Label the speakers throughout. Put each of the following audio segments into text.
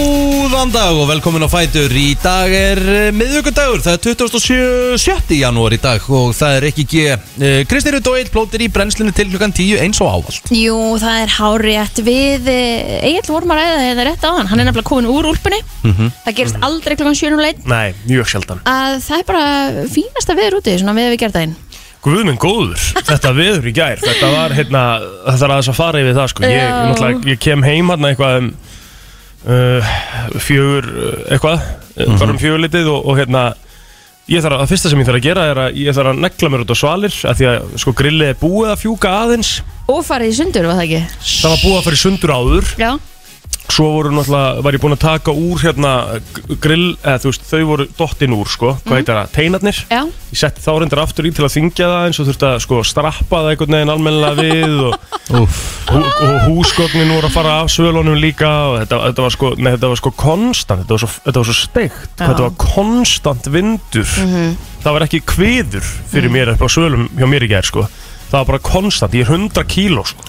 Speaker 1: Góðan dag og velkomin á Fætur Í dag er eh, miðvikudagur Það er 27. janúar í dag Og það er ekki G Eh, Kristi Rutt og Eil plótir í brennslinu til klukkan 10 Eins og ávald
Speaker 2: Jú, það er hárétt við Egil vorum að ræða þetta rétt á hann Hann er nefnilega komin úr úlpunni Það gerist aldrei klokkan 7 um leitt
Speaker 3: Mhm. Mm. Nei, mjög sjaldan
Speaker 2: að það er bara fínasta veður úti svona við við gerðaðinn
Speaker 3: Guð minn góður, þetta veður í gær Þetta var, hérna, þetta er aðeins að fara yfir það sko. ég,
Speaker 2: Já.
Speaker 3: náttúrulega, ég kem heim hérna eitthvað um uh, fjögur, uh, eitthvað mm bara um fjögurlitið og, og hérna ég þarf að, það fyrsta sem ég þarf að gera er að ég þarf að negla mér út á svalir af því að sko grillið er búið að fjúka aðeins
Speaker 2: og farið í sundur, var það ekki?
Speaker 3: það var búið að fara í sundur áður
Speaker 2: Já,
Speaker 3: svo voru náttúrulega, var ég búinn að taka úr hérna g- grill, eða þú veist, þau voru dottin úr sko, hvað heitir það, teinarnir
Speaker 2: Mhm. já,
Speaker 3: ég setti þá reyndar aftur í til að þingja það eins og þurfti að sko strappa það einhvern veginn almennilega við og,
Speaker 1: Úf
Speaker 3: hú, og húsgögnin voru að fara af svölunum líka og þetta, þetta var sko, nei þetta var sko konstant, þetta var svo, þetta var svo steikt
Speaker 2: Já. Mhm.
Speaker 3: hvað þetta var konstant vindur það var ekki kviður fyrir mér upp á svölum hjá mér í gær sko það var bara konstant, ég er 100 kíló sko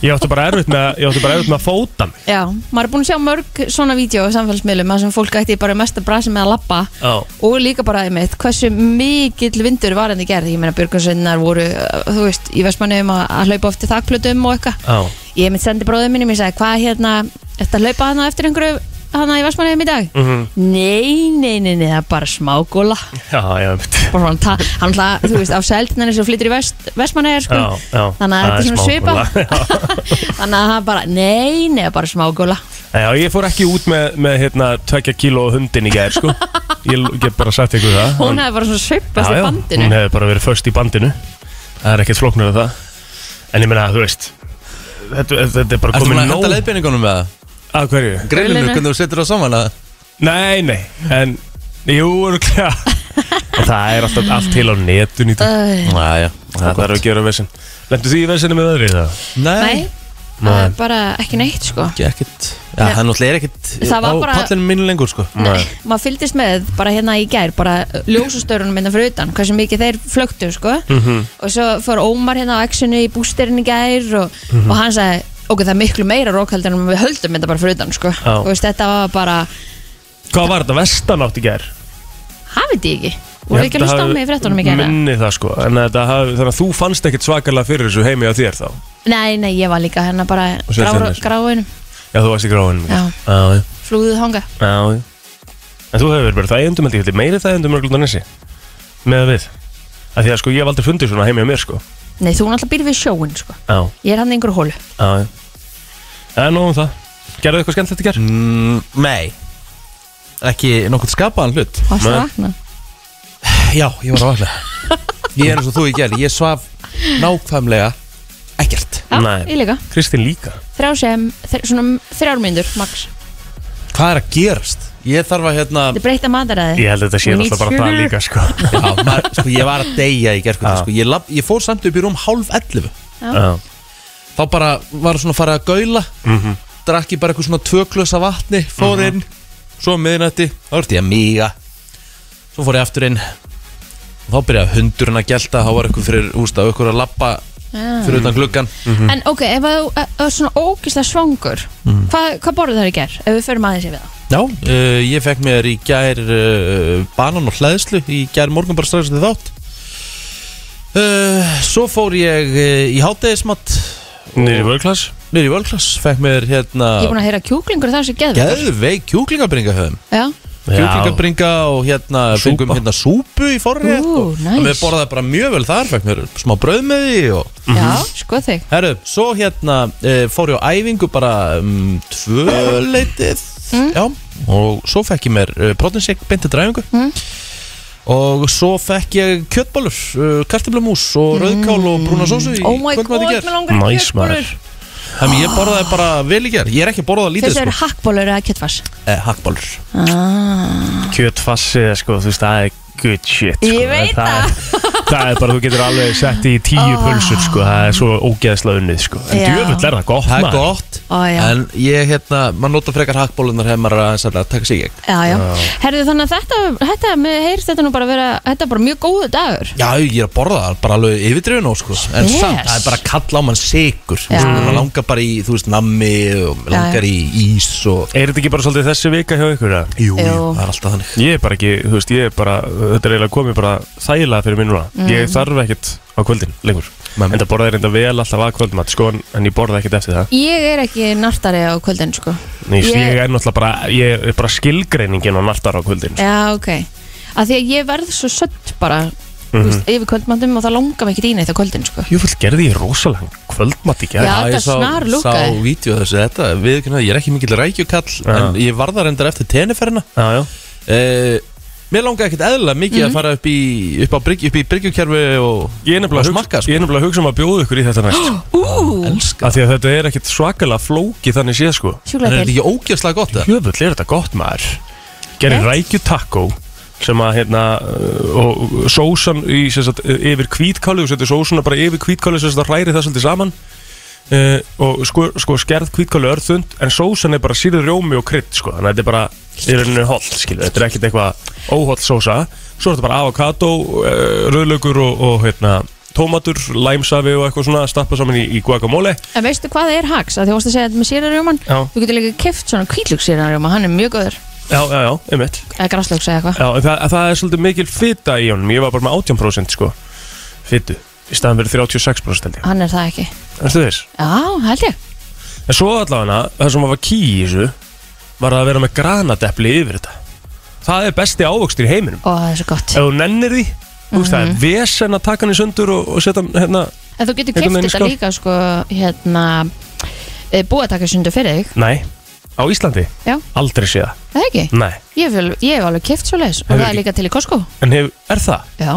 Speaker 3: ég átti bara erfitt með, ég átti bara erfitt með að fóta mig
Speaker 2: já maður er búin að sjá mörg svona vídeo á samfélagsmiðlum þar sem fólk ætti bara mest að brasa með að lappa
Speaker 3: Já.
Speaker 2: og líka bara einmitt hversu mikill vindur var henni gerð ég meina björgarsveinar voru, uh, þú veist, í Vestmannum að, að hlaupa ofti þakplötum og eitthvað
Speaker 3: Já.
Speaker 2: ég mitt sendi bróðum mínum, ég sagði hvað hérna, þetta hlaupa hana eftir einhverju hana í Vestmannum í dag
Speaker 3: Mhm.
Speaker 2: nei, nei, nei, nei, það er bara smágóla
Speaker 3: Já, já, einmitt.
Speaker 2: bara svona ta- hann alltaf, þú veist, á seldnæri sem flyttur í vest, vestmanæðar sko.
Speaker 3: Já, já.
Speaker 2: þannig að þetta er svona
Speaker 3: Það smá
Speaker 2: svipa
Speaker 3: gola. Já.
Speaker 2: þannig að hann bara, nei, nei, bara smá góla
Speaker 3: Já, ég fór ekki út með, með hérna, tvekja kíló hundin í gær, sko. Ég get bara sagt ykkur það.
Speaker 2: hún hefði bara svona svipast í bandinu
Speaker 3: Hún hefði bara verið först í bandinu. Það er ekkert flóknur af það. En ég meina, þú veist, þetta, þetta er bara
Speaker 1: Ertu
Speaker 3: komið
Speaker 1: maður að
Speaker 3: nóg.
Speaker 1: henda leiðbeiningunum með það?
Speaker 3: Að hverju?
Speaker 1: Grillinu,
Speaker 2: Grillinu.
Speaker 1: hvernig þú setur það saman að
Speaker 3: Nei, nei, en, jú, örglega. en það er alltaf allt til á netun í dag.
Speaker 2: Æ,
Speaker 1: Næja,
Speaker 3: það er að gera vesen. Lendu því í vesinu með öðri það?
Speaker 1: Nei,
Speaker 2: nei, það er bara ekki neitt sko
Speaker 1: ekki ekkert Já, það náttúrulega er ekkert
Speaker 2: Það
Speaker 1: á
Speaker 2: var bara-
Speaker 1: pallinu mínu lengur sko
Speaker 2: Nei, maður fylgdist með bara hérna í gær bara ljósastörunum minna fyrir utan hversu mikið þeir flögtu sko og svo fór Ómar hérna á exinu í bústirinn í gær og,
Speaker 3: Mhm.
Speaker 2: og hann sagði ok, það er miklu meira rókaldur en við höldum þetta bara fyrir utan sko
Speaker 3: Já.
Speaker 2: og veist, þetta var bara,
Speaker 3: Hvað var þetta? Vestanátt í gær?
Speaker 2: hafið þið ekki voru
Speaker 3: Ég
Speaker 2: ekki
Speaker 3: held það
Speaker 2: að hlusta á
Speaker 3: hafi-
Speaker 2: mig í fréttunum í gær eða?
Speaker 3: Minni það sko en þetta hafi, Þannig að þú fannst ekkit svakalega fyrir þessu heimi á þér þá
Speaker 2: nei, nei, ég var líka hérna bara
Speaker 3: Og sveitinn
Speaker 2: grá-
Speaker 3: þessu.
Speaker 2: gráinum,
Speaker 3: Já, þú varst í gráin
Speaker 2: Já.
Speaker 3: já,
Speaker 2: flúðuð hanga
Speaker 3: já já. En þú hefur verið bara þægjendum held ég held ég Meiri þægjendum örglundan þessi Með að við Af því að sko ég hef aldrei fundið svona heimi á mér sko
Speaker 2: nei, þú náttúrulega býr við sjóin sko
Speaker 3: Já,
Speaker 2: ég er hann í einhverju hólu
Speaker 3: já, já En nóg um það Gerðu eitthvað skemmt þetta ger?
Speaker 1: Mm, Nei Ekki nokkuð skapaðan hlut
Speaker 2: Varstu
Speaker 3: Nei.
Speaker 2: að vakna?
Speaker 1: Já, ég var að vakna Ég er eins og þú í gerð, ég svaf nákvæmlega ekkert
Speaker 2: Já,
Speaker 3: Nei.
Speaker 2: ég líka.
Speaker 3: Kristín líka
Speaker 2: Þrjár sem- þr- svona þrjár mínútur, max.
Speaker 1: Hvað er að gerast? Ég þarf að hérna
Speaker 2: Þetta breytta mataræði.
Speaker 3: Ég held að þetta sé
Speaker 2: We need
Speaker 3: alltaf bara það
Speaker 2: sugar.
Speaker 3: líka sko
Speaker 1: Já, maður, sko, ég var að deyja í gerð
Speaker 3: Já.
Speaker 1: sko. ég, lab- ég fór samt upp í rúm hálf 11
Speaker 3: Já,
Speaker 1: Þá bara var svona að fara að gaula
Speaker 3: Mhm.
Speaker 1: Drakk ég bara eitthvað svona tvö glösa vatni Fór inn, svo um miðnætti Þá vart ég að míga Svo fór ég aftur inn Og þá byrjaði hundurinn að gelta Þá var eitthvað fyrir, húst að eitthvað að labba
Speaker 3: sko.
Speaker 2: Já.
Speaker 1: Fyrir utan gluggan
Speaker 3: Mhm.
Speaker 2: En ok, ef að þú ef þú ert svona ógislega svangur
Speaker 3: Mm.
Speaker 2: Hvað, hvað borðu þær í gerð? Ef við förum aðeins yfir það
Speaker 1: Já, uh, ég fekk mér í gær uh, banan og hlæðslu í gær morgun bara strax til þátt uh, Svo fór ég uh, í hátegismat
Speaker 3: niður í vörklass
Speaker 1: Mér í völklass, fekk mér
Speaker 2: Ég er
Speaker 1: hérna
Speaker 2: búin að heyra að kjúklingur þar sem geðveikur.
Speaker 1: Geðveik kjúklingabringa höfum
Speaker 2: Já,
Speaker 1: Kjúklingabringa og hérna
Speaker 3: Súpa.
Speaker 1: fengum hérna súpu í forrétt
Speaker 2: Ú,
Speaker 1: og,
Speaker 2: nice.
Speaker 1: og við borðaði bara mjög vel þar fekk mér smá brauð með því og
Speaker 2: já, sko þig
Speaker 1: herru, svo hérna uh, fór ég á æfingu bara um, tvö leitið
Speaker 2: Mm.
Speaker 1: já, og svo fekk ég mér uh, protinsik beintið dræfingu mm. og svo fekk ég kjötbólur uh, kartiflamús og rauðkál og brúna sósu í
Speaker 2: Oh my god,
Speaker 1: kvöldmat í
Speaker 2: með
Speaker 1: gær.
Speaker 2: langar í
Speaker 3: Nice, maður.
Speaker 2: kjötbólur
Speaker 1: þannig ég borðaði bara vel í ger ég er ekki að borða lítið
Speaker 2: Þessu
Speaker 1: sko.
Speaker 2: eru hakkbólur eða kjötfass
Speaker 1: eh, hakkbólur
Speaker 2: ah.
Speaker 3: kjötfassið sko, þú veist, það er good shit sko.
Speaker 2: Ég veit
Speaker 3: það er, það er bara, þú getur alveg sett í tíu pulsur sko, það er svo ógeðslega unnið sko. en
Speaker 2: Já.
Speaker 3: djöfull er það gott
Speaker 1: það er
Speaker 3: maður.
Speaker 1: gott
Speaker 2: Ó, já.
Speaker 1: En ég, hérna, maður nota frekar hakkbólunar hefur maður aðeins að taka sig í gegn
Speaker 2: Já, já. Herðu þannig að þetta, þetta með heyrst þetta nú bara vera, þetta er bara mjög góðu dagur.
Speaker 1: Já, ég er að borða það, bara alveg yfirdrifin og sko En
Speaker 2: Spes.
Speaker 1: samt, það er bara að kalla á mann sigur
Speaker 2: Já.
Speaker 1: Það langar bara í, þú veist, nammi og langar í ís og
Speaker 3: Er þetta ekki bara svolítið þessi vika hjá ykkur? eða?
Speaker 1: Jú,
Speaker 2: Jú.
Speaker 1: það er alltaf þannig
Speaker 3: Ég er bara ekki, þú veist, ég er bara, þetta er eiginlega komið bara þægilega fyrir mér núna. Ég þarf ekkert á kvöldin lengur.
Speaker 1: Nei.
Speaker 3: En það borðaði reynda vel alltaf að kvöldmatt, sko, en- en ég borðaði ekkert eftir það.
Speaker 2: Ég er ekki nartari á kvöldin, sko.
Speaker 3: Ég,
Speaker 2: Ég-
Speaker 3: ég er náttúrulega bara, ég er bara skilgreiningin á nartar á kvöldin. sko.
Speaker 2: Já, ok. Af því að ég verð svo sött bara, þú veist, yfir kvöldmandum og það langar mig ekki í neitt á kvöldin, sko.
Speaker 3: Jú, fólk Mhm. gerði ég rosalega kvöldmatt í gerð.
Speaker 2: Já, þetta
Speaker 1: ég sá,
Speaker 2: snarlúkkaði.
Speaker 1: sá vídeo af þessu, þetta, við, ég er ekki mikill rækjukall En ég varða reyndar eftir teniferina
Speaker 3: Já, já.
Speaker 1: uh, Mér langar ekkert eðla mikið
Speaker 2: Mhm.
Speaker 1: að fara upp í, upp á bryggju, upp í bryggjukerfi og
Speaker 3: Ég er nefnilega að
Speaker 1: Og smakka,
Speaker 3: hugsa-
Speaker 1: sko.
Speaker 3: ég er nefnilega að hugsa um að bjóða ykkur í þetta næst.
Speaker 2: Ú,
Speaker 1: elska
Speaker 3: Af því að þetta er ekkert svakalega flóki þannig sé, sko.
Speaker 1: En er
Speaker 2: sjúlega
Speaker 1: þetta
Speaker 2: til.
Speaker 1: ekki ógjastlega gott það?
Speaker 3: Jöfull, er þetta gott maður Gerði
Speaker 2: Rétt.
Speaker 3: rækju taco sem að hérna uh, og sósan í, sem sagt, uh, yfir kvítkáli og setur sósuna bara yfir kvítkáli sem sagt að hræri það svolítið saman uh, og sko, sko skerð kvítkáli örþund en sósan er bara sýrið rjómi og krydd sko þannig að þetta er bara í rauninni holt skilur þetta er ekkert eitthvað óholt sósa svo er þetta bara avokado, uh, rauðlaugur og, og hérna tómatur, læmsafi og eitthvað svona að stappa saman í, í guacamole
Speaker 2: En veistu hvað það er hags? Af því að þú varst að segja þetta með sérarjóman,
Speaker 3: Já.
Speaker 2: þú getur líka keft svona kvítlugssérarjóma, hann er mjög góður.
Speaker 3: Já, já, já, einmitt
Speaker 2: Eða græslöks eða eitthvað.
Speaker 3: Já, en það, það er svolítið mikil fita í honum Ég var bara með 18% sko Fitu Í staðan verið 36% held ég
Speaker 2: Hann er það ekki.
Speaker 3: Erstu þess?
Speaker 2: Já, held ég.
Speaker 3: En svo allavega Það sem var ký í þessu Var að vera með granadepli yfir þetta Það er besti ávöxtur í heiminum
Speaker 2: Ó, það er svo gott. Mhm.
Speaker 3: Ef þú nennir því Þú veist það er vesen að taka hann í sundur Og, og setja hann hérna
Speaker 2: En þú getur
Speaker 3: Einhvern veginn í
Speaker 2: keft þetta
Speaker 3: skáp.
Speaker 2: líka sko hérna e, búatakastundu fyrir þig,
Speaker 3: Nei Á Íslandi
Speaker 2: já,
Speaker 3: Aldrei sé það
Speaker 2: er það ekki?
Speaker 3: Nei
Speaker 2: Ég hef, vel- ég hef alveg keft svo leiðis og
Speaker 3: Mm. Hefur
Speaker 2: það er
Speaker 3: ekki-
Speaker 2: líka til í Costco
Speaker 3: En hef, er það?
Speaker 2: Já,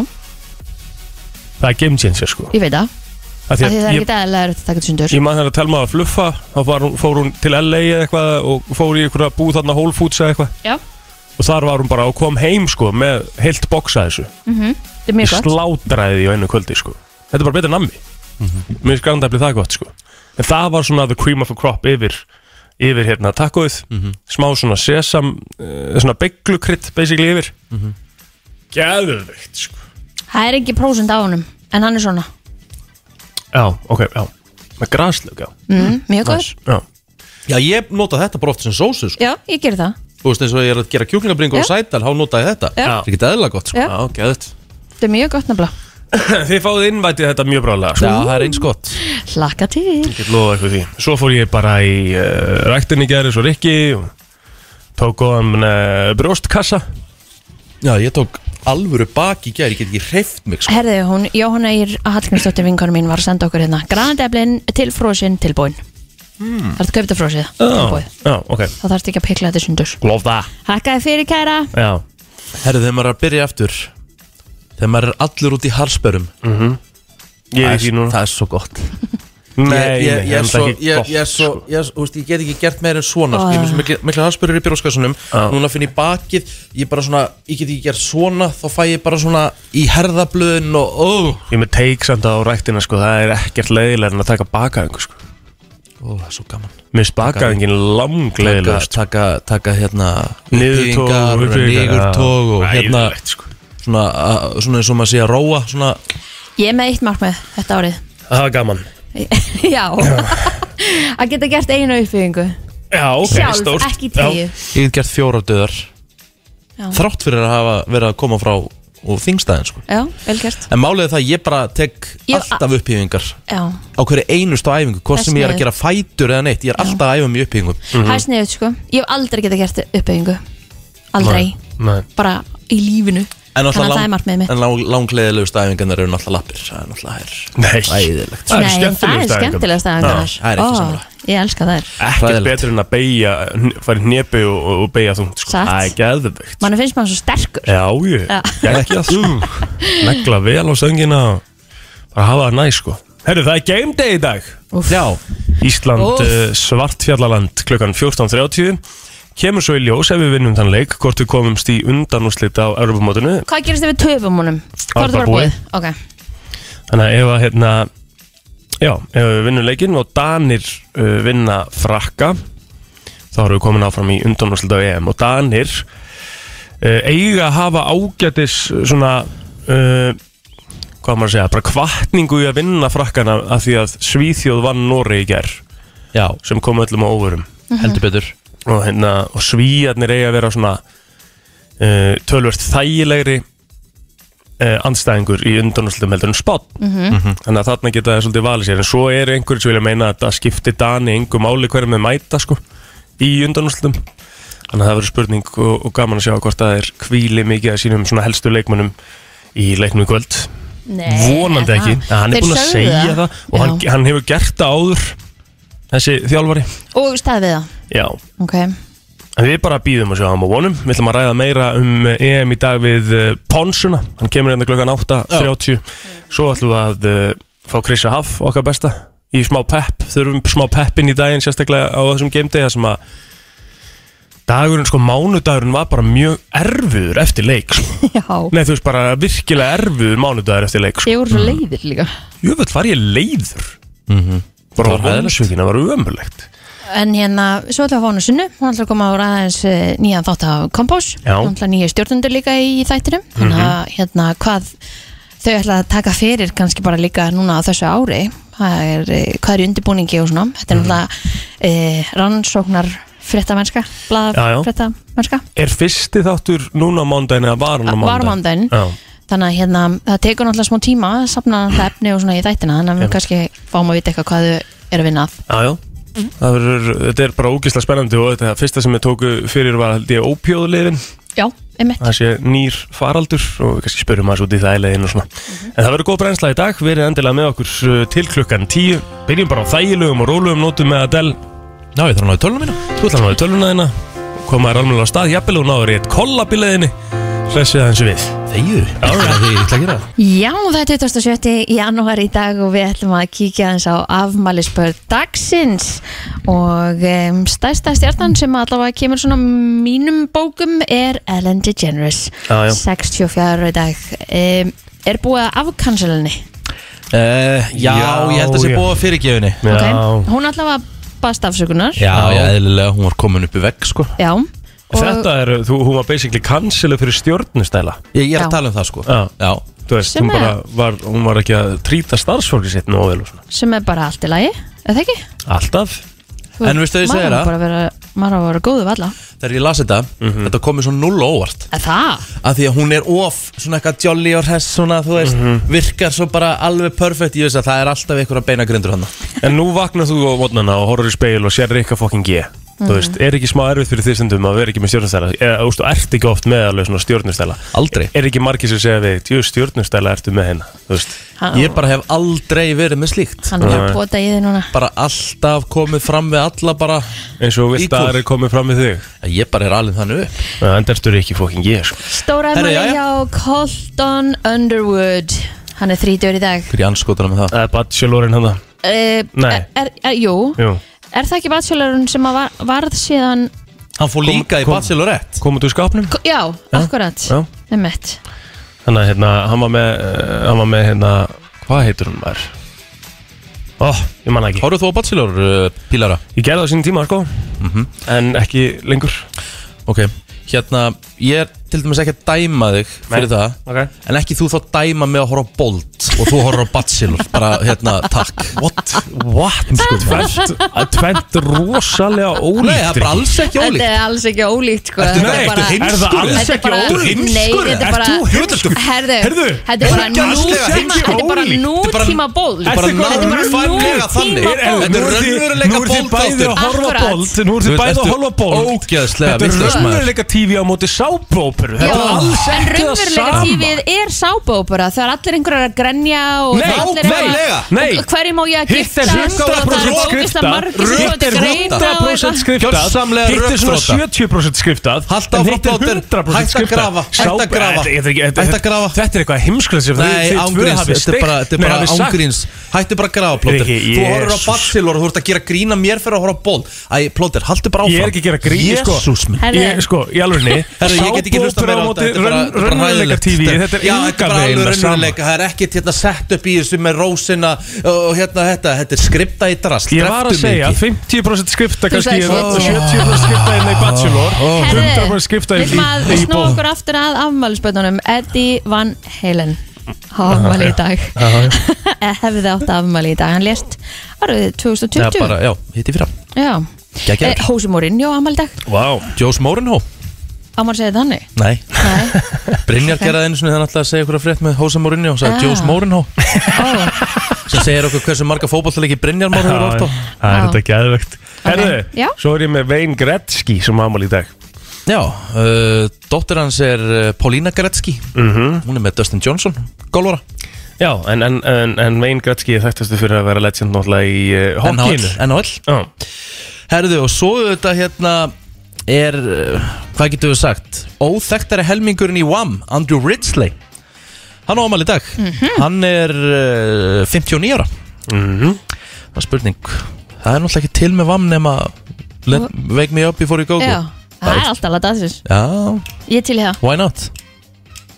Speaker 3: Það er game changer sko
Speaker 2: ég veit það,
Speaker 3: Af
Speaker 2: af því það er
Speaker 3: ég-
Speaker 2: ekki eðlilega erfitt að taka þetta sundur
Speaker 3: Ég maður þegar að telma að fluffa þá var hún, fór hún til LA eða eitthvað og fór í einhverja búð þarna Whole Foods eða eitthvað
Speaker 2: Já,
Speaker 3: og þar var hún bara og kom heim sko með heilt boksa þessu
Speaker 2: Mhm, þetta er mjög
Speaker 3: ég
Speaker 2: gott
Speaker 3: slátraði því á einu kvöldi sko þetta er bara betur nammi
Speaker 1: Mhm.
Speaker 3: mér finnst grandafli það gott sko en það var svona the cream of the crop yfir yfir hérna takkóið
Speaker 1: Mhm.
Speaker 3: smá svona sesam uh, svona bygglukrydd basically yfir mm
Speaker 1: Mhm.
Speaker 3: geðveikt sko
Speaker 2: Það er ekki prósent á honum, en hann er svona
Speaker 3: já ok já með graslög já
Speaker 2: mm, Mjög gott,
Speaker 3: Nice. já
Speaker 1: Já, ég nota þetta bara oft sem sósu, sko
Speaker 2: já, ég ger það
Speaker 1: Þú veist, eins og ég er að gera kjúklingabringur og sætal, há nota ég þetta
Speaker 2: Já.
Speaker 1: Það er ekki eðla gott, sko
Speaker 2: Já.
Speaker 1: geðvægt.
Speaker 2: Þetta er mjög gott nefnilega,
Speaker 3: þið fáið innvætið þetta mjög bráðlega sko
Speaker 1: Já, það er eins gott
Speaker 2: hlakka til
Speaker 3: Ég lofa eitthvað því Svo fór ég bara í uh, ræktinni gerðis og Rikki og Tók góðan uh, brjóstkassa
Speaker 1: Já, ég tók alvöru bak í gær, ég get ekki hreift mig sko.
Speaker 2: Herðu, hún, Jóhanna Ír Hallgrímsdóttir vinkonu mín var að senda okkur hérna Granadeblin til frósin tilbúin
Speaker 1: Hmm.
Speaker 2: mm. Það er að köpta frósið tilbúið
Speaker 3: já, ok
Speaker 2: Þá þarf ekki að pikla þetta sundur
Speaker 3: Lof það
Speaker 2: Hakkaði fyrir kæra
Speaker 3: Já,
Speaker 1: Herru, þegar maður er að byrja aftur Þegar maður er allur út í harspörum
Speaker 3: Mhm. ég er
Speaker 1: það,
Speaker 3: í því
Speaker 1: er-
Speaker 3: núna
Speaker 1: það er svo gott
Speaker 3: Nei,
Speaker 1: Ég- ég- Ég
Speaker 3: það
Speaker 1: er
Speaker 3: er
Speaker 1: svo,
Speaker 3: ekki
Speaker 1: ég-
Speaker 3: gott, sko.
Speaker 1: ég er svo, ég er svo- þú veist, ég get ekki gert meira en svona sko. Ég er með svo mikla- mikla harspörur í byrjóskassunum
Speaker 3: Já.
Speaker 1: Núna finn ég bakið, ég bara svona Ég get ekki gert svona, þá fæ ég bara svona Í herðablöðin og ó,
Speaker 3: Ég er með teik samt á ræktina sko Það er ekkert leiðilega en að taka bakaðingu sko
Speaker 1: ó, það er svo gaman
Speaker 3: Mist bakaðingin
Speaker 1: taka,
Speaker 3: langleiðilegast
Speaker 1: taka, taka hérna
Speaker 3: Niðurtóg
Speaker 1: uppbyggingar,
Speaker 3: og uppbyggingar,
Speaker 1: niðurtóg og
Speaker 3: já.
Speaker 1: hérna
Speaker 3: Æðilegt, sko.
Speaker 1: svona, að- svona eins og maður sé að róa svona,
Speaker 2: Ég er með eitt markmið þetta árið
Speaker 3: Það var gaman
Speaker 2: Já Að geta gert einu uppbyggingu
Speaker 3: Já, ok,
Speaker 2: Sjálf,
Speaker 3: stórt
Speaker 2: ekki
Speaker 3: Já.
Speaker 2: tíu
Speaker 1: ég hef gert fjóra döðar
Speaker 2: Já.
Speaker 1: þrátt fyrir að hafa verið að koma frá og þingstæðin sko.
Speaker 2: Já, vel gert
Speaker 1: en málið er það að ég bara tek
Speaker 2: Ég-
Speaker 1: alltaf upphýfingar
Speaker 2: Já,
Speaker 1: á hverju einustu æfingu hvort
Speaker 2: Þess
Speaker 1: sem ég er
Speaker 2: með.
Speaker 1: að gera fætur eða neitt ég er alltaf að æfa mig í Mhm. upphýfingum
Speaker 2: mm það er sniðut sko Ég hef aldrei geta gert uppbyggingu Aldrei,
Speaker 3: Nei,
Speaker 2: bara í lífinu
Speaker 1: en
Speaker 2: Þannig að það er markmið mitt
Speaker 1: en lang, langleðilegustu æfingarnar eru náttúrulega lappir það er náttúrulega hær
Speaker 3: Nei.
Speaker 1: Æðilegt.
Speaker 3: það eru
Speaker 2: Nei, það
Speaker 3: skemmtilegustu
Speaker 2: er
Speaker 3: æfingarnar.
Speaker 2: skemmtilegast
Speaker 1: Já, það er ekki sammála.
Speaker 2: Ég elska þær
Speaker 3: Ekkert
Speaker 1: Hræðilegt.
Speaker 3: betur en að beigja Færi nepi og, og beigja þungt sko
Speaker 2: Satt.
Speaker 3: Það er geðveikt
Speaker 2: Mann finnst maður svo sterkur
Speaker 3: Já, ég,
Speaker 2: Já.
Speaker 3: ekki að Negla vel á söngina og bara hafa það næ, sko Herru, það er game day í dag
Speaker 1: já,
Speaker 3: Ísland
Speaker 2: Úff.
Speaker 3: uh, svartfjallaland klukkan 14.30 Kemur svo í ljós ef við vinnum þann leik hvort við komumst í undanúslita á Europamótinu
Speaker 2: Hvað gerist ef við töfum honum? Hvað er það bara
Speaker 3: búið.
Speaker 2: búið? Ok,
Speaker 3: Þannig að ef að hérna Já, ef við vinnum leikinn og Danir uh, vinna frakka þá erum við komin áfram í undanúrslit af EM og Danir uh, eiga að hafa ágætis uh, svona uh, hvað á maður að segja, bara kvartningu í að vinna frakkana af því að Svíþjóð vann Nóri í ger
Speaker 1: Já,
Speaker 3: sem kom öllum á óvörum
Speaker 1: heldur betur
Speaker 3: og, hérna, og Svíðarnir eiga að vera svona uh, tölvert þægilegri uh, andstæðingur í undanúrslutum heldur en spott
Speaker 2: Mhm.
Speaker 3: -hmm. þannig að þarna geta það svolítið valið sér en svo eru einhverjir sem vilja meina að það skipti Dani engu máli hverjum með mæta sko, í undanúrslutum þannig að það verður spurning og, og gaman að sjá hvort það er hvíli mikið að sínum svona helstu leikmönnum í leiknum í kvöld vonandi ekki, en hann er
Speaker 2: Þeir
Speaker 3: búin að
Speaker 2: sögðu
Speaker 3: segja það og hann,
Speaker 2: Já.
Speaker 3: hann hefur gert það áður þessi þjálfari
Speaker 2: Og staðið við það
Speaker 3: já,
Speaker 2: Ok
Speaker 3: En Við bara býðum að sjá hann á vonum Við ætlum að ræða meira um eh, EM í dag við eh, Ponsuna Hann kemur hérna klokkan 8.30 Svo ætlum við að eh, fá Krissa Haff okkar besta Í smá pepp Þurfum smá peppin í daginn sérstaklega á þessum geimdega sem að Dagurinn, sko mánudagurinn var bara mjög erfiður eftir leik sko.
Speaker 2: Já
Speaker 3: Nei þú veist bara virkilega erfiður mánudagur eftir leik sko.
Speaker 2: Ég voru svo leiðir líka
Speaker 3: Jöfnveld var ég leiður
Speaker 1: Mhm. Það
Speaker 3: Bara
Speaker 1: var hræðilegt.
Speaker 3: vonsvíkina var ömulegt
Speaker 2: En hérna, svo ætlaði að fá hana sunnu Hún ætlaði að koma á ræðans eh, nýjan þátt af Kompás
Speaker 3: Já. Mhm.
Speaker 2: Hún ætlaði nýja stjórnundur líka í þættinum Þannig að hérna, hvað þau ætlaði að taka fyrir kannski bara líka núna á þessu ári Hvað er, eh, hvað er í undirbúningi og svona Þetta er
Speaker 3: Mhm.
Speaker 2: náttúrulega e, rannsóknar fréttamennska Blað
Speaker 3: Já, já.
Speaker 2: fréttamennska
Speaker 3: Er fyrsti þáttur núna á mánudaginn eða var hann á
Speaker 2: Var á
Speaker 3: mánudaginn?
Speaker 2: mánudaginn.
Speaker 3: Já.
Speaker 2: Þannig að hérna, það tekur náttúrulega smá tíma að sapna það efni og svona í þættina Þannig að við kannski fáum að vita eitthvað hvað þau eru að vinna að
Speaker 3: Jájá Það verður, þetta er bara ógislega spennandi og þetta fyrsta sem við tóku fyrir var held ég ópjóðulegin
Speaker 2: Já, einmitt
Speaker 3: það sé nýr faraldur og við kannski spyrjum aðeins út í það í leiðin og svona En það verður góð brennsla í dag, verið endilega með okkur uh, til klukkan 10 Byrjum bara á þægilegum og rólegum nótum með Adele
Speaker 1: Já, ég þarf að náðu tölunum mína
Speaker 3: Þú ætlar náðu tölvuna þína og komaður alveg á stað, jafnvel og náður í eitt kollab í leiðinni Hressið aðeins við
Speaker 1: Þegju, það er því ég ætla að gera
Speaker 2: Já, það er 27. janúar í dag og við ætlum að kíkja aðeins á afmælisbörð dagsins og um, stærsta stjarnan sem allavega kemur svona mínum bókum er Ellen DeGeneres
Speaker 3: Já, já.
Speaker 2: 64 ára í dag um, Er búið að afkansla henni
Speaker 1: uh, Já,
Speaker 3: Já,
Speaker 1: ég held að sé
Speaker 3: já.
Speaker 1: búið að fyrirgefinni
Speaker 3: Já,
Speaker 2: Ok. Hún allavega baðst afsökunar
Speaker 1: Já, já, eðlilega, hún var komin upp í vegg, sko
Speaker 2: Já og,
Speaker 3: Þetta er, þú, hún var basically canceluð fyrir stjórnustæla
Speaker 1: Ég, ég er
Speaker 2: Já.
Speaker 1: að tala um það, sko
Speaker 3: Já.
Speaker 1: já.
Speaker 3: Þú veist,
Speaker 2: Sem
Speaker 3: hún,
Speaker 2: er-
Speaker 3: bara var, hún var ekki að trýta starfsfólki sitt nógu vel og svona
Speaker 2: sem er bara allt í lagi, eða ekki?
Speaker 3: Alltaf
Speaker 2: Þú-
Speaker 1: En veistu hvað ég
Speaker 2: maður
Speaker 1: segi
Speaker 2: á
Speaker 1: það?
Speaker 2: bara að vera, Maður á að vera góðu valla
Speaker 1: Þegar ég las þetta,
Speaker 3: Mhm.
Speaker 1: þetta komið svo null á óvart
Speaker 2: Það?
Speaker 1: að Því að hún er of, svona eitthvað jolly og hess Svona, þú veist,
Speaker 3: Mhm.
Speaker 1: virkar svo bara alveg perfect Ég veist að það er alltaf ykkur að beina grindur hann
Speaker 3: En nú vaknar þú á modnana og horfur í speil og sér Rikka fokkin G
Speaker 2: Mm.
Speaker 3: Þú veist, er ekki smá erfið fyrir því stundum að vera ekki með stjórnustæla eða, þú veist, þú ert ekki oft með alveg svona stjórnustæla
Speaker 1: Aldrei
Speaker 3: Er ekki margir sem segja við, jú, stjórnustæla ertu með henn Þú veist,
Speaker 1: Ég bara hef aldrei verið með slíkt
Speaker 2: Hann er að pota í þið núna
Speaker 1: Bara alltaf komið fram við alla bara
Speaker 3: eins og vilt að
Speaker 1: Equal.
Speaker 3: það er komið fram með þig
Speaker 1: Ég bara er alveg þannig upp
Speaker 3: En ertu Rikki fokkin G, sko
Speaker 2: Stóra
Speaker 1: Herri,
Speaker 2: maður
Speaker 1: jæja.
Speaker 2: hjá Colton Underwood Hann er 30 í dag
Speaker 1: Hver í anskotunum með það?
Speaker 3: Það er bachelorinn hann það
Speaker 2: uh,
Speaker 3: Nei.
Speaker 2: er, er, Jú,
Speaker 3: Jú,
Speaker 2: er það ekki bachelorun sem að var, varð síðan
Speaker 1: Hann fór líka í Bachelorette
Speaker 3: komið þú skápnum?
Speaker 2: Ko- Já, akkurat
Speaker 3: Já.
Speaker 2: Einmitt.
Speaker 3: Þannig að hérna, hann var með, uh, hann var með hérna, hvað heitur hún maður? Ó, ég manna ekki
Speaker 1: Hóruð þú á Bachelor, uh, Pílara?
Speaker 3: Ég gerði það á sínum tíma, sko En ekki lengur
Speaker 1: Mhm. Ok, hérna, ég er til dæmis ekki að dæma þig fyrir
Speaker 3: Nei.
Speaker 1: það
Speaker 3: okay.
Speaker 1: En ekki þú þá dæma mig að horfa á Bolt og þú horfa á Bachelor, bara hérna, takk What?
Speaker 3: What? Sko, tvent, tvent rosalega ólíkt
Speaker 1: Nei, það er bara alls ekki
Speaker 2: Þetta
Speaker 1: ólíkt
Speaker 2: er alls ekki ólíkt sko.
Speaker 1: Ertu-
Speaker 2: Þetta
Speaker 1: nei,
Speaker 2: er
Speaker 1: ertu
Speaker 2: bara-
Speaker 1: heimskur?
Speaker 3: Er það alls
Speaker 2: Þetta er
Speaker 3: ekki
Speaker 2: bara-
Speaker 3: ólíkt?
Speaker 2: Nei, þetta er
Speaker 1: Ert
Speaker 2: bara
Speaker 1: þú heimskur?
Speaker 2: Herðu,
Speaker 1: Herðu,
Speaker 2: þetta er bara
Speaker 1: ógeðslega
Speaker 2: nútíma
Speaker 1: heimskur.
Speaker 2: Þetta er bara
Speaker 3: Ólíkt.
Speaker 1: Þetta er bara-
Speaker 2: nútíma ból
Speaker 1: Þetta er bara
Speaker 2: Þetta er bara
Speaker 1: nákvæmlega þannig.
Speaker 2: nútíma
Speaker 1: Er-
Speaker 2: ból
Speaker 1: Þetta er raunveruleika
Speaker 3: Nú eru þið
Speaker 1: Bolt
Speaker 3: bæði að
Speaker 1: þáttur.
Speaker 3: horfa
Speaker 2: Akkurat.
Speaker 3: bólt Nú eru
Speaker 1: Þú
Speaker 3: þið
Speaker 1: veist,
Speaker 3: bæði að
Speaker 1: ertu
Speaker 3: horfa bólt
Speaker 1: ógeðslega
Speaker 3: Þetta er
Speaker 1: vitlaus maður.
Speaker 3: raunveruleika tífi á móti sábrópur Þetta er
Speaker 2: Já.
Speaker 3: alls ekki
Speaker 2: en
Speaker 3: það
Speaker 2: raunverulega
Speaker 3: sama
Speaker 2: tífið er sábópera það er allir einhverjar að grenja og
Speaker 3: Nei,
Speaker 2: allir eru að-
Speaker 1: nákvæmlega.
Speaker 3: Nei.
Speaker 2: Og hverju má ég að
Speaker 3: Hitt
Speaker 2: gifta
Speaker 3: er
Speaker 2: og það
Speaker 3: 100%
Speaker 2: er ógeðslega
Speaker 3: skriftað
Speaker 2: margir
Speaker 1: Hitt
Speaker 2: sem koma til
Speaker 1: er
Speaker 2: greina og
Speaker 3: 100%
Speaker 2: eitthvað.
Speaker 3: skriftað
Speaker 1: Gjörsamlega
Speaker 3: Hitt er svona
Speaker 1: rökþrota.
Speaker 3: 70% skriftað
Speaker 1: Haltu
Speaker 3: en
Speaker 1: áfram,
Speaker 3: hitt er
Speaker 1: Baldur.
Speaker 3: 100%
Speaker 1: Hættu að
Speaker 3: skriftað.
Speaker 1: grafa, hættu að
Speaker 3: Sá-
Speaker 1: grafa.
Speaker 3: Þetta- þetta- þetta-
Speaker 1: Hættu að grafa.
Speaker 3: Þetta er eitthvað heimsklað sem þið-
Speaker 1: Nei,
Speaker 3: þið tvö
Speaker 1: ángríns, þetta
Speaker 3: hafið
Speaker 1: er
Speaker 3: steikt.
Speaker 1: bara, þetta er
Speaker 3: Nei,
Speaker 1: bara
Speaker 3: hafið sagt.
Speaker 1: ángríns Hættu bara að gráða, Plóter
Speaker 3: Riki,
Speaker 1: Þú horfir á
Speaker 3: Jesus.
Speaker 1: Bachelor og þú ert að gera grína mér fyrir að horfa á Bolt Æ, Plóter, haldu bara áfram
Speaker 3: Ég er ekki að gera grín, sko.
Speaker 1: Jésús minn
Speaker 2: Herðu,
Speaker 3: Ég, sko, í alveg
Speaker 1: Herri, ég get ekki hlusta
Speaker 3: Sápuópera
Speaker 1: meira
Speaker 3: á
Speaker 1: á
Speaker 3: móti
Speaker 1: þetta, þetta er bara- þetta er bara
Speaker 3: raunveruleika
Speaker 1: hræðilegt.
Speaker 3: TV, þetta er
Speaker 1: Já,
Speaker 3: engan
Speaker 1: bara alveg
Speaker 3: veginn það sama.
Speaker 1: raunveruleika, það er ekkert hérna sett upp í þessu með rósina og hérna þetta, þetta er skripta í drast
Speaker 3: Ég var að segja 50% skrifta
Speaker 2: Þú
Speaker 3: kannski
Speaker 2: sagðir
Speaker 3: eða 70%
Speaker 2: 70.
Speaker 3: skrifta inn hérna í Bachelor 100% skrifta í,
Speaker 2: Við maður
Speaker 3: í, í
Speaker 2: snúa
Speaker 3: bóð
Speaker 2: okkur aftur að afmælisbötunum Eddie Van Halen Há afmæli í dag Eða Hefði átt afmæli í dag Hann lést árið
Speaker 1: Já,
Speaker 2: 2020
Speaker 1: bara, já, hitti fyrra
Speaker 2: Já
Speaker 1: Gekkjaður.
Speaker 2: Eh, Hósi Morinjó afmæli í dag
Speaker 3: Vá
Speaker 1: Jós Mórenhó?
Speaker 2: Ámar segið þannig
Speaker 1: Nei,
Speaker 2: Nei
Speaker 1: Brynjar geraði einu sinni þannig alltaf að segja okkur að frétt með Hósa Mourinho og sagði
Speaker 2: Ah. Oh.
Speaker 1: Jós Mórenhó
Speaker 2: Ó,
Speaker 1: sem segir okkur hversu marga fótballleiki Brynjar Mór hefur átt á
Speaker 3: Það er þetta gæðvegt
Speaker 2: Já.
Speaker 3: Herðu, svo er ég með Wayne Gretzky sem ámali í dag
Speaker 1: Já, uh, dóttir hans er uh, Paulina Gretzky
Speaker 3: Mhm.
Speaker 1: hún er með Dustin Johnson, golvara
Speaker 3: Já, en, en, en, en Wayne Gretzky er þekktastu fyrir að vera legend náttúrulega í uh, hokkinu
Speaker 1: NHL
Speaker 3: Já,
Speaker 1: Herðu, og svo þetta hérna er, uh, hvað getur við sagt óþekktari helmingurinn í WAM Andrew Ridgely hann á ámæli í dag,
Speaker 2: Mhm.
Speaker 1: hann er uh, 59 ára
Speaker 3: Mhm.
Speaker 1: það er spurning, það er náttúrulega ekki til með WAM nema let, wake me up before you go sko. go
Speaker 2: Já Það er alltaf alveg dagsins
Speaker 1: Já,
Speaker 2: Ég til í það
Speaker 1: why not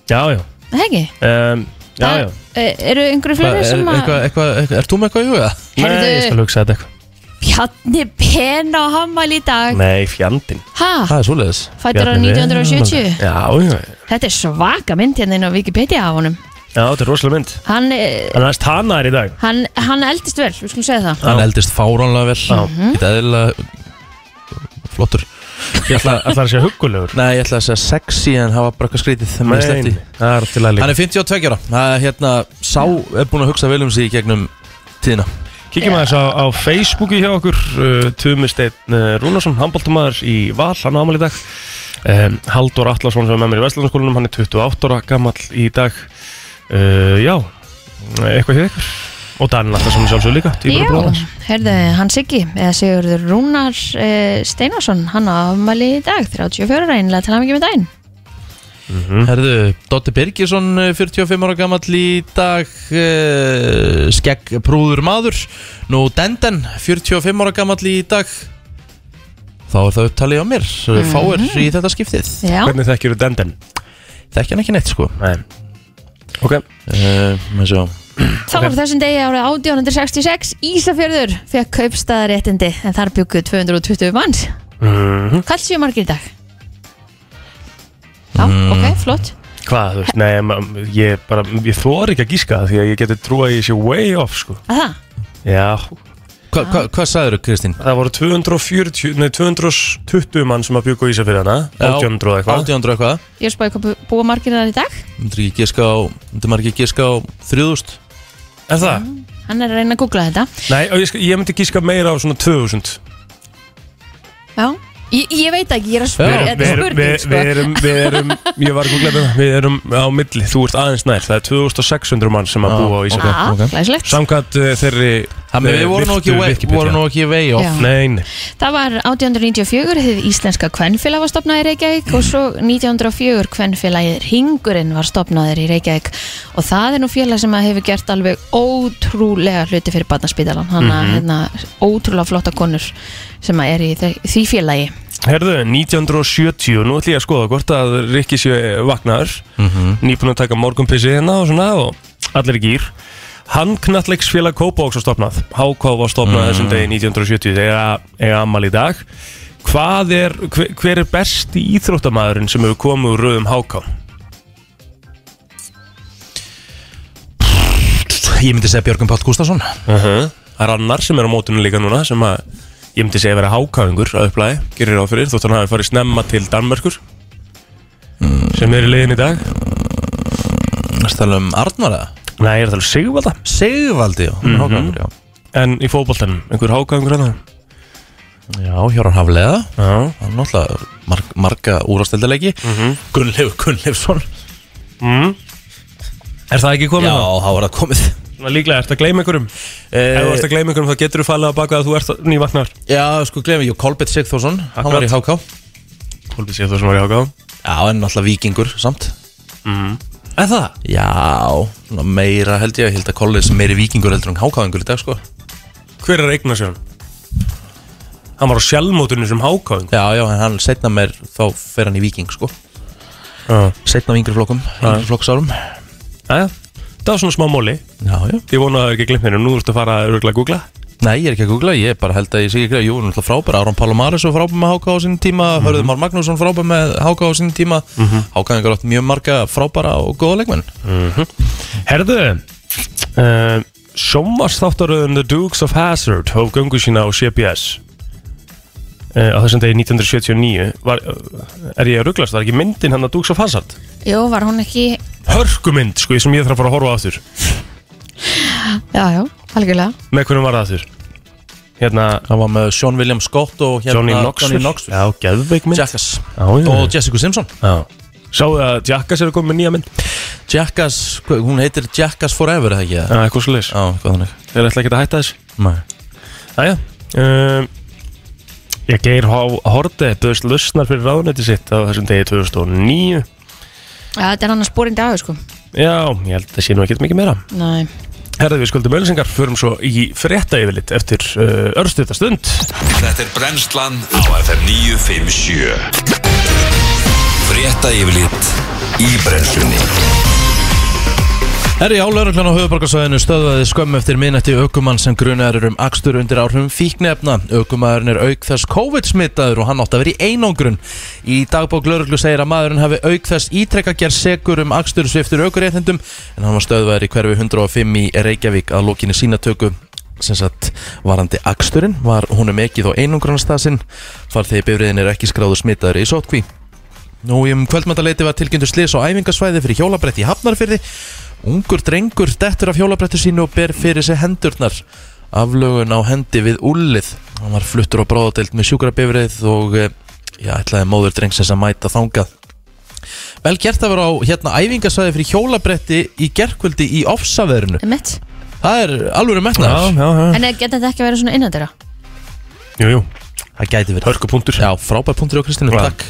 Speaker 3: já, já
Speaker 2: Það er ekki
Speaker 3: um, Já, já
Speaker 2: Eh, Eru einhverju
Speaker 1: Hva,
Speaker 2: fleiri
Speaker 1: er,
Speaker 2: sem að
Speaker 1: eitthvað, eitthvað, eitthvað, er þú með eitthvað í huga?
Speaker 3: Nei, ég skal
Speaker 2: Herðu,
Speaker 3: hugsa þetta eitthvað
Speaker 2: Bjarni Pen á afmæli í dag
Speaker 3: Nei, fjandinn
Speaker 2: Hæ?
Speaker 1: Það er svoleiðis
Speaker 2: Fættur á
Speaker 3: Bjarni Ben.
Speaker 2: 1970
Speaker 3: Já, já,
Speaker 2: Þetta er svaka mynd hérna inn á Wikipedia af honum
Speaker 3: já, þetta er rosalega mynd
Speaker 2: Hann, eh,
Speaker 3: En það er tannar í dag
Speaker 2: hann, hann eldist vel, við skulum segja það
Speaker 1: Hann eldist fáránlega vel
Speaker 2: Mhm.
Speaker 1: Þetta er eðlilega flottur Ég ætla að
Speaker 3: Það er sér huggulegur
Speaker 1: Nei, ég ætla að segja sexy en hafa bara eitthvað skrítið þegar maður
Speaker 3: Nei,
Speaker 1: sleppti
Speaker 3: það er til að
Speaker 1: Hann
Speaker 3: líka
Speaker 1: er 52 ára Það er hérna, sá er búin að hugsa vel um sig í gegnum tíðina
Speaker 3: Kíkjum aðeins á, á Facebooki hjá okkur uh, Tumi Steinn uh, Rúnarsson, handbóltumæður í Val, hann ámali í dag um, Haldur Atlasson sem er með mér í Vestlandskólanum hann er 28 ára gammal í dag uh, Já, eitthvað hjá ykkur Og Dan Atlasson sjálfsög líka, týpur og bróðans
Speaker 2: herðu, hann Siggi, eða Sigurður Rúnar eh, Steinarsson, hann á afmæli í dag, 34 reynilega til hann ekki með daginn.
Speaker 1: Herðu, Dotti Birgisson eh, 45 ára gamall í dag uh, Skegg prúður maður Nú Denden 45 ára gamall í dag Þá er það upptalið á mér Fáir í þetta skiptið
Speaker 2: Mhm. Já,
Speaker 3: Hvernig þekkir þú Denden?
Speaker 1: Þekki hann ekki neitt sko
Speaker 3: Nei Ok,
Speaker 1: Uh, með sjá
Speaker 2: þá var þessum degi árið 1866, Ísafjörður fekk kaupstaðaréttindi en þar bygguð 220 manns.
Speaker 3: Mhm.
Speaker 2: Hvað séu margir í dag? Já,
Speaker 1: Mm.
Speaker 3: Mhm.
Speaker 2: ok, flott.
Speaker 3: hvað þú veist? Nei, ma- ég bara, ég þóri ekki að gíska það því að ég geti trúa að ég sé way off sko
Speaker 2: Að það?
Speaker 3: Já,
Speaker 1: Hva, hva, Hvað sagður þú Kristín?
Speaker 3: það voru 240, nei 220 mann sem að bjúka í Ísafjörðana 800 og eitthvað
Speaker 1: 800 eitthvað
Speaker 2: Ég er spáðið hvað búa margir þar í dag.
Speaker 1: Myndir ekki giska á Myndir maður ekki giska á 3000
Speaker 3: Er það?
Speaker 2: Hann er að reyna að googla þetta.
Speaker 3: Nei, og ég, sk- ég myndi gíska meira á svona 2000
Speaker 2: Já, ég, ég veit ekki, ég er að spurja,
Speaker 1: Já,
Speaker 2: þetta er
Speaker 3: erum,
Speaker 2: spurning,
Speaker 3: við, við
Speaker 2: sko.
Speaker 3: erum, við erum, ég var ekki að glemja það Við erum á milli, þú ert aðeins nær Það er 2600 mann sem að
Speaker 1: Já,
Speaker 3: búa á Ísafjörð
Speaker 2: Ah,
Speaker 1: ok.
Speaker 2: glæsilegt.
Speaker 3: Samkvæmt uh, þeirri
Speaker 1: Þannig við vorum nú ekki way- vorum nú ekki vei
Speaker 2: Já.
Speaker 1: off
Speaker 3: Nein,
Speaker 2: Það var 1894 þið Íslenska kvennfélag var stopnað í Reykjavík og svo 1904 kvennfélagið Ringurinn var stopnaður í Reykjavík og það er nú félag sem að hefur gert alveg ótrúlega hluti fyrir Barnaspítalan hann að
Speaker 3: Mhm.
Speaker 2: hérna, ótrúlega flotta konur sem að er í þe- því félagi
Speaker 3: herðu, 1970 Nú ætlum ég að skoða hvort að Rikki sé vaknaður Nýbúin að taka morgunpissi hérna og svona Og allir í gýr Hann knallegsfélag Kópavóks var stopnað HK var stopnað þessum degi 1970 Þegar eiga ammal í dag Hvað er, hver, hver er besti íþróttamaðurinn sem hefur komið úr röðum HK?
Speaker 1: Ég myndi segja Björgum Pátt Gustafsson
Speaker 3: Uh Það er annar sem er á mótunum líka núna sem að ég myndi segja að vera hákáðingur að upplæði, gerir ráð fyrir, þótt hann hafi farið snemma til Danmarkur sem er í leiðin í dag
Speaker 1: Það tala um Arnvar eða?
Speaker 3: Nei, ég er að tala um Sigvalda Mhm.
Speaker 1: Sigvaldi já. Hann er hákarlangur, já.
Speaker 3: En í fótboltanum, einhver hákáðingur hérna? að það
Speaker 1: Já, Hjóran Hafleða
Speaker 3: Já, Mhm.
Speaker 1: Það er náttúrulega marg, marga úrvasteldarleiki mm -hmm. Gunnleif Gunnleifsson
Speaker 3: er það ekki komið?
Speaker 1: Já, þá er það komið
Speaker 3: Svona Líklega, ertu að gleyma einhverjum? Ef þú ert
Speaker 1: eh,
Speaker 3: að gleyma einhverjum þá getur þú falið að baka að þú ert nývagnar
Speaker 1: Já, sko glemir ég Kolbett Sigþórsson Hann var í HK
Speaker 3: Hólfið sé þú sem var í Mhm. hákáðum
Speaker 1: Já, en náttúrulega vikingur samt
Speaker 3: Er það?
Speaker 1: Já, svona meira held ég, ég held að Collins meiri vikingur heldur en hákáðingur í dag sko
Speaker 3: Hver er eignar sér? Hann var á sjálfmótunum sem hákáðingur
Speaker 1: Já, já, en hann setna mér þá fer hann í viking sko setna á yngri flokkum, yngri flokksárum
Speaker 3: Jæja, það var svona smá móli
Speaker 1: Já, já
Speaker 3: Ég vona að það er ekki glimt mér en nú þurftu að fara að örgla að googla
Speaker 1: Nei, ég er ekki að googla, ég bara held að ég sé ekki að Jú, hún er náttúrulega frábær, Aron Palomares var frábær með Háka á sínum tíma
Speaker 3: Mhm.
Speaker 1: Hörður Már Magnússon frábær með Háka á sínum tíma mm
Speaker 4: Mhm.
Speaker 1: -hmm. Hákaðingar átt mjög marga frábæra og góða leikmenn
Speaker 3: Mm. Mhm. Herðu uh, Sjómarsþáttaröðun The Dukes of Hazzard hóf göngu sína á CBS uh, á þessum degi 1979 var, uh, er ég að rugglast, var ekki myndin hann að Dukes of Hazzard
Speaker 2: Jú, var hún ekki
Speaker 3: hörkumynd, sko, sem ég þarf að fara að horfa á aftur
Speaker 2: Já, já, algjörlega
Speaker 3: með hvernig var það aftur hérna,
Speaker 1: Það var með Sean William Scott og hérna
Speaker 3: Johnny Knoxville já, geðveik mynd
Speaker 1: Jackass
Speaker 3: Já, já, já.
Speaker 1: og Jessica Simpson
Speaker 3: já. Sáðu að Jackass er að koma með nýja mynd
Speaker 1: Jackass, hvað- hún heitir Jackass Forever, er það ekki?
Speaker 3: Já, eitthvað svo leis,
Speaker 1: Já, hvað þannig
Speaker 3: þeir ætla ekki að hætta þess
Speaker 1: Nei.
Speaker 3: Æja um, Ég geir hórti Böðst lausnar fyrir ráðunetti sitt á þessum degi 2009
Speaker 2: Já, þetta er annars bórin dagur sko
Speaker 3: Já, ég held að sé nú ekkert mikið meira
Speaker 2: Nei
Speaker 3: Herðið við skuldum ölsingar, förum svo í frétta yfirlit eftir uh, örstuðta stund
Speaker 5: Þetta er brennslan á FM 957 Frétta yfirlit í brennslunni
Speaker 1: Herri á lauruglan á höfuborgarsvæðinu stöðvaði skömm eftir minnætti aukumann sem grunar er um akstur undir áhrifum fíknefna. Aukumæðurinn er auk þess COVID-smittaður og hann átti að vera í einangrun. Í dagbók lauruglu segir að maðurinn hafi auk þess ítrekka gerð segur um akstur sviftur aukuréttindum en hann var stöðvaður í hverfi 105 í Reykjavík að lókinni sínatöku sem sagt varandi aksturinn var honum ekið á einangrunastasinn farþegi bifriðin er ekki skráðu smittaður í sótkví. Nú í um kvöldmæntaleiti var tilkynntu slis á æfingasvæði fyrir hjólabretti í Hafnarfyrði. Ungur drengur dettur af hjólabrettu sínu og ber fyrir sig hendurnar. Aflögun á hendi við úllið. Hann var fluttur á bráðadeild með sjúkrabifrið og eh, já, ætlaði móður drengsins að mæta þangað. Vel gert að vera á hérna æfingasvæði fyrir hjólabretti í gerkvöldi í ofsaverinu.
Speaker 2: Einmitt.
Speaker 1: Það er alvöru metnaður.
Speaker 3: já, já
Speaker 2: En geta þetta ekki að vera svona innandera?
Speaker 3: Jú, jú,
Speaker 1: Það gæti verið.
Speaker 3: hörkupunktur
Speaker 1: Já, frábær punktur á Kristínu,
Speaker 3: Já.
Speaker 1: takk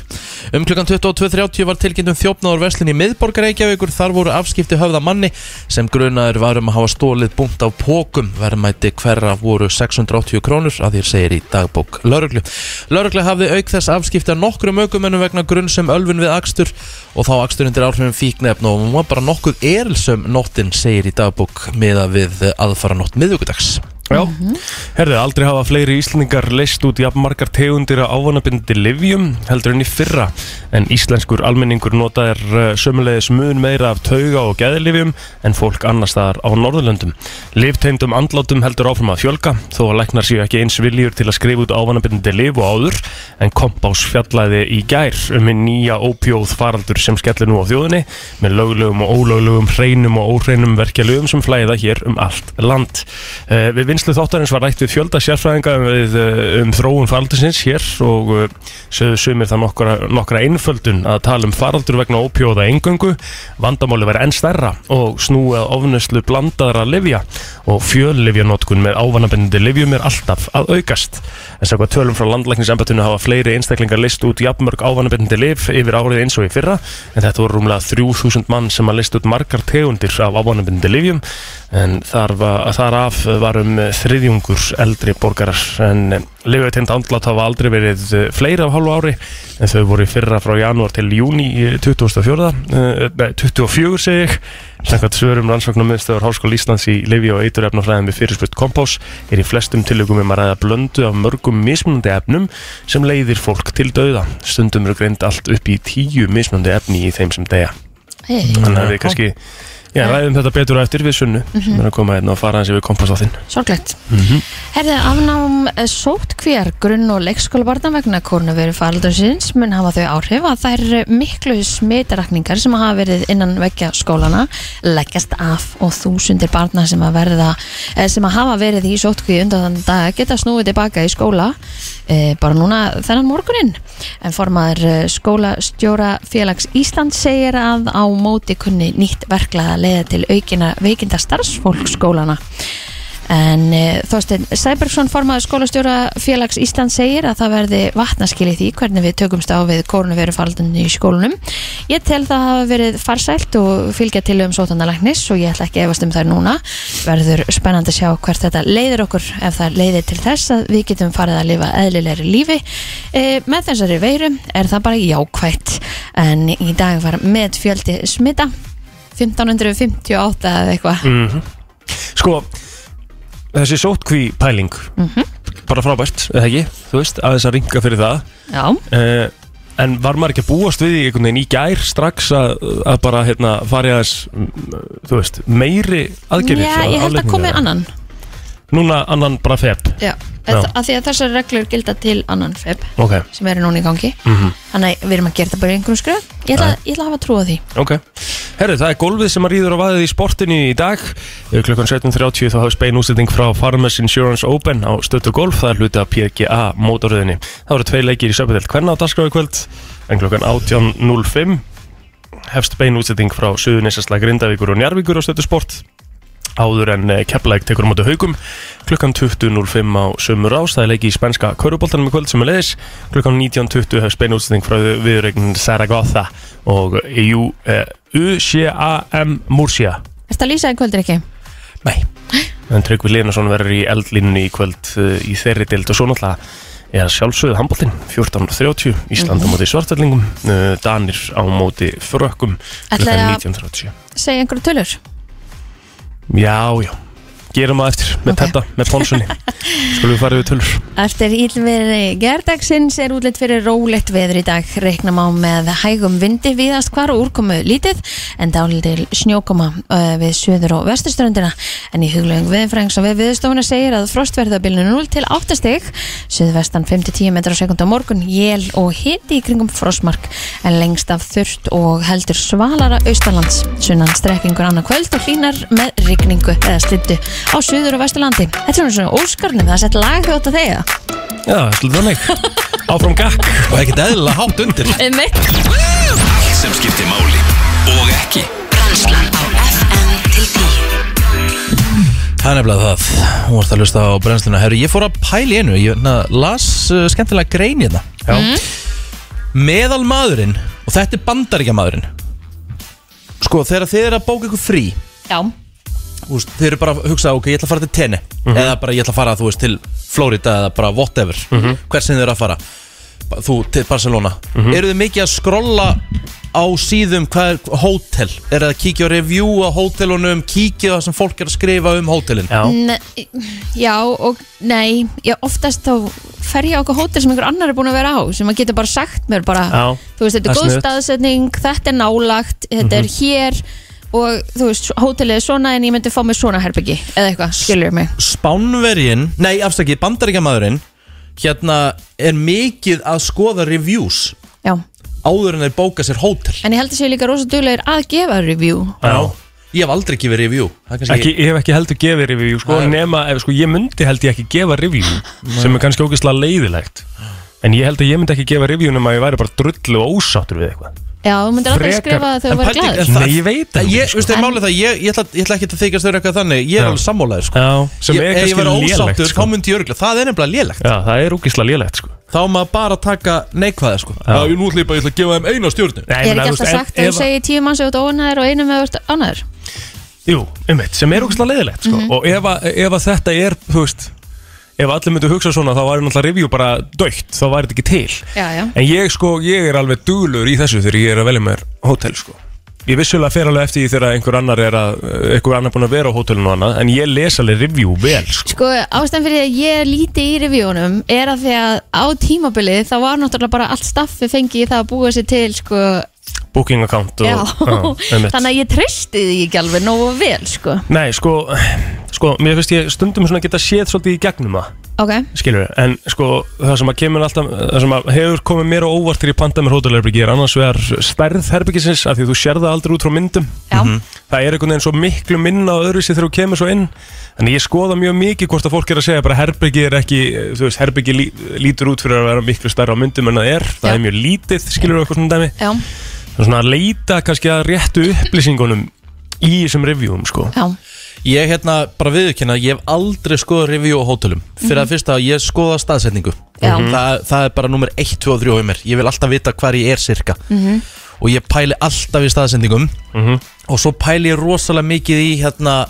Speaker 1: Um klukkan 22.30 var tilkynnt um þjófnaður verslin í miðborgar Reykjavíkur Þar voru afskipti höfða manni sem grunaður varum að hafa stólið búnt af pókum Verðmæti hverra voru 680 krónur að þér segir í dagbók Lörglu Lörglu hafði auk þess afskipti að nokkrum aukumennum vegna grunn sem ölfun við akstur og þá akstur undir áhrifum fíknefn og hún var bara nokkuð erilsum nóttin segir í dagbók meða við aðfara nótt miðvíkudags
Speaker 3: Já, herðu, aldrei hafa fleiri íslendingar leist út jafn margar tegundir á ávanabindi livjum heldur enn í fyrra en íslenskur almenningur notaðir uh, sömulegis mun meira af tauga og geðlivjum en fólk annars staðar á Norðurlöndum Livteimdum andlátum heldur áfram að fjölga þó að læknar séu ekki eins viljur til að skrifa út ávanabindi liv og áður en kompás fjallaði í gær um hinn nýja ópjóð faraldur sem skellir nú á þjóðinni með löglegum og ólöglegum hreinum og óreinum verkjalögum sem flæða hér um allt land. Uh, við vinslu þáttarins var rætt við fjölda sérfræðinga um, við, eh, um þróun faraldursins hér og uh, sögðu sumir það nokkra, nokkra einföldun að tala um faraldur vegna ópjóða eingöngu, vandamáli verið enn stærra og snúið ofnuslu blandaðra livja og fjöllivjanótkun með ávanabendandi livjum er alltaf að aukast. En svo hvað tölum frá landlæknisembættinu hafa fleiri einstaklingar list út jafnmörg ávanabendandi liv yfir árið eins og í fyrra en þetta voru rúmlega 3000 mann sem að list út margar tegundir af ávanabendandi livjum en þar var, þaraf varum þriðjungur eldri borgarar en lifiðtind andlat hafa aldrei verið eh, fleiri af hálfu ári en þau voru í fyrra frá janúar til júni 2004 eh, nei, 24 segi ég Samkvæmt svörum rannsóknum miðstöður Háskóla Íslands í lifi og eiturefnafræðin við fyrirspurt kompás er í flestum tilökum um að ræða blöndu af mörgum mismunandi efnum sem leiðir fólk til dauða. Stundum eru greind allt upp í tíu mismunandi efni í þeim sem deyja.
Speaker 2: Hey.
Speaker 3: Þannig að við kannski já, ræðum þetta betur á eftir við sunnu
Speaker 2: Mhm.
Speaker 3: sem er að koma hérna og fara hans yfir kompástáttinn.
Speaker 2: Sorglegt. Mm Herðið afnám eh, sóttkvíar grunn- og leikskólabarna vegna kórnuveru faraldursins mun hafa þau áhrif að þær eh, miklu smitarakningar sem hafa verið innan vekja skólana leggjast af og þúsundir barna sem að, verða, eh, sem að hafa verið í sóttkvíu undan þannig dag geta snúið tilbaka í skóla eh, bara núna þennan morguninn. En formaður eh, skólastjóra félags Ísland segir að á móti kunni nýtt verklega leiða til aukina veikinda starfsfólk skólana En uh, Þorstein Sæbergsson formaður skólastjóra félags Ísland segir að það verði vatnaskil í því hvernig við tökumst á við koronavirufaldunni í skólunum. Ég tel það hafa verið farsælt og fylgja til um sótanalæknis og ég ætla ekki að efast um þær núna. Verður spennandi að sjá hvert þetta leiðir okkur ef það leiðir til þess að við getum farið að lifa eðlilegri lífi. E, með þessari veiru er það bara jákvætt en í dag var með fjöldi smita 1558 eða eitthvað.
Speaker 3: Sko, þessi sótkví pæling
Speaker 2: Mhm.
Speaker 3: Bara frábært, eða ekki, þú veist, aðeins að ringa fyrir það
Speaker 2: Já,
Speaker 3: uh, En var maður ekki að búast við því einhvern veginn í gær strax að, að bara hérna fari aðeins, mm, þú veist, meiri aðgerðir
Speaker 2: Já, ég held að
Speaker 3: afléttingar?
Speaker 2: komi annan
Speaker 3: Núna annan bara feb,
Speaker 2: Já,
Speaker 3: Já.
Speaker 2: að því að þessar reglur gilda til annan feb
Speaker 3: ok, Mhm.
Speaker 2: sem eru núna í gangi þannig að við erum að gera þetta bara í einhverjum skröð ég ætla, ég ætla að hafa trú á því
Speaker 3: ok Herru, það er golfið sem að rýður á vaðið í sportinu í dag Eh, Klukkan 17.30 þá hafði spein útsetting frá Farmers Insurance Open á Stöttur Golf, það er hluti af PGA mótoröðinni Það voru tvei leikir í söpudelt hvernig á dagskráðu kvöld en klukkan 18.05 hefst bein útsetting frá Suðunisasla Grindavíkur og Njarvíkur á Stöttur Sport áður en keppleik tekur á móti haugum klukkan 20.05 á sömur ás það er leiki í spænska kauruboltanum í kvöld sem er leiðis klukkan 19.20 hefst bein útsetting frá viðregn Saragotha og EU, eh, UCAM Murcia
Speaker 2: Ertu að lýsa í kvöldir ekki?
Speaker 3: Nei En Tryggvi Linarsson verður í eldlínunni í kvöld uh, í þeirri dild og svo náttúrulega er sjálfsögðu handbóltinn 14.30 Ísland á móti svartfellingum uh, Danir á móti frökkum klukkan
Speaker 2: Ætlarðu að-
Speaker 3: 19.30
Speaker 2: Segja einhverju tölur?
Speaker 3: Já, já Gerum að eftir með
Speaker 2: Ok.
Speaker 3: þetta, með tónsunni Skulum við fara yfir tölur
Speaker 2: Eftir ílveri gerdagsins er útlitt fyrir rólegt veður í dag. Reiknum á með hægum vindi viðast hvar og úrkomu lítið en dálítil snjókoma uh, við söður og vesturströndina. En í huglöfing viðfrængs og við viðstofuna segir að frostverðabilinu 0 til 8 stig, söðvestan 5-10 metrar á sekund á morgun, jél og hiti í kringum frostmark en lengst af þurft og heldur svalara austalands. Sunnan strekkingur annað kvöld og hlínar með rigningu eða slittu á söður og vesturlandi. Þetta er nú svona óskarnum, það er sett lag þjótt að þegja.
Speaker 3: Já, slutum þannig Áfram gakk
Speaker 1: Og ekkert eðlilega hátt undir
Speaker 2: Einmitt.
Speaker 5: Allt sem skiptir máli og ekki
Speaker 6: Brennslan á FM til 10
Speaker 1: Það er nefnilega það Hún varst að lusta á brennsluna Herru, ég fór að pæla í einu Ég na, las uh, skemmtilega grein í þetta mm. Meðal maðurinn Og þetta er bandaríkja maðurinn Sko, þegar þið eru að bóka ykkur frí
Speaker 2: Já,
Speaker 1: úst, Þið eru bara að hugsa, ok, ég ætla að fara til tenni Eða bara ég ætla að fara, þú veist, til Florida Eða bara whatever, mm -hmm. hversin þið eru að fara Ba- Þú, til Barcelona Eru þið mikið að skrolla á síðum hvað er hótel Er það að kíkja á review á hótelunum Kíkja á það sem fólk er að skrifa um hótelin
Speaker 3: Já,
Speaker 2: ne, já og nei, ég oftast þá fer ég á okkur hótel sem einhver annar er búin að vera á sem maður getur bara sagt mér bara
Speaker 3: Já,
Speaker 2: þú veist, þetta
Speaker 3: það er
Speaker 2: er
Speaker 3: Mhm.
Speaker 2: góð
Speaker 3: sniðugt.
Speaker 2: staðsetning, þetta er nálagt þetta er hér og þú veist, hótelið er svona en ég myndi fá mér svona herbyggi eða eitthvað, skilur mig
Speaker 1: Spánverjin, nei afstakið bandaríkjamaðurinn hérna er mikið að skoða reviews
Speaker 2: já.
Speaker 1: áður en þeir bóka sér hótel
Speaker 2: en ég held að séu líka rosa duglegir að gefa review
Speaker 3: já
Speaker 1: Ég hef aldrei gefið review Það er kannski
Speaker 3: ekki, Ég hef ekki heldur gefið review sko,
Speaker 1: Nei.
Speaker 3: nema, ef, sko, ég myndi held ég ekki gefa review sem er kannski ógeðslega leiðilegt en ég held að ég myndi ekki gefa review nema að ég væri bara drullu og ósáttur við eitthvað
Speaker 2: já, þú myndir aldrei
Speaker 3: Frekar-
Speaker 2: skrifa að þau
Speaker 1: En
Speaker 2: vera
Speaker 1: pældi-
Speaker 2: glæður
Speaker 1: en það-
Speaker 3: Nei, ég veit það
Speaker 1: það
Speaker 3: ekki,
Speaker 1: Ég,
Speaker 3: sko.
Speaker 1: veistu, það er málið það, ég, ég, ætla, ég ætla ekki að þykast þau eitthvað þannig Ég er
Speaker 3: Já.
Speaker 1: alveg sammálaður sko.
Speaker 3: Já, sem
Speaker 1: ég,
Speaker 3: er
Speaker 1: Ef ég verið
Speaker 3: kannski
Speaker 1: ósáttur,
Speaker 3: lélegt
Speaker 1: þá
Speaker 3: sko.
Speaker 1: myndi ég örgla Það er nefnilega lélegt
Speaker 3: Já, það er ógeðslega lélegt sko.
Speaker 1: Þá á maður bara að taka neikvæða sko.
Speaker 3: Já.
Speaker 1: ég nú ætla ég bara ég ætla að gefa þeim eina stjórnu
Speaker 3: Nei,
Speaker 2: ég er
Speaker 3: meina, þú
Speaker 2: ekki
Speaker 3: veist,
Speaker 2: alltaf
Speaker 3: ef-
Speaker 2: sagt að þú
Speaker 3: ef-
Speaker 2: segir tíu manns ef þú ert óanæður og einum ef þú ert ánæður
Speaker 3: Jú, einmitt, sem er ógeðslega leiðilegt sko.
Speaker 2: Mhm.
Speaker 3: og ef, að- ef að þetta er þú veist, ef allir myndu hugsa svona þá væri náttúrulega review bara dögt þá væri þetta ekki til
Speaker 2: já, já,
Speaker 3: en ég sko, ég er alveg duglur í þessu þegar ég er að velja mér hótel sko Ég vissulega fer alveg eftir því þegar einhver annar er að, einhver annar búin að vera á hótelinu og annað, en ég les alveg review vel, sko.
Speaker 2: Sko, ástæðan fyrir því að ég er lítið í revíunum er að því að á tímabilið þá var náttúrulega bara allt staffi fengið í það að búa sér til, sko,
Speaker 3: booking account og,
Speaker 2: já,
Speaker 3: einmitt.
Speaker 2: þannig að ég treysti því ekki alveg nógu vel, sko.
Speaker 3: Nei, sko, sko, mér finnst ég stundum svona geta séð svolítið í gegnum það,
Speaker 2: Ok,
Speaker 3: skilur við, en sko, það sem að kemur alltaf, það sem að hefur komið mér á óvart þegar ég panta mér hótelherbyggi er annars vegar stærð herbyggisins, af því þú sér það aldrei út frá myndum, Mhm.
Speaker 2: já,
Speaker 3: það er einhvern veginn svo miklu minna á öðru sér þegar þú kemur svo inn, en ég skoða mjög mikið hvort að fólk er að segja bara herbyggi er ekki, þú veist, herbyggi lí, lítur út fyrir að vera miklu stærra á myndum en það er, það
Speaker 2: Já.
Speaker 3: er mjög lítið, skilur við eitthvað svona dæmi,
Speaker 2: já,
Speaker 3: svona að leita kannski að réttu upplýsingunum í þessum reviewum, sko.
Speaker 2: já,
Speaker 1: Ég hérna bara viðurkenna að Ég hef aldrei skoðað review á hótelum Fyrir að fyrsta að ég skoða staðsetningu
Speaker 2: Mhm.
Speaker 1: Mhm.
Speaker 2: Já. Mhm.
Speaker 1: það, það er bara nummer 1, 2 og 3 hjá mér Ég vil alltaf vita hvar ég er cirka
Speaker 2: Mhm.
Speaker 1: Og ég pæli alltaf í staðsetningum
Speaker 3: Mhm.
Speaker 1: Og svo pæli ég rosalega mikið í hérna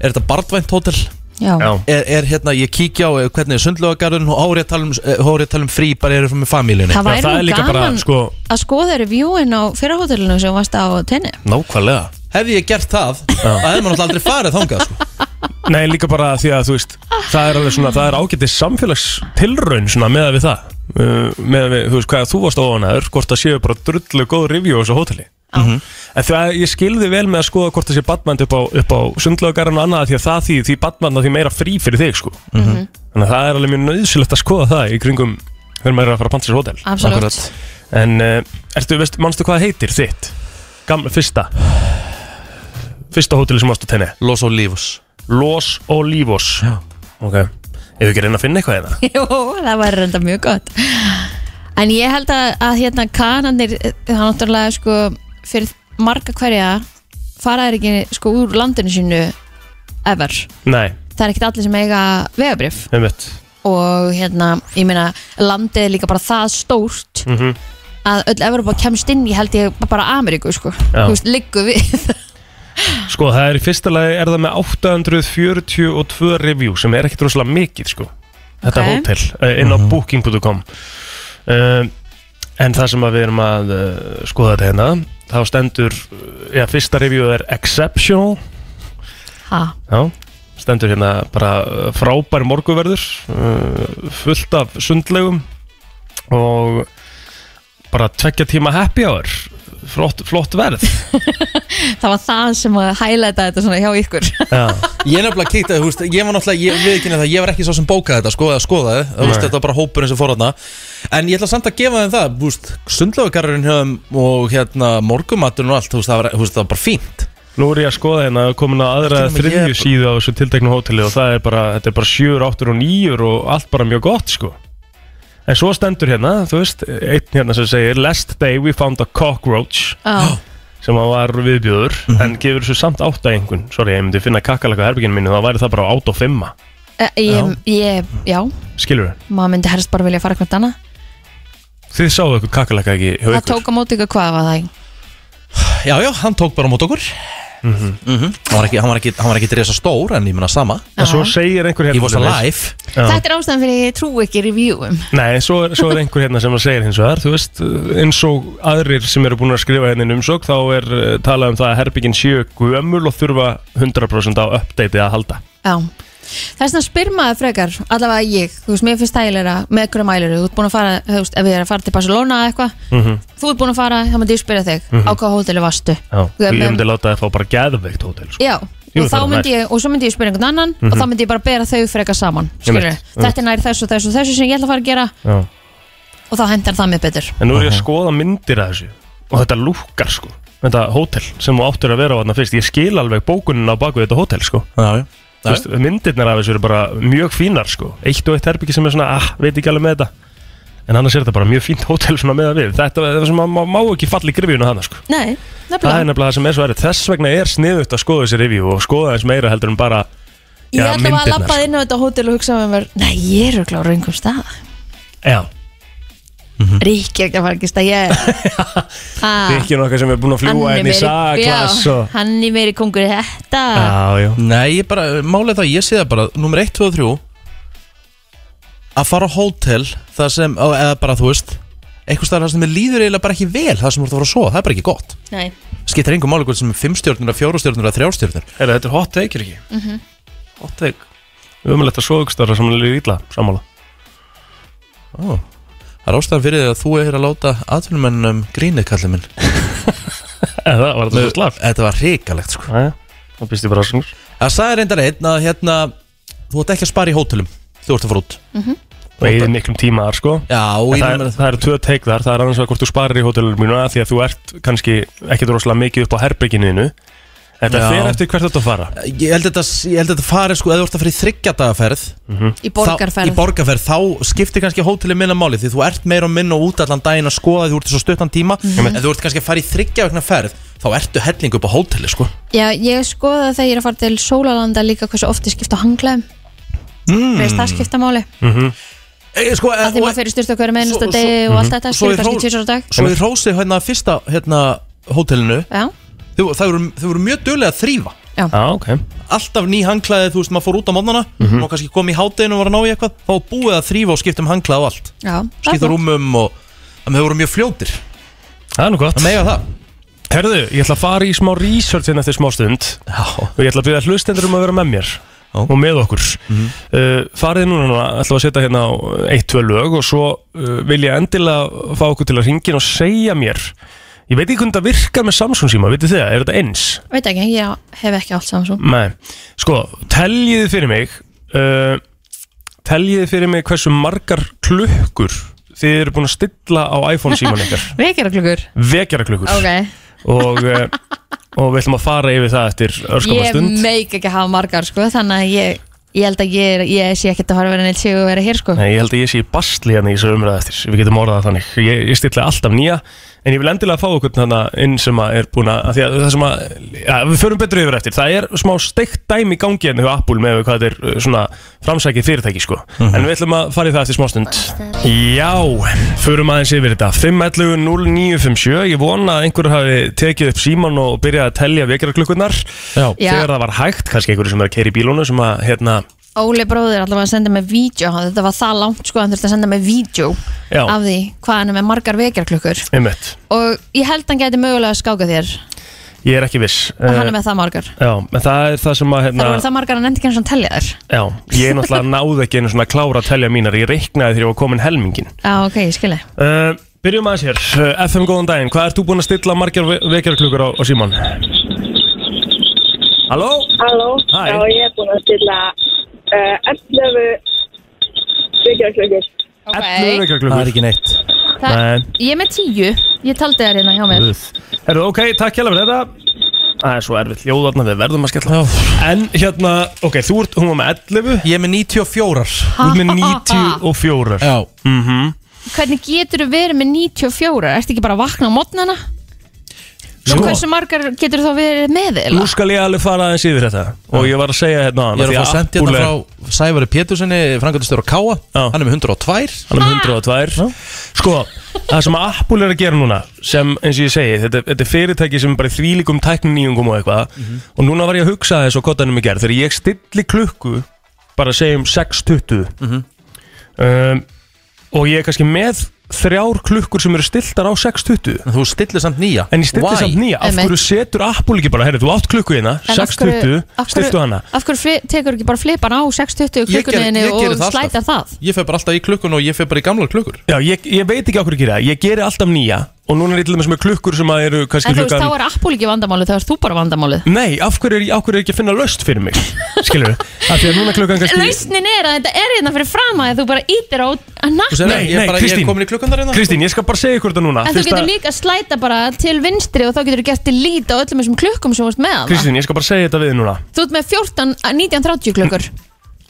Speaker 1: Er þetta barnvænt hótel?
Speaker 2: Já,
Speaker 3: Já.
Speaker 1: Er, er hérna, ég kíkja á eh, hvernig er sundlögagarðun Og árið talum, árið talum frí bara eru með famílinni
Speaker 3: Já,
Speaker 2: það
Speaker 3: það er
Speaker 2: væri nú
Speaker 3: líka
Speaker 2: gaman
Speaker 3: bara, sko-
Speaker 2: að skoða reviewin á fyrrahótelinu sem varst á tenni
Speaker 3: Nákvæmlega
Speaker 1: Hefði ég gert það, það hefði maður náttúrulega aldrei farið þangað sko.
Speaker 3: Nei, líka bara því að þú veist Það er alveg svona, það er ágætið samfélagstilraun svona með við það uh, með við, þú veist, hvað þú varst óanaður hvort það séu bara drullu góð review á þessu hóteli -hmm. En það, ég skilði vel með að skoða hvort það sé badmænd upp á, upp á sundlaugarinn og annað því að það því, því badmænd því meira frí fyrir þig sko -hmm. Þannig að það er alveg mjög nöðsilegt að skoða það í kringum þegar maður er að fara að panta sér hótel
Speaker 2: Absolutt
Speaker 3: En uh, ertu, veist, manstu hvað það heitir þitt? Gamla, fyrsta Fyrsta hóteli sem varst á tenni
Speaker 1: Los Olivos
Speaker 3: Los Olivos
Speaker 1: Já.
Speaker 3: Ok Ef við ekki að reyna að finna eitthvað hérna
Speaker 2: Jú, það væri reynda mjög gott En ég held að, að hérna kananir það náttúrulega sko fyrir marga hverja fara er ekki sko úr landinu sínu ever.
Speaker 3: Nei,
Speaker 2: Það er ekkert allir sem eiga vegabrif
Speaker 3: með mitt
Speaker 2: og hérna, ég meina landið er líka bara það stórt
Speaker 3: Mhm.
Speaker 2: að öll Evropa kemst inn í held ég bara Ameríku sko,
Speaker 3: Já.
Speaker 2: þú veist, liggu við
Speaker 3: Sko það er í fyrsta lagi er það með 842 review sem er ekkit rosalega mikið sko Þetta
Speaker 2: Ok.
Speaker 3: okay. hótel eh, inn á booking.com um, En það sem að við erum að uh, skoða þetta hérna þá stendur, eh, já fyrsta review er exceptional
Speaker 2: ha,
Speaker 3: Já, stendur hérna bara uh, frábær morguverður uh, fullt af sundlegum og bara tvekja tíma happy hour flott, flott verð
Speaker 2: það var það sem að hælæta þetta svona hjá ykkur
Speaker 3: Já,
Speaker 1: Ég er nefnilega kíkt að, þú veist, ég var náttúrulega, ég viðkynna það, ég var ekki svo sem bókaði þetta, sko, eða skoðaði, þú veist,
Speaker 3: Nei.
Speaker 1: þetta var bara hópurinn sem fór hana, en ég ætla samt að gefa þeim það, þú veist, sundlöfugarurinn höfum og hérna morgumaturinn og allt, þú veist, það var, þú veist, það var bara fínt.
Speaker 3: nú er ég að skoða hérna komin að aðra
Speaker 1: Ekki nema
Speaker 3: þriðju
Speaker 1: ég-
Speaker 3: síðu á þessu tilteknu hóteli og það er bara, þetta er bara sjör, áttur og nýjur og allt bara mjög gott sko En svo stendur hérna, þú veist, einn hérna sem segir Last day we found a cockroach
Speaker 2: Já,
Speaker 3: sem að var viðbjöður
Speaker 1: Mhm.
Speaker 3: en gefur þessu samt átta einhvern Sorry, ég myndi finna kakalaka herbygginu mínu, þá væri það bara átta og fimma
Speaker 2: Eh, ég, ég, já
Speaker 3: Skilur við?
Speaker 2: maður myndi helst bara vilja fara hvert annað
Speaker 3: Þið sáðu eitthvað kakalaka ekki hjá
Speaker 2: það
Speaker 3: ykkur
Speaker 2: tók á móti ykkur hvað var það ekki?
Speaker 1: Já, já, hann tók bara á mót okkur, mm
Speaker 3: Mhm.
Speaker 1: hann var ekki, hann var ekki, hann var ekki resa stór, en ég menna sama,
Speaker 3: En svo segir einhver
Speaker 1: he
Speaker 3: hérna
Speaker 1: was
Speaker 3: til dæmis-
Speaker 1: alive,
Speaker 3: Já.
Speaker 2: þetta er ástæðan fyrir að ég trú ekki reviewum
Speaker 3: Nei, svo er, svo er einhver hérna sem að segir hins vegar Þú veist, eins og aðrir sem eru búin að skrifa hérna inn umsók Þá er eh, talað um það að herbyggin séu gömul og þurfa 100% á uppdatei að halda
Speaker 2: Já Það er svona spyr maður frekar, allavega ég þú veist, mér finnst þægilega með einhverju mæliru þú ert búin að fara, þú veist, ef ég er að fara til Barcelona eða eitthvað, þú ert búin að fara þá myndi ég spyrja þig,
Speaker 3: Mhm.
Speaker 2: á hvað hóteli varstu
Speaker 3: Já,
Speaker 2: Þú
Speaker 3: ég
Speaker 2: ert með-
Speaker 3: myndi láta það að fá bara geðveikt hótel sko.
Speaker 2: Já,
Speaker 3: Jú,
Speaker 2: og
Speaker 3: það
Speaker 2: þá
Speaker 3: er
Speaker 2: myndi ég og svo myndi ég spyrja einhvern annan og þá myndi ég bara bera þau frekar saman skilurðu.
Speaker 3: Einmitt,
Speaker 2: þetta er nær þessu og þessu og þessu sem ég ætla að fara að gera
Speaker 3: Já.
Speaker 2: og þá hendar það mér betur
Speaker 3: En nú er
Speaker 1: Mhm.
Speaker 3: ég að skoða myndir að þessu Og þetta lúkkar sko Þetta hótel sem þú áttur að vera á þarna fyrst Ég skil alveg bókunin á baku þetta hótel sko
Speaker 1: já, já,
Speaker 3: Þú veist, myndirnar af þessu eru bara mjög fínar sko. eitt og eitt herbyggi sem er svona ah, veit ekki alveg með þetta en annars er þetta bara mjög fínt hótel svona með að við þetta er það sem má, má ekki falla í grifjuna hana sko.
Speaker 2: Nei,
Speaker 3: það er
Speaker 2: nefnilega
Speaker 3: nefnilega það sem er svo erið þess vegna er sniðut að skoða þessi review og skoða þess meira heldur en bara
Speaker 2: Ég
Speaker 3: Já,
Speaker 2: ætla bara að
Speaker 3: myndirnar,
Speaker 2: labba
Speaker 3: sko.
Speaker 2: inn á þetta hótel og hugsa með mér Nei, ég er klára einhver stað
Speaker 3: sko. já,
Speaker 2: Ríkja ekki að fara ekki stað ég
Speaker 3: það
Speaker 2: Ah,
Speaker 3: er ekki nokkað sem er búin að fljúa inn í saklas
Speaker 2: já,
Speaker 3: og...
Speaker 2: hann er meiri kongur í þetta
Speaker 3: já, já,
Speaker 1: Nei, ég bara, málið það, ég sé það bara Númer 1, 2 og 3 Að fara á hótel Það sem, á- eða bara þú veist Eitthvað staðar það sem er líður eiginlega bara ekki vel Það sem þú ert að fara að sofa, það er bara ekki gott
Speaker 2: Nei.
Speaker 1: Skiptir engum máli hvort sem er 5 stjórnir, 4 stjórnir, 3 stjórnir
Speaker 3: er þetta er hot take er ekki hot take umlegt að svoðugstara sem er illa sammála
Speaker 1: Ó, Það er ástæðan fyrir því að þú er að láta Atvinnumennum grínið kallið minn
Speaker 3: eða var þetta svo slapp
Speaker 1: Þetta var hrikalegt sko
Speaker 3: Jæja, þá býst ég bara svona
Speaker 1: Það sagði reyndar einn að hérna Þú ert ekki að spara í hótelum Þú ert að fara út
Speaker 3: og eigið miklum tíma þar sko
Speaker 1: Já, og
Speaker 3: En
Speaker 1: ég
Speaker 3: Það er,
Speaker 1: meina-
Speaker 3: það er tvö teik þar, það er annars að hvort þú sparir í hótelunum mínu að því að þú ert kannski ekkert rosalega mikið upp á herbygginuðinu Þetta
Speaker 1: Já.
Speaker 3: fer eftir hvert þú ert að fara
Speaker 1: ég held þetta ég held þetta farið sko, eða þú ert að fara í þryggjadagaferð
Speaker 3: Mhm.
Speaker 2: í borgarferð
Speaker 1: þá, í borgarferð, þá skiptir kannski hóteli minna máli
Speaker 2: Mhm.
Speaker 1: því þú ert meira og minna út allan daginn að skoða því þú ert í svo stuttan tíma en þú ert kannski að fara í þryggja vegna ferð þá þá ertu helling upp á hóteli sko
Speaker 2: Já, ég skoða þegar ég er að fara til Sólalanda líka hversu oft ég skipta á hanglaðum mm. veist það skipta máli
Speaker 3: Mhm.
Speaker 1: e, sko, e,
Speaker 2: að því maður
Speaker 1: og,
Speaker 2: fyrir styrst okkur með einasta
Speaker 1: Svo- svo-
Speaker 2: degi og allt
Speaker 3: Mhm.
Speaker 2: þetta
Speaker 1: svo
Speaker 2: skilur
Speaker 1: í
Speaker 2: kannski
Speaker 1: hró-
Speaker 2: tvisar á dag
Speaker 1: Svo ég rósi hérna fyrsta hérna hótelinu
Speaker 2: Já,
Speaker 1: þau, þau, voru, þau voru mjög dögulega að þrýfa
Speaker 3: Já, ok Mhm.
Speaker 1: Alltaf ný hangklæði, þú veist, maður fór út á mótnana mm og kannski kom í hátdeinu og var að ná í eitthvað þá var búið að þrýfa og skipta um hangklæði og allt
Speaker 2: já, það er
Speaker 1: skipta
Speaker 2: flott.
Speaker 1: rúmum og þannig að þau voru mjög fljótir
Speaker 3: Það er nú gott
Speaker 1: það mega það
Speaker 3: Herðu, ég ætla að fara í smá research hérna eftir smá stund
Speaker 1: Já,
Speaker 3: og ég ætla að byrja hlustendur um að vera með mér og með okkur
Speaker 1: Mhm.
Speaker 3: uh, farið núna, núna ætla að setja hérna á eitt, tvö lög og svo uh, vil ég endilega fá okkur til að ringin og segja mér ég veit ekki hvernig það virkar með Samsung síma, veitir þið það, er þetta eins?
Speaker 2: Veit ekki, ég hef ekki allt saman svo
Speaker 3: Nei, sko, teljiði fyrir mig uh, teljiði fyrir mig hversu margar klukkur þið eru búin að stilla á iPhone síman ykkar
Speaker 2: Vekjara klukkur
Speaker 3: vekjara klukkur
Speaker 2: Ok,
Speaker 3: og, uh, og við ætlum að fara yfir það eftir örskama
Speaker 2: ég
Speaker 3: stund
Speaker 2: meik ekki hafa margar sko þannig að ég, ég held að ég, er- ég sé ekkert að fara að vera neitt sig og vera hér sko
Speaker 3: Nei, ég held að ég sé í bastli hérna í þessu umræða eftir Við getum orðað það þannig Ég, ég stilla alltaf nýja En ég vil endilega fá okkur þannig inn sem að er búin að, af því að Það sem að, ja, við förum betur yfir eftir Það er smá steikt dæmi í gangi hérna hjá Apple með hvað þetta er uh, svona framsækið fyrirtæki sko En við ætlum að fara í það eftir smá stund Já, förum aðeins yfir þetta 511 0957 Ég vona að einhver hafi tekið upp síman og byrjað að telja vekjarklukkunar
Speaker 2: Já.
Speaker 3: Þegar það var hægt, kannski einhverju sem er að keira í bílónu sem að, hérna,
Speaker 2: Óli bróðir allavega að senda mig vídeo þetta var það langt sko, hann þurfti að senda mig vídeo
Speaker 3: Já.
Speaker 2: af því hvað hann er með margar vekjarklukkur
Speaker 3: einmitt
Speaker 2: og ég held hann gæti mögulega að skáka þér
Speaker 3: Ég er ekki viss
Speaker 2: og
Speaker 3: Eh,
Speaker 2: hann er með það margar
Speaker 3: Já, en það er það sem að
Speaker 2: það
Speaker 1: Ah.
Speaker 3: hérna,
Speaker 2: voru það margar að nefndi ekki eins og tellja þér
Speaker 3: Já, ég náttúrulega náði ekki einu svona klára að telja mínar Ég reiknaði þegar ég var komin helmingin
Speaker 2: Já, ok, ég skilji
Speaker 3: uh, Byrjum aðeins hér, uh, FM góðan daginn Hvað ert þú búin að stilla margar ve- vekjarklukkur á, á síman? Halló?
Speaker 7: Halló,
Speaker 3: Hæ.
Speaker 7: já ég er búin að stilla uh, 11 vikjarklökkur. Eh,
Speaker 2: okay.
Speaker 1: það er
Speaker 3: vekjarklukkur
Speaker 1: ekki neitt
Speaker 2: það,
Speaker 3: Nei.
Speaker 2: Ég er með tíu, ég taldi þær hérna hjá mér
Speaker 3: Herðu, ok, takk hérlega fyrir þetta Það er svo erfitt hljóðarna við verðum að skella á. En hérna, ok, þú ert, hún var með 11
Speaker 1: Ég er með 94
Speaker 3: Þú ert með 94
Speaker 1: Já
Speaker 3: Mhm.
Speaker 2: Hvernig getur þú verið með 94? Ertu ekki bara að vakna á mótnana?
Speaker 3: Sko.
Speaker 2: Sko. Hversu margar getur þú verið með þér?
Speaker 3: Nú skal ég alveg fara aðeins yfir þetta Og ég var að segja hérna áðan,
Speaker 1: Ég er að
Speaker 3: því
Speaker 1: fá sendt hérna
Speaker 3: Apple er-
Speaker 1: frá Sævari Péturssoni, frangatistur á Káa
Speaker 3: Já.
Speaker 1: Hann er með 102
Speaker 3: hann er með 102 sko, það sem Apple er að gera núna sem eins og ég segi, þetta, þetta er fyrirtæki sem er bara í þvílíkum tækninýjungum og eitthvað
Speaker 1: Mhm.
Speaker 3: og núna var ég að hugsa þess og kottanum í gerð þegar ég stilli klukku bara segjum 6.20
Speaker 1: Mhm.
Speaker 3: um, og ég er kannski með þrjár klukkur sem eru stiltar á 6.20
Speaker 1: En þú stillir samt nýja
Speaker 3: En ég stilli
Speaker 1: Why?
Speaker 3: samt nýja, af
Speaker 2: Einmitt.
Speaker 3: hverju setur Apple ekki bara, herri, þú átt klukku hérna,
Speaker 2: En af hverju-
Speaker 3: 6.20,
Speaker 2: af hverju-
Speaker 3: stiltu hana
Speaker 2: Af hverju fli- tekur ekki bara flipan á
Speaker 1: Ég
Speaker 2: 6.20
Speaker 1: ger-
Speaker 2: klukkunni
Speaker 1: ég geri
Speaker 2: og
Speaker 1: það alltaf.
Speaker 2: slætar það?
Speaker 1: Ég fer bara alltaf í klukkun og ég fer bara í gamla klukkur
Speaker 3: Já, ég, ég veit ekki af hverju ég gera það, ég geri alltaf nýja og núna er ég til dæmis með klukkur sem að eru kannski
Speaker 2: En þú veist,
Speaker 3: klukkan
Speaker 2: þá er Apple ekki vandamálið, þá er þú bara vandamálið
Speaker 3: Nei, af hverju er, ég- af hverju er ekki að finna löst fyrir mig? Skilur við? Af því að núna klukkan kannski...
Speaker 2: Lausnin er að þetta er hérna fyrir fram að þú bara ítir á
Speaker 1: Þú sér
Speaker 2: natt
Speaker 1: það,
Speaker 3: Nei,
Speaker 1: ég
Speaker 3: nei,
Speaker 1: er bara, Ég
Speaker 3: Kristín.
Speaker 1: er komin í klukkan þar hérna
Speaker 3: Kristín, ég skal bara segja ykkur þetta núna.
Speaker 2: En þú
Speaker 3: Fyrst
Speaker 2: getur
Speaker 3: að-
Speaker 2: líka að slæta bara til vinstri og þá getur þú gert til lít á öllum þessum klukkum sem þú veist með hana
Speaker 3: Kristín, ég skal bara segja þetta við þig núna.
Speaker 2: Þú ert með 14, 19.30 klukkur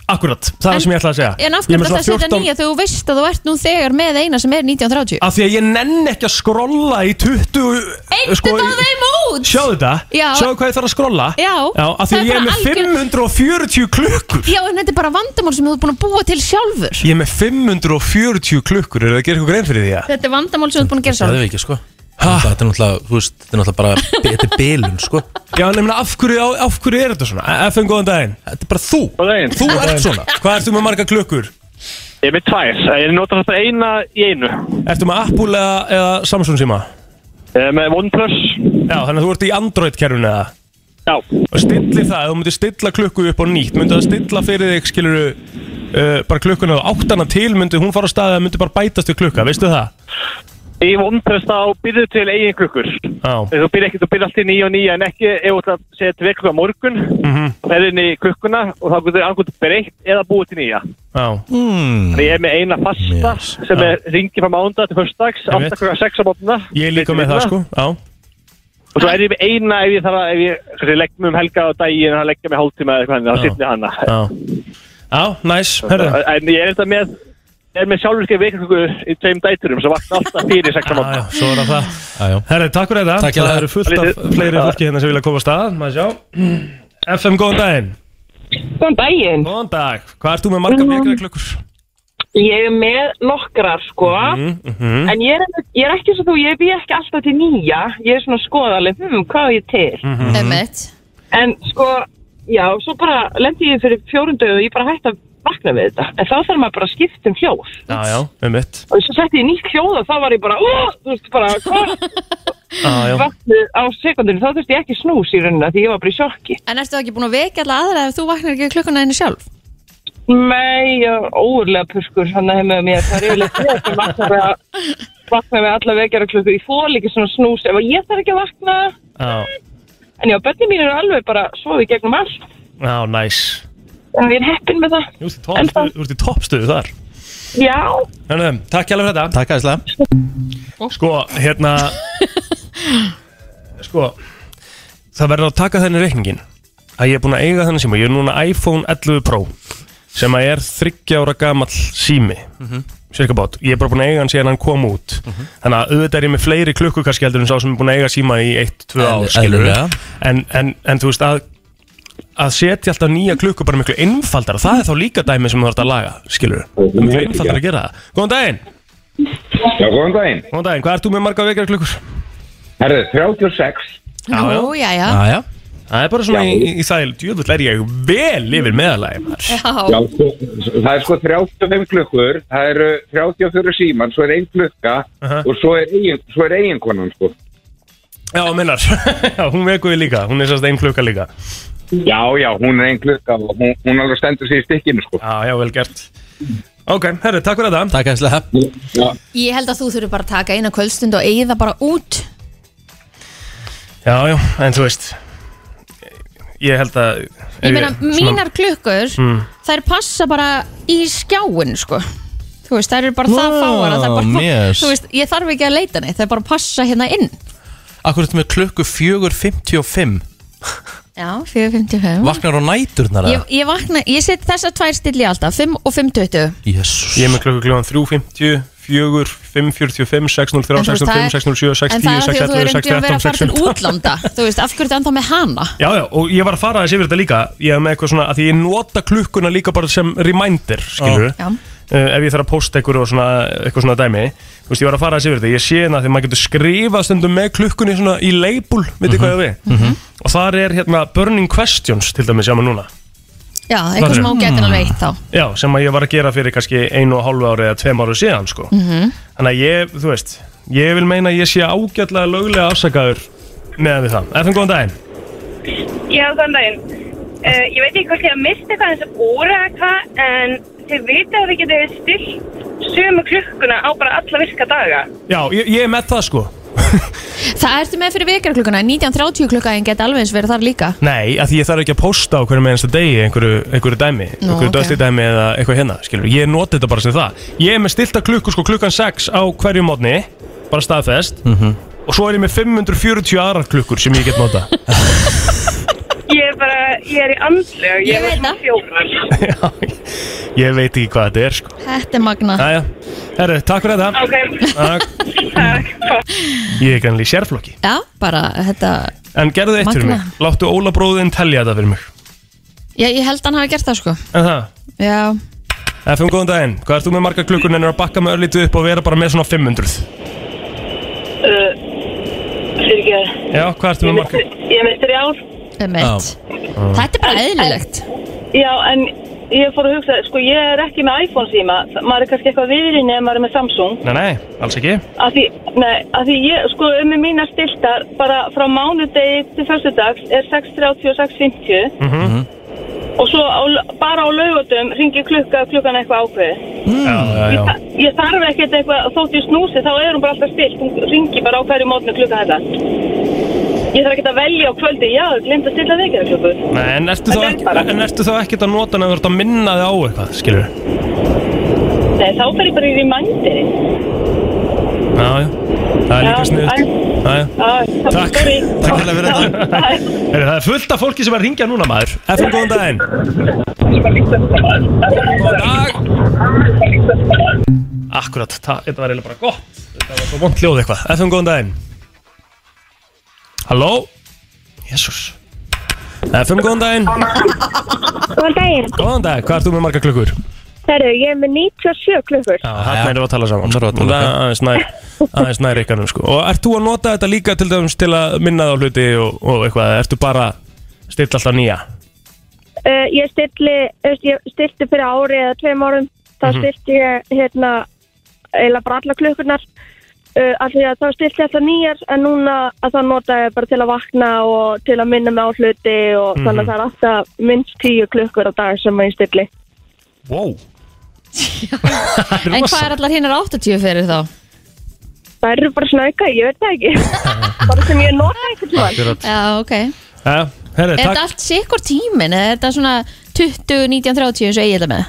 Speaker 3: Akkurat, það er
Speaker 2: En-
Speaker 3: það sem ég ætla að segja.
Speaker 2: En af
Speaker 3: Ég er með
Speaker 2: hverju þetta
Speaker 3: svona
Speaker 2: að setja
Speaker 3: 14
Speaker 2: nýja þegar þú veist að þú ert nú þegar með eina sem er 19.30
Speaker 3: Af því að ég nenn ekki að skrolla í 20...
Speaker 2: Eittu
Speaker 3: sko,
Speaker 2: þá
Speaker 3: í-
Speaker 2: þeim út!
Speaker 3: Sjáðu þetta?
Speaker 2: Já.
Speaker 3: Sjáðu hvað ég þarf að skrolla?
Speaker 2: Já.
Speaker 3: Já, af því
Speaker 2: Það er
Speaker 3: að ég er
Speaker 2: bara
Speaker 3: með
Speaker 2: algjör-
Speaker 3: 540 klukkur.
Speaker 2: Já, en þetta er bara vandamál sem þú ert búin að búa til sjálfur
Speaker 3: Ég er með 540 klukkur, eru það að gera eitthvað grein fyrir því að?
Speaker 2: Þetta er vandamál sem þú ert búin að gera
Speaker 1: Það
Speaker 2: sjálfur
Speaker 1: er ekki sko Þetta er náttúrulega, þú veist, þetta er náttúrulega bara Þetta er bilun sko
Speaker 3: Já, nefnilega, af hverju, á- af hverju er þetta svona? FM, góðan daginn.
Speaker 1: Þetta er bara þú Þú ert svona
Speaker 3: Hvað ertu með marga klukkur?
Speaker 8: Ég er með tvær, ég nota þetta eina í einu
Speaker 3: Ertu með Apple eða, eða Samsung síma?
Speaker 8: Ég er með OnePlus
Speaker 3: Já, þannig að þú ert í Android-kerfinu eða?
Speaker 8: Já,
Speaker 3: Og stilli það, ef þú myndir stilla klukku upp á nýtt Myndir það stilla fyrir þig, skilur uh, Bara klukkuna og áttana til Myndir hún fara á staði að myndir bara bætast við klukka, veistu það?
Speaker 8: í OnePlus þá byrðu til eigin klukkur
Speaker 3: Já,
Speaker 8: Þú byrði ekki, þú byrði alltaf í nýja og nýja en ekki ef þú ætlar að setja tvei klukka á morgun mm -hmm. inn í klukkuna og þá getur angut breytt eða búið til nýja
Speaker 3: já,
Speaker 1: mm.
Speaker 8: Þannig ég er með eina fasta
Speaker 1: Yes.
Speaker 8: sem er ringi frá mánda til höstdags
Speaker 3: Ég veit.
Speaker 8: 8 klukka 6 á mótna
Speaker 3: ég er líka með það sko Já,
Speaker 8: Og svo er ég með eina ef ég þarf að ef ég, ef ég legg mig um helga og daginn og leggja mig hálftíma eða eitthvað þannig,
Speaker 3: Já.
Speaker 8: þá stilli ég hana
Speaker 3: já Já, næs, nice. herðu
Speaker 8: En ég er þetta með er með sjálfurkið veikingu í tveim dæturum sem vakna alltaf fyrir sex
Speaker 3: Já,
Speaker 8: á mótna.
Speaker 3: já, svo er það það
Speaker 1: já.
Speaker 3: Herri, takk fyrir þetta
Speaker 1: Takk fyrir
Speaker 3: Það
Speaker 1: það.
Speaker 3: eru fullt af fleiri fólki hérna sem vilja koma á stað Maður sjá FM, góðan daginn
Speaker 9: Góðan daginn.
Speaker 3: Góðan dag Hvað ert þú með marga vekra klukkur?
Speaker 9: Ég er með nokkrar sko,
Speaker 3: Mhm,
Speaker 9: en ég er, ég er ekki svo þú, ég býð ekki alltaf til nýja. Ég er svona skoðaleg, hm, hvað er ég til?
Speaker 3: Mhm.
Speaker 2: Einmitt.
Speaker 9: En sko, já, svo bara lendi ég fyrir fjórundu og ég bara hætti að vakna við þetta. En þá þarf maður bara að skipta um hljóð.
Speaker 3: Já, já, um mitt
Speaker 9: Og svo setti ég nýtt hljóð og þá var ég bara, ó, þú veist, bara, hvað?
Speaker 3: Já, já
Speaker 9: vaknaði á sekundinu, þá þurfti ég ekki snús í rauninna því ég var bara í sjokki.
Speaker 2: En ertu ekki búin að vekja alla aðra ef þú vaknar ekki klukkuna einu sjálf?
Speaker 9: Nei, ég var óurlega puskur hann að heima með mér. Það er yfirleitt ég sem vaknar að vakna með alla vekjara klukku. Ég fól ekki svona snús ef ég þarf ekki að vakna.
Speaker 3: Já,
Speaker 9: En já, bönni mín eru alveg bara sofið gegnum allt.
Speaker 3: já, næs
Speaker 9: En ég er heppin með það.
Speaker 3: Þú ert í toppstöðu- þú ert í toppstöðu þar
Speaker 9: Já,
Speaker 3: Herri, Takk hjá fyrir þetta
Speaker 1: Takk aðeinslega
Speaker 3: Sko, hérna Sko Það verður að taka þenni reikningin að ég er búin að eiga þennan síma, ég er núna iPhone 11 Pro sem að er 30 ára gamall sími mm bát, ég er bara búin að eiga hann síðan hann kom út þannig að auðvitað er ég með fleiri klukku kannski heldur en sá sem er búin að eiga síma í 1-2 ár
Speaker 1: Eðli-
Speaker 3: skilurðu.
Speaker 1: eðlilega.
Speaker 3: en, en, en þú veist að að setja alltaf nýja klukku bara miklu einfaldar og það er þá líka dæmi sem þú þarf að laga skilur, það er miklu einfaldar að gera það Góðan daginn,
Speaker 10: Já, góðan daginn.
Speaker 3: góðan daginn, hvað ert þú með marga vekjara
Speaker 10: Herðu, 36.
Speaker 3: Já, já.
Speaker 2: Nú, já, já.
Speaker 1: Jæja,
Speaker 3: Það er bara svona
Speaker 10: Já.
Speaker 3: í, í þæl, djöfull er ég vel yfir meðalagi maður.
Speaker 10: Já, sko, það er sko 35 klukkur, það eru 34 síman, svo er ein klukka
Speaker 3: Aha.
Speaker 10: og svo er, eigin, svo er eiginkonan, sko.
Speaker 3: Já, minnar, já, hún vekuði líka, hún er sérst einn klukka líka.
Speaker 10: Já, já, hún er ein klukka og hún, hún alveg stendur sér í stikkinu, sko.
Speaker 3: Já, já, vel gert. Ok, herri, takk fyrir þetta.
Speaker 1: takk aðeinslega
Speaker 10: Já,
Speaker 2: Ég held að þú þurfir bara að taka eina kvöldstund og eigið það bara út
Speaker 3: Já, já, en þú veist, ég held að...
Speaker 2: Ég meina, Mm. mínar klukkur þær passa bara í skjáin sko. þú veist, þær eru bara það
Speaker 1: Vá,
Speaker 2: fáar að þær bara,
Speaker 1: yes.
Speaker 2: þú veist, ég þarf ekki að leita neitt þær bara passa hérna inn
Speaker 1: Akkur þetta með klukku 4.55
Speaker 2: Já, 4.55
Speaker 1: Vaknar á næturnar
Speaker 2: Mm. Ég,
Speaker 1: eða?
Speaker 2: ég vakna, ég set þessar tvær stilli alltaf 5 og 5.20
Speaker 1: Jésús
Speaker 3: Ég er með klukku klukkan 3.50, 4, 5.45, 6.03,
Speaker 2: En þú
Speaker 3: 6.05,
Speaker 2: veist, það er-
Speaker 3: 6.07,
Speaker 2: En
Speaker 3: 6.10,
Speaker 2: það er af því að þú
Speaker 3: 6.11,
Speaker 2: er ekki að
Speaker 3: 6.13,
Speaker 2: vera að fara til
Speaker 3: 6.15.
Speaker 2: útlanda Þú veist, af hverju ertu enda með hana?
Speaker 3: Já, já, og ég var að fara þessi yfir þetta líka Ég hef með eitthvað svona, að því ég nota klukkuna líka bara sem reminder, skilur
Speaker 2: Já.
Speaker 3: Ef ég þarf að posta eitthvað og svona, eitthvað svona dæmi Þú veist, ég var að fara þessi yfir þetta Ég sé hérna, því maður getur skrifað stundum með klukkunni svona í label, veit þið hvað ég á við Og þar er hérna burning questions til dæmis hjá mig núna
Speaker 2: Já, eitthvað
Speaker 3: Þarna.
Speaker 2: sem hún getur alveg eitt þá
Speaker 3: Já, sem að ég var að gera fyrir kannski einu og hálfu ári eða tveim ári síðan, sko
Speaker 2: Mm. Mhm.
Speaker 3: Þannig að ég, þú veist, ég vil meina að ég sé ágætlega löglega afsakaður með við það. Efum góðan daginn.
Speaker 7: Já, góðan daginn. Uh, ég veit ekki hvort ég að mista eitthvað eins og úra eða hvað, en þið vitið að þið getið stilt sömu klukkuna á bara alla virka daga.
Speaker 3: Já, ég, ég er með það sko.
Speaker 2: Það ertu með fyrir vekarklukkuna, 19.30 klukka en get alveg eins verið þar líka
Speaker 3: Nei, að því ég þarf ekki að posta á hverjum einasta degi einhverju, einhverju dæmi,
Speaker 2: Nú,
Speaker 3: einhverju
Speaker 2: ok.
Speaker 3: okay. dæmi eða eitthvað hérna, skilur, ég noti þetta bara sem það ég er með stilta klukku sko klukkan 6 á hverju mótni, bara staðfest og svo er ég með 540 aðrar klukkur sem ég get nota
Speaker 7: Ég er bara, ég er í andlu,
Speaker 2: Ég
Speaker 7: ég
Speaker 2: veit
Speaker 7: er svona
Speaker 2: það.
Speaker 7: fjórar.
Speaker 3: Já, ég veit ekki hvað þetta er sko
Speaker 2: Þetta er magna
Speaker 3: Jæja, herru, takk fyrir þetta
Speaker 7: Ok,
Speaker 3: Takk. Ég er kannski sérflokki
Speaker 2: Já, bara þetta
Speaker 3: En gerðu eitt fyrir mig,
Speaker 2: Magnað.
Speaker 3: láttu Óla bróðin telja þetta fyrir mig
Speaker 2: Já, ég held að hann hafi gert það sko
Speaker 3: En það,
Speaker 2: Já,
Speaker 3: FM góðan daginn, hvað ert þú með marga klukkur en er að bakka með örlítið upp og vera bara með svona 500
Speaker 7: fyrir ekki
Speaker 3: Já, hvað ert þú með marga
Speaker 7: Ég er með þrjár.
Speaker 2: um eitt Þetta er bara eðlilegt
Speaker 7: Já, en ég fór að hugsa, sko, ég er ekki með iPhone síma. Maður er kannski eitthvað viðrinni ef maður er með Samsung.
Speaker 3: Nei, nei, alls ekki
Speaker 7: Af því, nei, af því ég, sko, um með mína stiltar, bara frá mánudegi til fyrstudags er 6.30 og 6.50
Speaker 3: Mhm.
Speaker 7: og svo á, bara á laugatum ringi klukka, klukkan eitthvað ákveði.
Speaker 2: Mhm.
Speaker 3: Já, já, já
Speaker 7: Ég þarf ekkert eitthvað, þótt ég snúsi, þá er hún bara alltaf stilt, hún ringi bara á hverju mótnu klukka þetta. Ég þarf ekkert að velja á kvöldi, já, glemt að stilla vekjara klukku.
Speaker 3: Nei, en ertu þá
Speaker 7: Þetta er
Speaker 3: ekki,
Speaker 7: bara-
Speaker 3: en ertu þá ekki að nota en þú ert að minna þig á eitthvað, skilur
Speaker 7: Nei, þá fer ég bara í reminder.
Speaker 3: Já, já, það er líka
Speaker 7: Já,
Speaker 3: sniðut
Speaker 7: en-
Speaker 3: Já, já,
Speaker 7: Ah, þá-
Speaker 3: Takk.
Speaker 7: sorry.
Speaker 3: Takk hella fyrir þetta
Speaker 7: Bye.
Speaker 3: Heyrðu, Það er fullt af fólki sem er að ringja núna maður FM, góðan daginn Góðan dag Akkurat, ta- þetta var eiginlega bara gott Þetta var svo vond hljóð eitthvað FM, góðan daginn Halló Jésús FM, góðan daginn
Speaker 11: Góðan daginn.
Speaker 3: Góðan dag, hvað ert þú með marga klukkur?
Speaker 11: Herru, ég er með 97 klukkur.
Speaker 3: Já, þarna erum við að tala saman
Speaker 1: Þarna
Speaker 3: sko.
Speaker 1: erum við að tala
Speaker 3: Það er aðeins nær, aðeins nær ykkanum sko. Og ert þú að nota þetta líka til dæmis til að minna þá hluti og, og eitthvað Ertu bara að stilla alltaf nýja?
Speaker 11: Uh, ég, stilli, uh, ég stilti fyrir ári eða tveim árum. Þá stilti ég hérna eiginlega bara alla klukkurnar. Uh, af því að þá stilti ég alltaf nýjar en núna að þá nota ég bara til að vakna og til að minna mig á hluti og þannig að það er alltaf minnst 10 klukkur á dag sem ég stilli.
Speaker 3: Wow
Speaker 2: En hvað er allar hinnar 80 fyrir þá?
Speaker 11: Það eru bara svona auka, ég veit það ekki. bara sem ég nota einhvern tímann.
Speaker 2: Já, ok Er
Speaker 3: Jæja, herri,
Speaker 2: þetta
Speaker 3: takk
Speaker 2: allt sikkur tímin? Er þetta svona 20, 19, 30 eins og ég er með?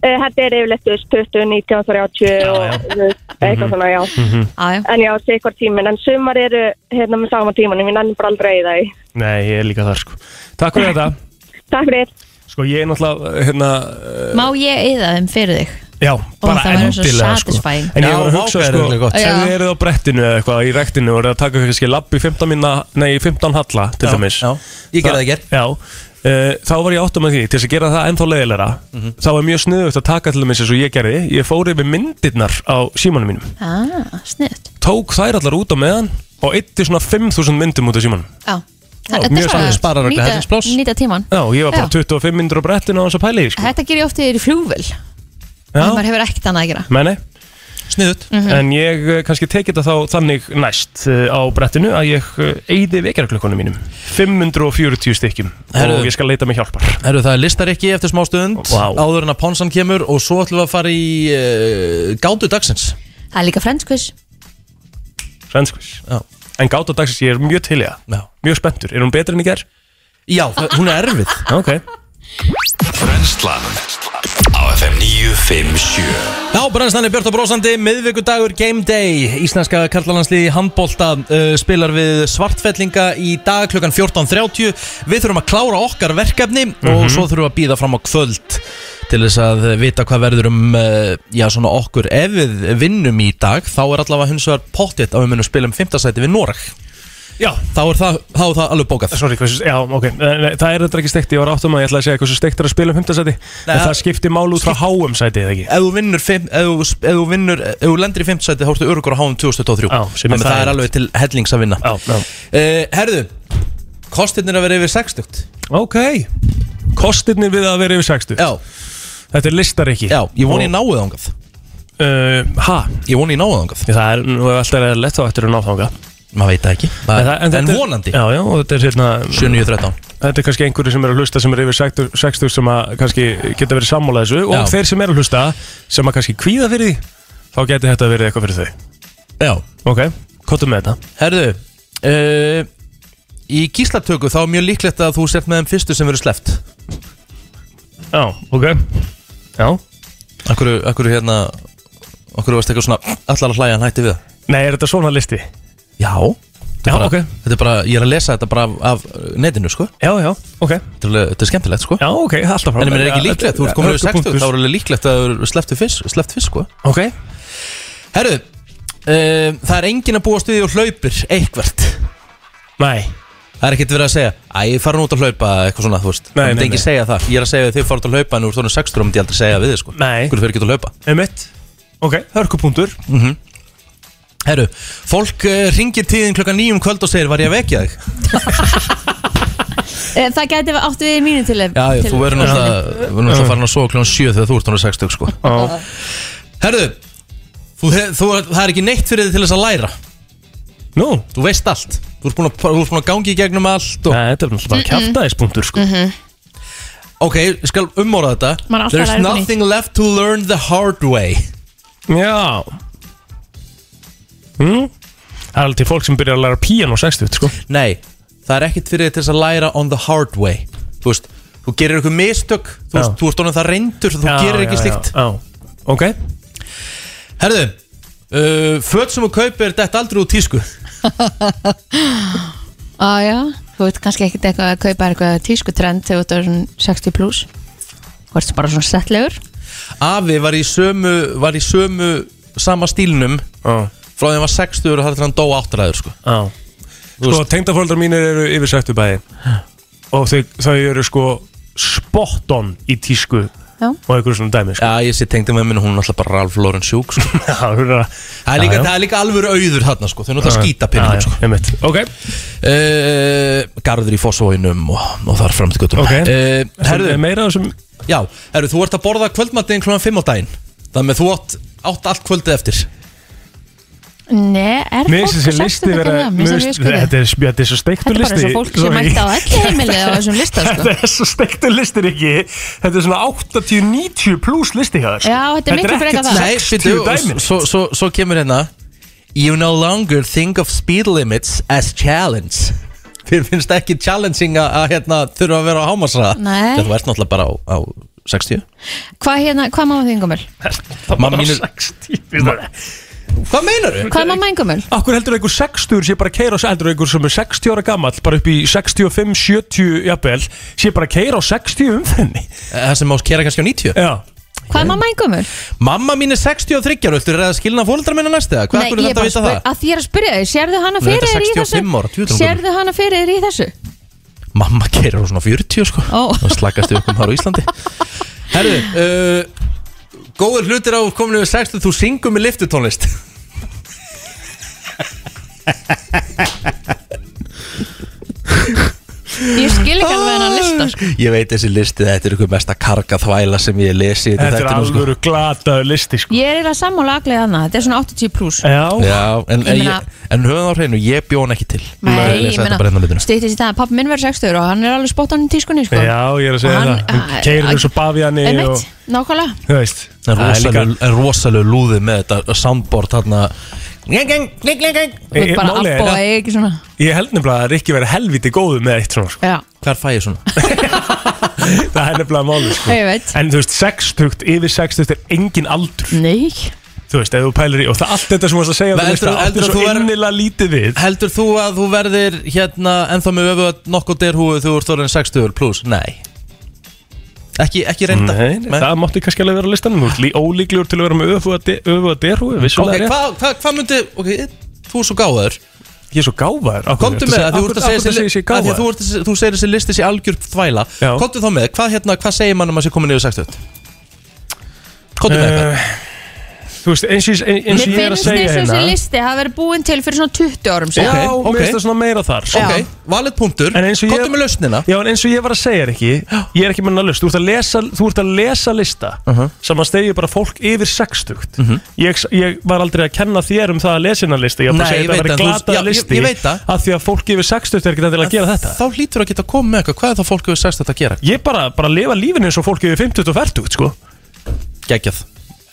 Speaker 11: Uh, þetta er yfirleitt þú veist, 20, 19, 30 og þú veist, eitthvað svona, já.
Speaker 2: Á, já,
Speaker 11: En já, sé hvort tíminn, en sumar eru hérna með sama tímanum, ég nenni bara aldrei í það í.
Speaker 3: Nei, ég er líka þar sko Takk fyrir þetta
Speaker 11: Takk fyrir.
Speaker 3: Sko ég er náttúrulega, hérna,
Speaker 2: Má ég eyða þeim fyrir þig?
Speaker 3: Já, bara
Speaker 2: það væri svo
Speaker 3: endilega sko
Speaker 2: satisfying.
Speaker 3: En ég var að
Speaker 1: Já,
Speaker 3: hugsa
Speaker 1: vá, það er
Speaker 3: sko
Speaker 1: eiginlega gott.
Speaker 2: Já.
Speaker 3: Ef þið eruð á brettinu eða eitthvað í rektinu og eruð að taka kannski lapp í 15 minna Nei, í 15 halla til
Speaker 1: Já,
Speaker 3: dæmis
Speaker 1: já. Ég gerði það í gær.
Speaker 3: Já Uh, þá var ég áttum með því, til þess að gera það ennþá leiðilegra
Speaker 1: Mhm.
Speaker 3: þá var mjög sniðugt að taka til dæmis eins og ég gerði, ég fór yfir myndirnar á símanum mínum,
Speaker 2: Ah, sniðt
Speaker 3: tók þær allar út á meðan og ytti svona 5000 myndum út á símanum
Speaker 2: Já,
Speaker 3: Já,
Speaker 2: Þetta
Speaker 3: mjög
Speaker 2: er bara
Speaker 3: sniðugt.
Speaker 1: Sparar okkur
Speaker 2: nýta-
Speaker 1: hellingsplás.
Speaker 2: Nýta tíman
Speaker 3: Já, ég var bara
Speaker 2: Já.
Speaker 3: 25 myndur á brettinu á þess að pæli sko.
Speaker 2: Þetta ger ég oft yfir í flúvel
Speaker 3: Já,
Speaker 2: En maður hefur ekkert annað að gera
Speaker 3: meni
Speaker 1: Sniðut
Speaker 3: en ég uh, kannski tekið þetta þá þannig næst uh, á brettinu að ég uh, eyði vekjarklökkunum mínum 540 stykkim
Speaker 1: Herðu.
Speaker 3: og ég skal leita með hjálpar
Speaker 1: Herru, það er listarikki eftir smá stund
Speaker 3: Vá.
Speaker 1: Áður en að Ponsan kemur Og svo ætlum við að fara í uh, Gáttu dagsins
Speaker 2: Það er líka frendskviss
Speaker 3: Svenskvís
Speaker 1: Já,
Speaker 3: En gáta dagsins ég er mjög til í það
Speaker 1: já.
Speaker 3: Mjög spenntur, er hún betri en ég ger?
Speaker 1: já það- hún er erfið
Speaker 3: Ok
Speaker 5: Brenslan Á FM 957
Speaker 1: Já, brennstan er Björn og Brósandi, miðvikudagur Game Day Íslenska karlalandsliði í handbólta uh, spilar við svartfellinga í dag klukkan 14.30 Við þurfum að klára okkar verkefni
Speaker 3: Mhm.
Speaker 1: og svo þurfum við að býða fram á kvöld til þess að uh, vita hvað verður um uh, já, svona okkur ef við vinnum í dag þá er allavega hins vegar pottitt að við munum spila um 5. sæti við Noreg
Speaker 3: Já,
Speaker 1: þá er það, þá er það alveg bókað
Speaker 3: sorry, hversu, já, ok Nei, nei, Það er þetta ekki steikt, ég var áttum að ég ætla að segja hversu steikt er að spila um 5. sæti En
Speaker 1: það-
Speaker 3: það skiptir mál út frá háum sæti eða ekki
Speaker 1: Ef þú vinnur, fimm- ef þú sp- ef þú vinnur, ef þú lendir í 5. sæti þá ertu örugur á háum 2023
Speaker 3: Já,
Speaker 1: Þannig
Speaker 3: sem er
Speaker 1: að það er
Speaker 3: þægilegt.
Speaker 1: alveg til hellings að vinna
Speaker 3: Já, já
Speaker 1: Uh, herðu, kostirnir að vera yfir 60
Speaker 3: Ok Kostirnir við að vera yfir 60
Speaker 1: Já,
Speaker 3: Þetta er listar ekki
Speaker 1: já, ég voni ég náuð ángað
Speaker 3: uh, Ha,
Speaker 1: Ég voni ég náuð ángað
Speaker 3: Ég, Það er nú alltaf er lett á eftir að ná þanga
Speaker 1: Maður veit það ekki
Speaker 3: En,
Speaker 1: Maður,
Speaker 3: það,
Speaker 1: En,
Speaker 3: þetta er-
Speaker 1: vonandi,
Speaker 3: Já, já, og þetta er hérna
Speaker 1: 7.9.13
Speaker 3: Þetta er kannski einhverju sem eru að hlusta sem eru yfir 60 60 sem að kannski geta verið sammála þessu
Speaker 1: Já.
Speaker 3: og þeir sem eru að hlusta sem að kannski kvíða fyrir því þá geti þetta verið eitthvað fyrir þau
Speaker 1: Já,
Speaker 3: Ok, kottum með þetta
Speaker 1: herðu uh, Í gíslatöku þá er mjög líklegt að þú sért með þeim fyrstu sem verður sleppt
Speaker 3: Já, ok Já
Speaker 1: Akkur, akkur hérna Akkur varst eitthvað svona Allar að hlæja hann hætti við það
Speaker 3: Nei, er þetta svona listi?
Speaker 1: Já, þetta
Speaker 3: Já,
Speaker 1: er, bara,
Speaker 3: ok.
Speaker 1: þetta er bara Ég er að lesa þetta bara af, af uh, netinu sko
Speaker 3: Já, já, ok
Speaker 1: Þetta er, alveg- þetta er skemmtilegt sko
Speaker 3: Já, ok, alltaf frá
Speaker 1: En það er ekki líklegt, þú ert komin yfir 60 Þá
Speaker 3: Hörkupunktur.
Speaker 1: er alveg líklegt að þú er sleppt fyrst, sleppt fyrst sko
Speaker 3: Ok,
Speaker 1: Herru, um, það er enginn að búa stuði og hlaupir eitthvert
Speaker 3: nei
Speaker 1: Það er ekkert verið að segja Æ, ég fara nú út að hlaupa eitthvað svona, þú veist
Speaker 3: Nei,
Speaker 1: Það myndi
Speaker 3: nei,
Speaker 1: enginn
Speaker 3: nei.
Speaker 1: segja það Ég er að segja að þið fara út að hlaupa en þú ert þóna 60 og myndi ég aldrei segja við þið sko
Speaker 3: Nei.
Speaker 1: Hverju fyrir ekki að hlaupa
Speaker 3: Emitt Ok, hörkupunktur
Speaker 1: Mhm. Herru, fólk uh, ringir tíðin klokka nýjum kvöld og segir Var ég að vekja þig?
Speaker 2: Eh, Það gæti átt við mínu til
Speaker 1: Já, já þú verður náttúrulega að fara að sofa klokkan 7 þegar þú ert þóna 60 sko
Speaker 3: Já.
Speaker 1: Herru, þú, þú, þú, það er ekki neitt fyrir þið til þess að læra
Speaker 3: Nú,
Speaker 1: Þú veist allt Þú ert búin að, þú ert búin að gangi í gegnum allt og,
Speaker 3: Nei, þetta er náttúrulega bara kjaftaðispunktur sko
Speaker 2: Mhm.
Speaker 1: Ok, ég skal umorða þetta
Speaker 2: Maður er alltaf að
Speaker 1: There's
Speaker 2: læra eitthvað nýtt.
Speaker 1: nothing left to learn the hard way
Speaker 3: Já mm? Það er alveg til fólk sem byrjar að læra píjan á 60 sko.
Speaker 1: Nei, það er ekkert fyrir til þess að læra on the hard way Þú veist, þú gerir eitthvað mistök Þú veist,
Speaker 3: Já.
Speaker 1: þú ert orðin það reyndur Þú gerir ekki slíkt
Speaker 3: já. Ok
Speaker 1: Herðu, uh, föt sem þú kaupir Þetta aldrei úr tísku
Speaker 2: Á, Ah, já, þú veit kannski ekkert eitthvað að kaupa eitthvað tískutrend þegar þú ert orðinn 60 pluss Þú ert bara svona settlegur
Speaker 1: afi var í sömu, var í sömu sama stílnum
Speaker 3: ah.
Speaker 1: frá því hann var 60 og þar til hann dó áttræður sko.
Speaker 3: ah. Sko, tengdafóldrar mínir eru yfirsektu bæði Og þau, þau eru sko spot on í tísku
Speaker 2: Já.
Speaker 3: Og einhverjum svona dæmi sko.
Speaker 1: Já, ég sé tengdi með minni, hún er alltaf bara Ralph Lauren Sjúk sko.
Speaker 3: Já, hún er að
Speaker 1: Það er líka, það er líka alvöru auður þarna sko, þau náttúrulega
Speaker 3: Já,
Speaker 1: skýta pinningum
Speaker 3: já,
Speaker 1: sko.
Speaker 3: einmitt. Ok
Speaker 1: uh, Garður í fósvóinum og, og þar fram til göttum
Speaker 3: Ok.
Speaker 1: uh, Herðu,
Speaker 3: Er meira af þessum
Speaker 1: já, herðu, þú ert að borða kvöldmattin klúan 5 á daginn Þannig að þú átt, átt allt kvöldið eftir
Speaker 2: Nei, er
Speaker 3: Mér
Speaker 2: fólk
Speaker 3: finnst þessi listi vera mér finnst- Þetta er þetta er svo steiktur
Speaker 2: Þetta er
Speaker 3: listi
Speaker 2: bara eins og fólk sem
Speaker 3: Sorry.
Speaker 2: mætti á öllu heimilið á þessum lista, sko.
Speaker 3: Þetta er svo steiktur listi ekki Þetta er svona 80-90 pluss listi hjá þér sko.
Speaker 2: Já, þetta er miklu frekar það.
Speaker 1: Nei,
Speaker 3: ekkert
Speaker 1: býttu,
Speaker 3: 60 dæmi sko.
Speaker 1: svo, svo, svo kemur hérna You no longer think of speed limits as challenge Þér finnst ekki challenging að- að hérna, þurfa að vera á hámasraða
Speaker 2: Nei.
Speaker 1: Þegar Þú ert náttúrulega bara á, á 60
Speaker 2: Hvað hérna, hvað mamma þín gömul?
Speaker 1: Mamma mín er- Hvað meinar þau?
Speaker 2: Hvað er mamma þín gömul?
Speaker 3: Akkur heldur einhver 60 sé bara að keira heldur einhver sem er 60 ára gamall bara upp í 65-70 jafnvel sé bara að keira á 60 umfenni
Speaker 1: Það sem ás kera kannski á 90
Speaker 3: Já
Speaker 2: Hvað er mamma þín gömul?
Speaker 1: Mamma mín er 63 ára, Þú er að skilna fólundra minna næst eða? Hvað er
Speaker 2: Nei, ég er
Speaker 1: þetta að
Speaker 2: bara
Speaker 1: vita
Speaker 2: spyr,
Speaker 1: það?
Speaker 2: að því ég er að spyrja þau, sérðu hana
Speaker 1: Hún er
Speaker 2: fyrir
Speaker 1: reyndar
Speaker 2: þér í
Speaker 1: 65 ára,
Speaker 2: þessu?
Speaker 1: djúðlega gömul.
Speaker 2: Sérðu hana fyrir þér í þessu? Ah.
Speaker 1: Mamma kera á svona 40 sko
Speaker 2: Ó.
Speaker 1: Það slakast við okkur þar á Íslandi Herðu uh, Góður hlutir á kominu við 60 Þú syngur með liftutónlist
Speaker 2: Ég skil ekki alveg hennar lista, sko.
Speaker 1: Ég veit þessi listi, þetta er ykkur mesta karga þvæla sem ég lesi
Speaker 3: Þetta er
Speaker 1: þættinum, sko.
Speaker 3: alvöru glataður listi sko.
Speaker 2: Ég er eiginlega sammála aðglega hana, þetta er svona 80 pluss.
Speaker 1: sko.
Speaker 3: Já,
Speaker 1: Já, en,
Speaker 2: Ég
Speaker 1: en,
Speaker 2: meina-
Speaker 1: ég, en höfðan á hreinu, ég bjó hann ekki til
Speaker 2: Nei,
Speaker 1: lesa
Speaker 2: ég
Speaker 1: þetta
Speaker 2: meina,
Speaker 1: bara hérna á litinu.
Speaker 2: stýttist í það að pappi minn verður 60 og hann er alveg spott hann í tískunni, sko.
Speaker 3: já, ég er að segja
Speaker 2: Og hann-
Speaker 3: það Hún keirir eins og bafjani og,
Speaker 2: Einmitt, nákvæmlega.
Speaker 3: Þú veist
Speaker 1: En
Speaker 3: Það er líka-
Speaker 1: rosalegu, en rosalegu lúði með þetta soundboard þarna
Speaker 2: Þú ert
Speaker 3: Ég-
Speaker 2: bara
Speaker 3: E, málið er-
Speaker 2: allbóða, ég ekki svona.
Speaker 3: Ég held nefnilega að Rikki verið helviti góðu með eitt svona sko.
Speaker 2: Já,
Speaker 1: Hver fæ ég svona?
Speaker 3: Það er nefnilega máli sko.
Speaker 2: ég veit.
Speaker 3: En þú veist, 60, yfir 60 er engin aldur
Speaker 2: Nei.
Speaker 3: Þú veist, ef þú pælir í Og það allt þetta sem þú varst að segja
Speaker 1: Men
Speaker 3: þú veist,
Speaker 1: heldur- heldur
Speaker 3: Það allt er
Speaker 1: þú
Speaker 3: svo
Speaker 1: verð-
Speaker 3: innilega lítið við
Speaker 1: Heldur þú að þú verðir hérna ennþá með öfuð nokkuð derhúið þú ert orðin 60 pluss? Nei Ekki, ekki reynda
Speaker 3: Nei, nei, það mátti kannski alveg vera á listanum Þú ert lí- ólíklegur til að vera með öfuga de- öfuga derhúi
Speaker 1: Ok,
Speaker 3: Vissulega er
Speaker 1: hvað hva, hva myndi, ok, þú er svo gáður
Speaker 3: ég Ég er svo gáfaður af hverju
Speaker 1: Komdu
Speaker 3: ertu
Speaker 1: með það, þú
Speaker 3: af
Speaker 1: ert að
Speaker 3: hverju-
Speaker 1: segja
Speaker 3: af hverju
Speaker 1: þessi li-
Speaker 3: ég sé
Speaker 1: af því að
Speaker 3: gáfaður?
Speaker 1: þú ert að- Þú segir þessi listi sé algjör þvæla
Speaker 3: Já.
Speaker 1: Komdu þá með, hvað hérna, hvað segir mann um að sé komin yfir 60? Komdu með eitthvað
Speaker 3: Eh, Þú veist, eins og ég- eins og
Speaker 2: Mér
Speaker 3: ég er að
Speaker 2: finnst
Speaker 3: segja
Speaker 2: eins og þessi
Speaker 3: hérna
Speaker 2: listi hafa verið búin til fyrir svona 20 árum
Speaker 3: Já,
Speaker 2: síðan.
Speaker 1: Ok,
Speaker 3: mér
Speaker 1: ok.
Speaker 3: finnst það svona meira þar sko.
Speaker 1: Ok, valið punktur,
Speaker 3: En eins og ég-
Speaker 1: komdu með lausnina
Speaker 3: Já, en eins og ég var að segja þér ekki Ég er ekki með hana lust Þú ert að lesa, þú ert að lesa lista uh
Speaker 1: Uh-huh.
Speaker 3: -huh. Saman stegið bara fólk yfir sextugt
Speaker 1: Mhm.
Speaker 3: ég, ég var aldrei að kenna þér um það að lesa hennar lista Ég var
Speaker 1: Nei,
Speaker 3: bara að segja
Speaker 1: ég veit
Speaker 3: þetta að vera
Speaker 1: það, þú-
Speaker 3: glata
Speaker 1: já, ég-
Speaker 3: listi
Speaker 1: ég veit það.
Speaker 3: Af því að fólk yfir sextugt er ekki endilega að gera þetta
Speaker 1: Þá hlýtur að geta komið með eitthvað, hvað er það fólk hefur 60 að gera?
Speaker 3: Ég bara, bara lifa lífinu eins og fólk yfir 50 og 40 sko.
Speaker 1: Gægjað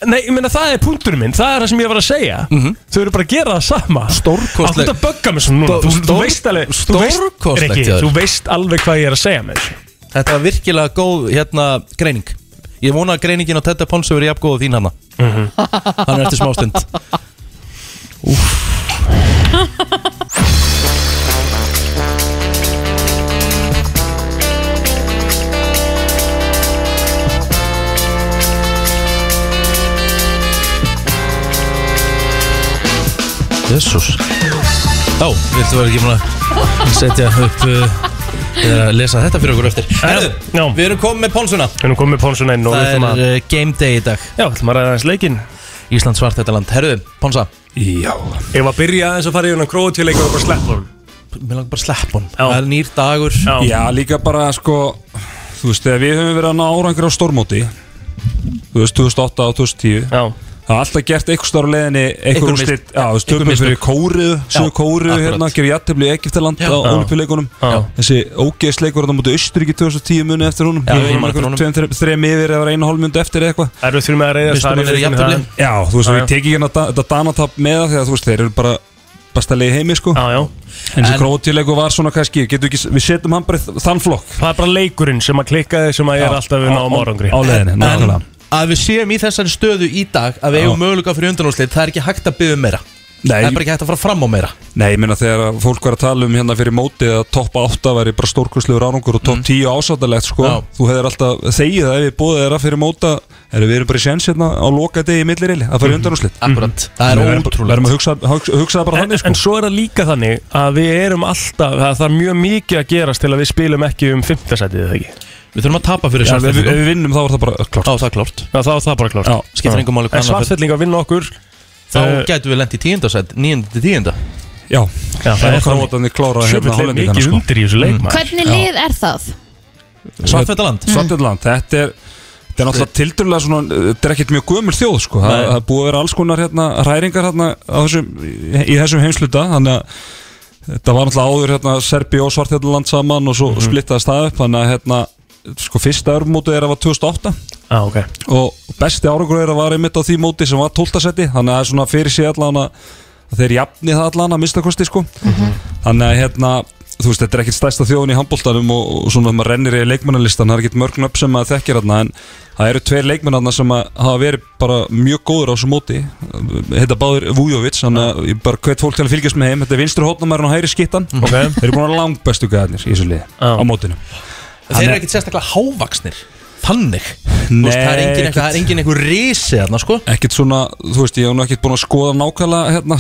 Speaker 3: Nei, ég meina það er punkturinn minn Það er það sem ég var að segja
Speaker 1: Mhm.
Speaker 3: Þau eru bara að gera það sama
Speaker 1: Stórkostleg-
Speaker 3: Akkur þetta bögga mig svona núna
Speaker 1: Stó-
Speaker 3: Þú, þú
Speaker 1: stór-
Speaker 3: veist alveg þú veist-
Speaker 1: stórkostlegt
Speaker 3: Rikki,
Speaker 1: hjá þér.
Speaker 3: Þú veist alveg hvað ég er að segja með þessu
Speaker 1: Þetta var virkilega góð hérna, greining Ég vona að greiningin á Tetta Ponsu verið jafn góð og þín hana
Speaker 3: Mhm.
Speaker 1: Hann er eftir smástund Jésús Ó, viltu vera ekki búin að setja upp uh, eða lesa þetta fyrir okkur eftir Herðu,
Speaker 3: já.
Speaker 1: við erum komið með Ponsuna
Speaker 3: Við erum komið með Pónsuna inn og við ætlum
Speaker 1: Það
Speaker 3: að
Speaker 1: er uh, game day í dag
Speaker 3: Já, við ætlum að ræða aðeins leikinn
Speaker 1: Ísland svart þetta land Herðu, Ponsa
Speaker 3: Já Ég var að byrja aðeins að fara í unan króti leik og bara sleppa hún
Speaker 1: Mér langar bara að sleppa hún
Speaker 3: Já.
Speaker 1: Það er nýr dagur
Speaker 3: Já.
Speaker 12: Já, líka bara sko Þú veist, þegar við höfum verið að ná árangur á stórmóti Þú veist, 2008 og 2010
Speaker 3: Já
Speaker 12: Það er alltaf gert eitthvað starf leðinni Eitthvað
Speaker 1: Einhver
Speaker 12: úrslit,
Speaker 1: mist-
Speaker 12: já, þú veist,
Speaker 1: einhver
Speaker 12: tökum
Speaker 1: mistök.
Speaker 12: fyrir kóriðu Söðu kóriðu
Speaker 1: akkurat.
Speaker 12: hérna, gefur jættefli Egiptaland á olimpíuleikunum
Speaker 3: Já.
Speaker 12: Þessi ógeðsleikur þarna mútið Austuríki 2010 muni eftir honum
Speaker 1: Já,
Speaker 12: Ég
Speaker 1: ég man
Speaker 12: man
Speaker 1: eftir
Speaker 12: einhverjum
Speaker 1: honum.
Speaker 12: tveim, þre- þrem yfir eða einu hálfmynd eftir eða eitthvað
Speaker 3: Það eru þrjum með að reyða
Speaker 1: Mistum að vera í jafntefli.
Speaker 12: Já, þú veist, og
Speaker 3: Já, já.
Speaker 12: ég teki hérna da- þetta Danatap með það Þegar þú veist, þeir eru bara bastalegi heimi sko
Speaker 3: Já, já
Speaker 12: En þessi
Speaker 1: En-
Speaker 12: krótileiku var svona kannski getum ekki, Við setjum hann bara í þann flokk
Speaker 3: Það er bara leikurinn sem að klikkaði sem að ég er alltaf við náum árangri
Speaker 12: á leiðinni, nákvæmlega
Speaker 1: Að við séum í þessari stöðu í dag Að við eigum möguleika fyrir undanúrslit Það er ekki hægt að byggja um meira
Speaker 12: Nei,
Speaker 1: Það er bara ekki hægt að fara fram á meira
Speaker 12: Nei, ég meina þegar að fólk var að tala um hérna fyrir mótið að topp 8 væri bara stórkurslegur árangur og topp 10 ásáttalegt sko
Speaker 1: Mhm. Já.
Speaker 12: Þú hefðir alltaf þegið það ef ég búið þeirra fyrir móta Erum við erum bara í séns hérna á loka degi í millirili að fara
Speaker 3: Mhm.
Speaker 12: í undanúslit
Speaker 1: Akkurat, það er
Speaker 12: Við erum að hugsa, hugsa, hugsa það bara
Speaker 3: en,
Speaker 12: þannig sko
Speaker 3: en svo er það líka þannig að við erum alltaf, það, það er mjög mikið að gerast til að við spilum ekki um fimmtasætið eða ekki
Speaker 1: Við þurfum að tapa fyrir
Speaker 3: Já,
Speaker 1: sexta
Speaker 3: ef við-
Speaker 1: sæti.
Speaker 3: ef við vinnum þá er það bara uh, klárt
Speaker 1: Á, það er klárt
Speaker 3: Já, þá er það bara klárt
Speaker 12: Já,
Speaker 1: skiptir engu máli hvað
Speaker 3: En
Speaker 1: annað fer.
Speaker 3: svartfellinga vinna okkur
Speaker 1: Þá
Speaker 3: Eh,
Speaker 1: gætu við lent í tíundasætt, níunda til tíunda
Speaker 12: Já,
Speaker 3: Já, það er
Speaker 12: okkar
Speaker 3: þannig.
Speaker 12: mótandi klára
Speaker 3: Sjöfull er mikið
Speaker 12: sko.
Speaker 3: undir í þessu leik,
Speaker 12: Mm.
Speaker 3: maður.
Speaker 2: Hvernig lið er það?
Speaker 1: Svartfettaland
Speaker 3: Mm.
Speaker 12: Svartfettaland, þetta er Þetta er náttúrulega tildurlega svona, þetta er ekkert mjög gömul þjóð sko, það
Speaker 1: Nei.
Speaker 12: það er búið að vera alls konar hérna hræringar hérna á þessum, í- í þessum heimsluta, þannig að þetta var náttúrulega áður hérna Serbi og Svartfettaland saman og svo
Speaker 3: Mhm.
Speaker 12: splittaðist það upp, þannig að hérna, sko fyrsta örmótu er að var 2008
Speaker 3: Já, ah, ok
Speaker 12: og besti árangur er að var einmitt á því móti sem var 12. seti, þannig að það er svona fyrir sig allan að að þeir jafni það allan að mista kosti sko
Speaker 1: Mhm.
Speaker 12: þannig að hérna þú veist, þetta er ekkert stærsta þjóðin í handbóltanum og, og svona þegar maður rennir í leikmannalistan það er ekkert mörgn upp sem maður þekkir hérna en það eru tveir leikmenn hérna sem að hafa verið bara mjög góður á þessu móti heita báður Vujovic þannig að ég bara hvet fólk til að fylgjast með heim þetta er vinstur hótnamærin og hæri skittan
Speaker 3: Ok.
Speaker 12: þeir eru búin að langbestu gæðarnir í þessu liði
Speaker 3: Já.
Speaker 12: á mótinu
Speaker 1: Þeir eru ekkert sérstaklega hávaksnir Þannig Þú
Speaker 12: Nei,
Speaker 1: veist, Það er engin
Speaker 12: ekkert-
Speaker 1: eitthvað- það er engin einhver risi þarna sko
Speaker 12: ekkert svona, þú veist, ég hef nú ekkert búin að skoða nákvæmlega hérna,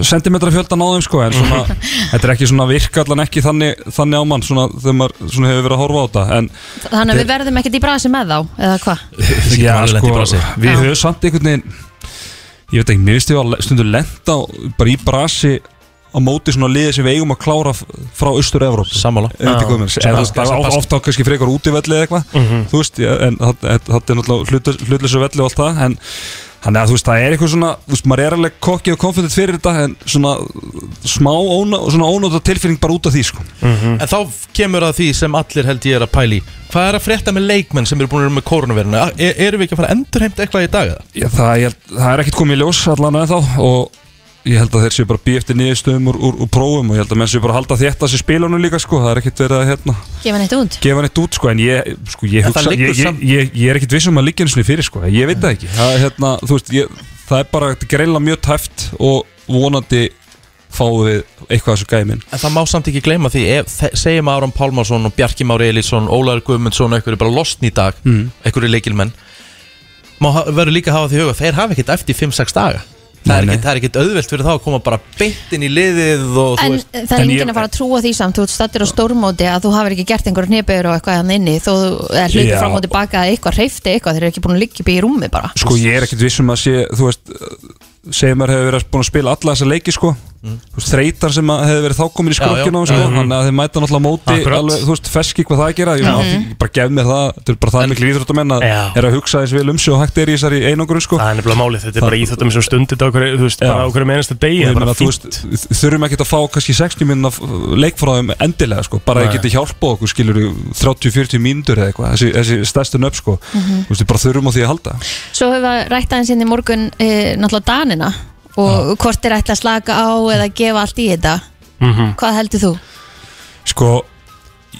Speaker 12: sentimetrafjöldan á þeim sko, en svona, þetta er ekki svona virka allan ekki þannig, þannig á mann svona, þegar maður svona hefur verið að horfa á þetta en
Speaker 2: Þannig að við verðum ekkert í brasi með þá Eða hvað?
Speaker 1: getum alveg lent í brasi.
Speaker 12: sko, við
Speaker 2: Já.
Speaker 12: höfum samt einhvern veginn ég veit ekki, mér finnst ég að stundu lenda á- bara í brasi á móti svona liði sem við eigum að klára f- frá austur-Evróp
Speaker 1: Sammála Sem Bask- sem Bask-
Speaker 12: ofta á kannski frekar útivelli eða eitthvað
Speaker 1: Mhm.
Speaker 12: þú veist, ja, en þetta er náttúrulega hlutlösa velli og allt það en þannig að þú veist, það er eitthvað svona þú veist, maður er alveg kokki og konfident fyrir þetta en svona smá óna, svona ónóta tilfinning bara út af því sko
Speaker 3: Mm.
Speaker 1: En þá kemur að því sem allir held ég er að pæli Hvað er að frétta með leikmenn sem eru búin að vera með koronaviruna? E erum við ekki að fara að endurheimt eitthvað í dag eða?
Speaker 12: Já, það, ég, held- það er ekkert komið í ljós allan að þá og ég held að þeir séu bara býð eftir niðurstöðum úr, úr, úr prófum og ég held að menn séu bara að halda þetta sér spilunum líka sko, það er ekkert verið að hérna,
Speaker 2: Gefa neitt út?
Speaker 12: gefa neitt út sko, en ég, sko, ég
Speaker 1: En það
Speaker 12: hugsa,
Speaker 1: liggur
Speaker 12: ég, ég,
Speaker 1: samt-
Speaker 12: ég, ég er ekkert vissum að liggja einu sinni fyrir sko, ég veit það ekki það, er hérna, þú veist, ég, það er bara greila mjög tæft og vonandi fáum við eitthvað af þessu gæmin
Speaker 1: En það má samt ekki gleyma því ef, þe- Segjum að Aron Pálmarsson og Bjarki Már Elísson Ólaður Guðmundsson og einhverju bara lostn í dag mm. Einhverju leikilmenn Má ha- verður líka að hafa því í huga Þeir hafa ekkert eftir 5-6 daga Það er
Speaker 12: Nei, nei.
Speaker 1: ekkert- það er ekkert auðvelt fyrir þá að koma bara beint inn í liðið og þú
Speaker 2: En
Speaker 1: veist
Speaker 2: það er
Speaker 12: en
Speaker 2: enginn
Speaker 12: ég-
Speaker 2: að fara að trúa því samt Þú ert stattir á stórmóti að þú hafir ekki gert einhver hnebyr og eitthvað hann inni Þú er hlutið
Speaker 12: Já.
Speaker 2: fram og tilbaka að eitthvað hreyfti eitthvað Þeir eru ekki búin að liggja upp í rúmi bara
Speaker 12: Sko ég er ekkert vissum að sé, þú veist, Seymar hefur verið búin að spila alla þessa leiki sko Þú veist, Þreytan sem að hefur verið þá komin í
Speaker 1: Já, Mhm. já.
Speaker 12: skrukkinu á sko Þannig að þeir mæta náttúrulega á móti,
Speaker 3: Akkurat.
Speaker 12: alveg, þú veist, feski hvað það að gera Ég meina, ég bara gef mér það, þetta er bara það miklu íþróttamenn að
Speaker 3: Já.
Speaker 12: er að hugsa þess vel um sig og hægt er í þessari einangrun sko
Speaker 3: Það er nefnilega málið, þetta er bara íþjóttum sem stundið á hverju, þú veist,
Speaker 12: Já.
Speaker 3: bara á hverju mennasta degi,
Speaker 12: Ég
Speaker 3: það er
Speaker 12: meina,
Speaker 3: bara
Speaker 12: þú veist,
Speaker 3: fínt
Speaker 12: þurfum ekkert að fá kannski 60 minna leikfráðum endilega sko, bara að
Speaker 3: Nei.
Speaker 12: þið geti hjálpað okkur skilur 30-40 mínútur eða eitthvað þessi, þessi stærstu nöpp sko,
Speaker 3: Mhm.
Speaker 1: Mhm.
Speaker 12: þú veist, við bara þurfum á því að halda
Speaker 2: Svo höfum við rætt aðeins inn í morgun e, náttúrulega Danina og hvort er ætti að slaka á eða gefa allt í þetta
Speaker 1: Mhm.
Speaker 2: Hvað heldur þú?
Speaker 12: Sko,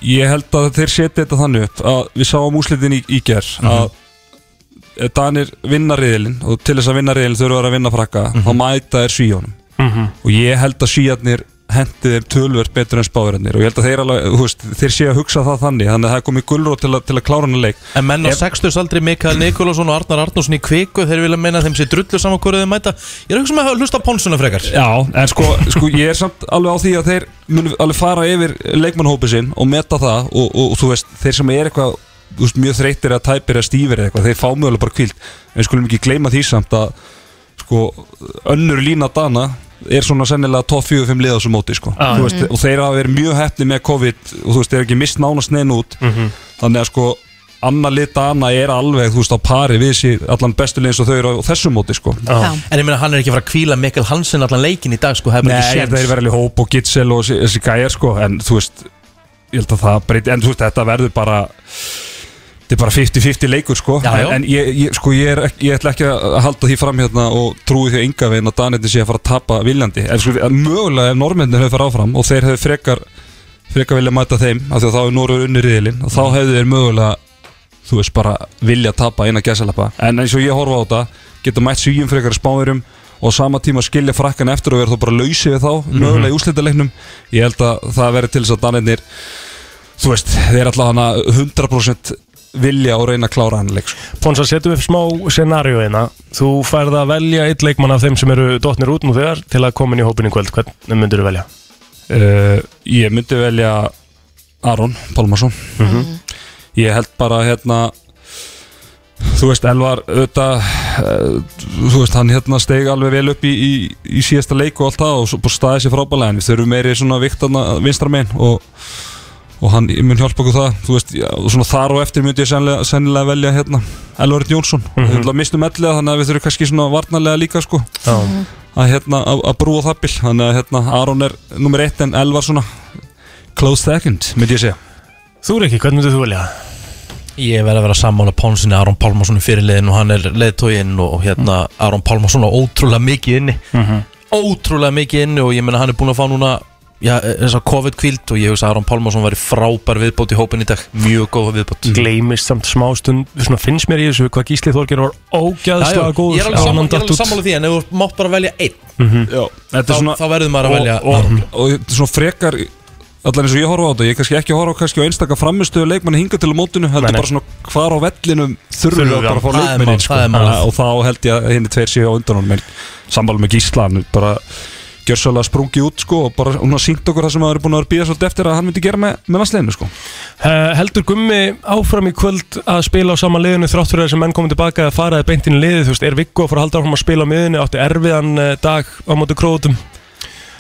Speaker 12: ég held að þeir setja þetta þannig upp að við sáum úslitin í, í ger að eh, Danir vinna riðilinn og til þess að vinna riðilinn þurfa þeir að vinna frakka þá mæta þeir svíjónum og ég held að svíjarnir hendi þeim tölvert betur en spáðurinnir og ég held að þeir, alveg, þú veist, þeir sé að hugsa það þannig þannig að það er komið gulrót til, að- til að klára hann að leik
Speaker 1: En menn á
Speaker 12: Ef-
Speaker 1: 60 aldrei Mikael Nikolásson og Arnar Arnússon í kviku Þeir vilja meina að þeim sé drullu saman hverju þeim mæta Ég er að hugsa með að hlusta á pónsuna frekar
Speaker 12: Já, en sko, sko ég er samt alveg á því að þeir munu alveg fara yfir leikmannhópi sinn og meta það og, og, þú veist, þeir sem er eitthvað þú veist, mjög þreyttir eða tæpir eða stífir eða eitthvað, þeir fá mjög alveg bara kvíld en við skulum ekki gleyma því samt að sko, önnur lína dana er svona sennilega top 4-5 liða á þessu móti sko.
Speaker 3: Já.
Speaker 12: Þú veist, og þeir hafa verið mjög hefni með COVID og þú veist, þeir eru ekki mist nánast neinn út þannig að sko annar lit dana er alveg, þú veist, á pari við sér allan bestu liðin og þau eru á þessu móti sko.
Speaker 2: Já.
Speaker 1: En ég meina hann er ekki að fara að kvíla Mikael Hansen allan leikin í dag sko, það er bara
Speaker 12: Nei,
Speaker 1: ekki
Speaker 12: ég held að
Speaker 1: séns.
Speaker 12: þeir verði alveg hóp og gitsel og þessi- þessi gæjar sko En þú veist, ég held að það breyti En þú veist, þetta verður bara Þetta er bara 50-50 leikur sko
Speaker 1: Já, já.
Speaker 12: En, en ég, ég, sko, ég, er, ekki- ég ætla ekki að halda því fram hérna Og trúi því enga veginn að Danetni sé að fara að tapa viljandi En sko, en mögulega ef normennir hefur farið áfram Og þeir hefur frekar Frekar vilja mæta þeim Af því að þá er Norður unni riðilinn Og þá hefðu þeir mögulega þú veist bara vilja tapa inn að gæsalappa en eins og ég horfa á þetta geta mætt svíum frekar spáðurum og sama tíma skilja frakkan eftir og vera þá bara lausi við þá mögulega í úrslitaleiknum ég held að það veri til þess að Danirnir þú veist, þeir alltaf hana 100% vilja og reyna að klára hann leik sko.
Speaker 3: Ponsa, setjum við smá scenarió eina Þú færð að velja eitt leikmann af þeim sem eru dotnir út nú þegar til að koma inn í hópin í kvöld Hvern myndir þú velja?
Speaker 12: uh, ég myndi velja Aron Pálmarsson ég held bara hérna þú veist Elvar auðvitað, uh, þú veist hann hérna steig alveg vel upp í, í, í síðasta leik og allt það og svo bara staði sér frábælega en við þurfum meiri svona viktarna vinstra megin og og hann mun hjálpa okkur það þú veist, já, og svona þar og eftir myndi ég sennilega, sennilega velja hérna Elvarit Jónsson mm
Speaker 3: Mhm.
Speaker 12: -hmm. við mistum ellega þannig að við þurfum kannski svona varnarlega líka sko
Speaker 3: Já. Mhm.
Speaker 12: að, hérna, að, að brúa það bil þannig að hérna, Aron er nummer eitt en Elvar svona close second, myndi ég segja
Speaker 3: Þú er ekki, hvern myndir þú velja?
Speaker 1: Ég verð að vera sammála Pónsinni Aron Pálmarsson í fyrirliðin og hann er leðtóginn og hérna Aron Pálmarsson á ótrúlega mikið inni
Speaker 3: Mhm.
Speaker 1: ótrúlega mikið inni og ég meina hann er búin að fá núna já, þess að COVID kvíld og ég hugsa að Aron Pálmarsson var í frábær viðbót í hópin í dag mjög góð viðbót
Speaker 3: Gleimist samt smástund, svona finnst mér í þessu hvað Gísli Þorgir var ógæðslega góður
Speaker 1: Ég er alveg
Speaker 3: Hann
Speaker 1: sammála, ég er
Speaker 3: datt
Speaker 1: alveg
Speaker 3: út.
Speaker 1: sammála því en ef þú mátt bara velja einn
Speaker 3: Mhm.
Speaker 12: Já,
Speaker 1: þá, þá verður maður að
Speaker 12: og,
Speaker 1: velja
Speaker 12: og, og, og svona frekar allar eins og ég horfa á þetta, ég er kannski ekki að horfa á kannski á einstaka framistöðu leikmanni hinga til á mótinu heldur
Speaker 3: nei.
Speaker 12: bara svona hvar á vellinum þurfum við
Speaker 3: Þurfum
Speaker 12: að bara
Speaker 3: við
Speaker 12: fá
Speaker 3: hann. Það er
Speaker 12: leikmanni
Speaker 3: mál, það er mál.
Speaker 12: og þá held ég að henni tveir séu á undan honum en sammála með Gísla hann er bara gjörsalega sprungi út sko og bara hún har sínt okkur það sem maður er búin að vera að býða svolítið eftir að hann myndi gera með, með landsleginu sko
Speaker 3: Eh, Heldur Gummi áfram í kvöld að spila á sama liðinu þrátt fyrir að þessi menn komið tilbaka að faraði beint inn í liðið, þú veist, er Viggo að fara að halda áfram að spila á miðinu, átti erfiðan eh, dag á móti krótum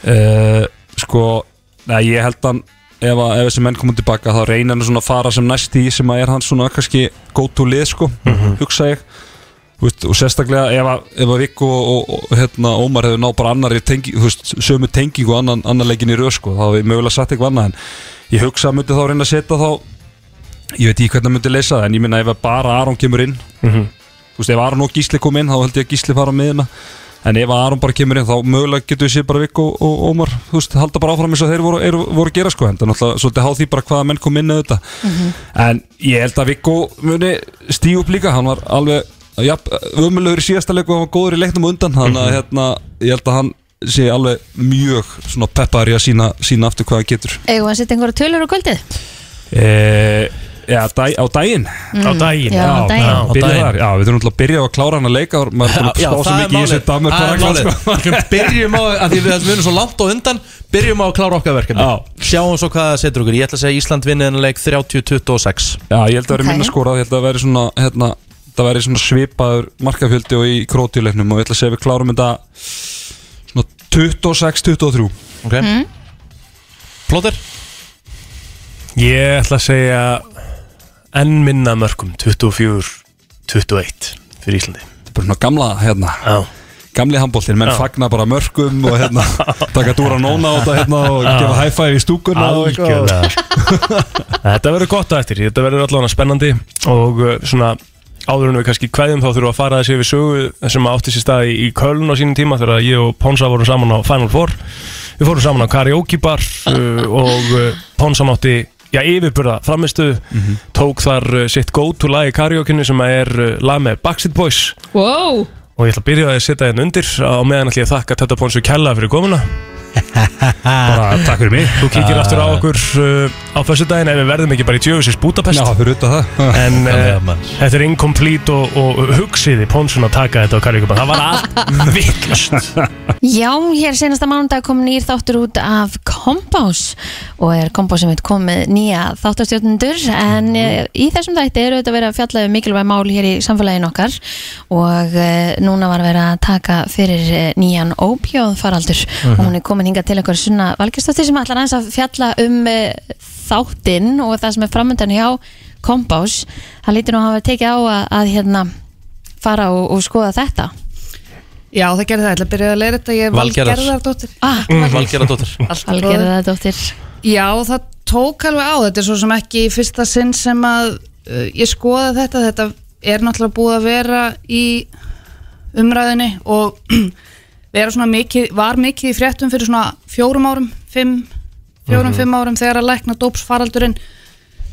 Speaker 12: uh, Sko, nei, ég held hann ef, að, ef þessi menn komum tilbaka þá reynir hann svona að fara sem næst í sem að er hann svona kannski go to lið sko, hugsa ég Þú veist, og sérstaklega ef að, ef að Viggo og, og, og hérna, Ómar hefur náð bara annari tengi, þú veist, sömu tengingu annan, annan leikin í röð sko, þá hefur mögulega satt eitthvað annað en ég hugsa að myndi þá reyna að setja þá ég veit ekki hvernig hann myndi leysa það en ég minna ef að bara Aron kemur inn
Speaker 3: Mhm.
Speaker 12: þú veist, ef Aron og Gísli kom inn þá held ég að Gísli fara á miðina en ef Aron bara kemur inn þá mögulega getur við séð bara Viggo og, og Ómar þú veist, halda bara áfram eins og þeir voru, er, voru að gera sko en það er náttúrulega svolítið háð því bara hvaða menn kom inn að þetta
Speaker 13: Mhm.
Speaker 12: en ég held að Viggo muni stíu upp líka hann var alveg ja, ömulegur í síðasta leik og hann var góður í leiknum á undan þannig að hérna, ég held að hann sé alveg mjög svona peppar í að sína, sína aftur hvað hann getur
Speaker 2: Eigum við að setja einhverja tölur á kvöldið?
Speaker 12: e, ja, dæ, á daginn
Speaker 2: Mm, Á daginn. já, á daginn.
Speaker 12: já,
Speaker 2: Á
Speaker 12: byrja
Speaker 2: daginn.
Speaker 12: þar. já, við þurfum alltaf að byrja á að klára hann að leika maður er búin að
Speaker 1: Já,
Speaker 12: spá svo
Speaker 1: það
Speaker 12: mikið
Speaker 1: er
Speaker 12: í þessu
Speaker 1: málið.
Speaker 12: damur
Speaker 1: Það er málið.
Speaker 12: sko.
Speaker 1: Við Byrjum á, að því við þessum munum svo langt og undan Byrjum á að klára okkar verkefni Sjáum svo hvað það setur okkur Ég ætla að segja að Ísland vinni þennan leik 30-26
Speaker 12: já, ég held að vera
Speaker 1: Ok.
Speaker 12: minna skorað ég held að vera svona, hérna, það veri svona svipaður markafjöldi og í krótileiknum og ég ætla að segja að við klárum þetta svona 26-23
Speaker 1: ok
Speaker 2: Mm.
Speaker 1: Plóter?
Speaker 3: Ég ætla að segja enn minna af mörgum 24-21 fyrir Íslandi
Speaker 12: Þetta er bara svona gamla hérna Gamli handbóltinn, menn
Speaker 3: Já.
Speaker 12: fagna bara mörgum og hérna, taka dúra nóna á þetta hérna, og
Speaker 3: Já.
Speaker 12: gefa high-five í stúkunna og eitthvað.
Speaker 3: Algjörlega sko.
Speaker 1: sko.
Speaker 3: Þetta verður gott að eftir, þetta verður allavega spennandi og uh, svona áður en við kannski kveðjum þá þurfum við að fara þessi yfir sögu sem átti sér stað í, í Köln á sínum tíma þegar ég og Ponsa vorum saman á Final Four við fórum saman á karaoke bar uh, og uh, Ponsa mátti já, yfirburða framistu tók þar uh, sitt go-to lag í karaoke-inu sem er uh, lag með Backstreet Boys
Speaker 2: Wow
Speaker 3: og ég ætla að byrja á því að setja hérna undir á meðan ætla ég að þakka Tetta Ponsu Kjalla fyrir komuna bara takk fyrir mig þú kíkir
Speaker 12: Ah.
Speaker 3: aftur á okkur uh, á fyrstu daginn ef við verðum ekki bara í djöfusins Budapest
Speaker 12: Já, fyrir auðvitað það
Speaker 3: en
Speaker 12: Já,
Speaker 3: uh, þetta er incomplete og, og hugsiði Ponsun að taka þetta á Karjúkubann það var allt vittlust
Speaker 2: Já, hér senasta mánudag kom nýr þáttur út af Kompás og er Kompás sem heit komið nýja þáttastjórnendur en eh, í þessum þætti eru þetta verið að fjalla um mikilvæg mál hér í samfélaginu okkar og eh, núna var verið að taka fyrir eh, nýjan óbjóð faraldur
Speaker 14: Mhm.
Speaker 2: og hún er komin hingað til einhver sunna valgistóttir sem ætlar aðeins að fjalla um eh, þáttinn og það sem er framöndan hjá Kompás. Það lítur nú að hafa tekið á að, að hérna fara og, og skoða þetta.
Speaker 14: Já, það gerði það, ég ætla að byrja að leira þetta Ég er
Speaker 1: Valgerðar.
Speaker 14: Valgerðardóttir
Speaker 2: ah,
Speaker 1: Mm. Valgera dóttir
Speaker 2: Valgerðardóttir
Speaker 14: Já, það tók alveg á, þetta er svo sem ekki í fyrsta sinn sem að uh, ég skoða þetta, þetta er náttúrulega búið að vera í umræðinni og vera svona mikið, var mikið í fréttum fyrir svona fjórum árum, fimm, fjórum,
Speaker 4: Mhm.
Speaker 14: fimm árum þegar að lækna dópsfaraldurinn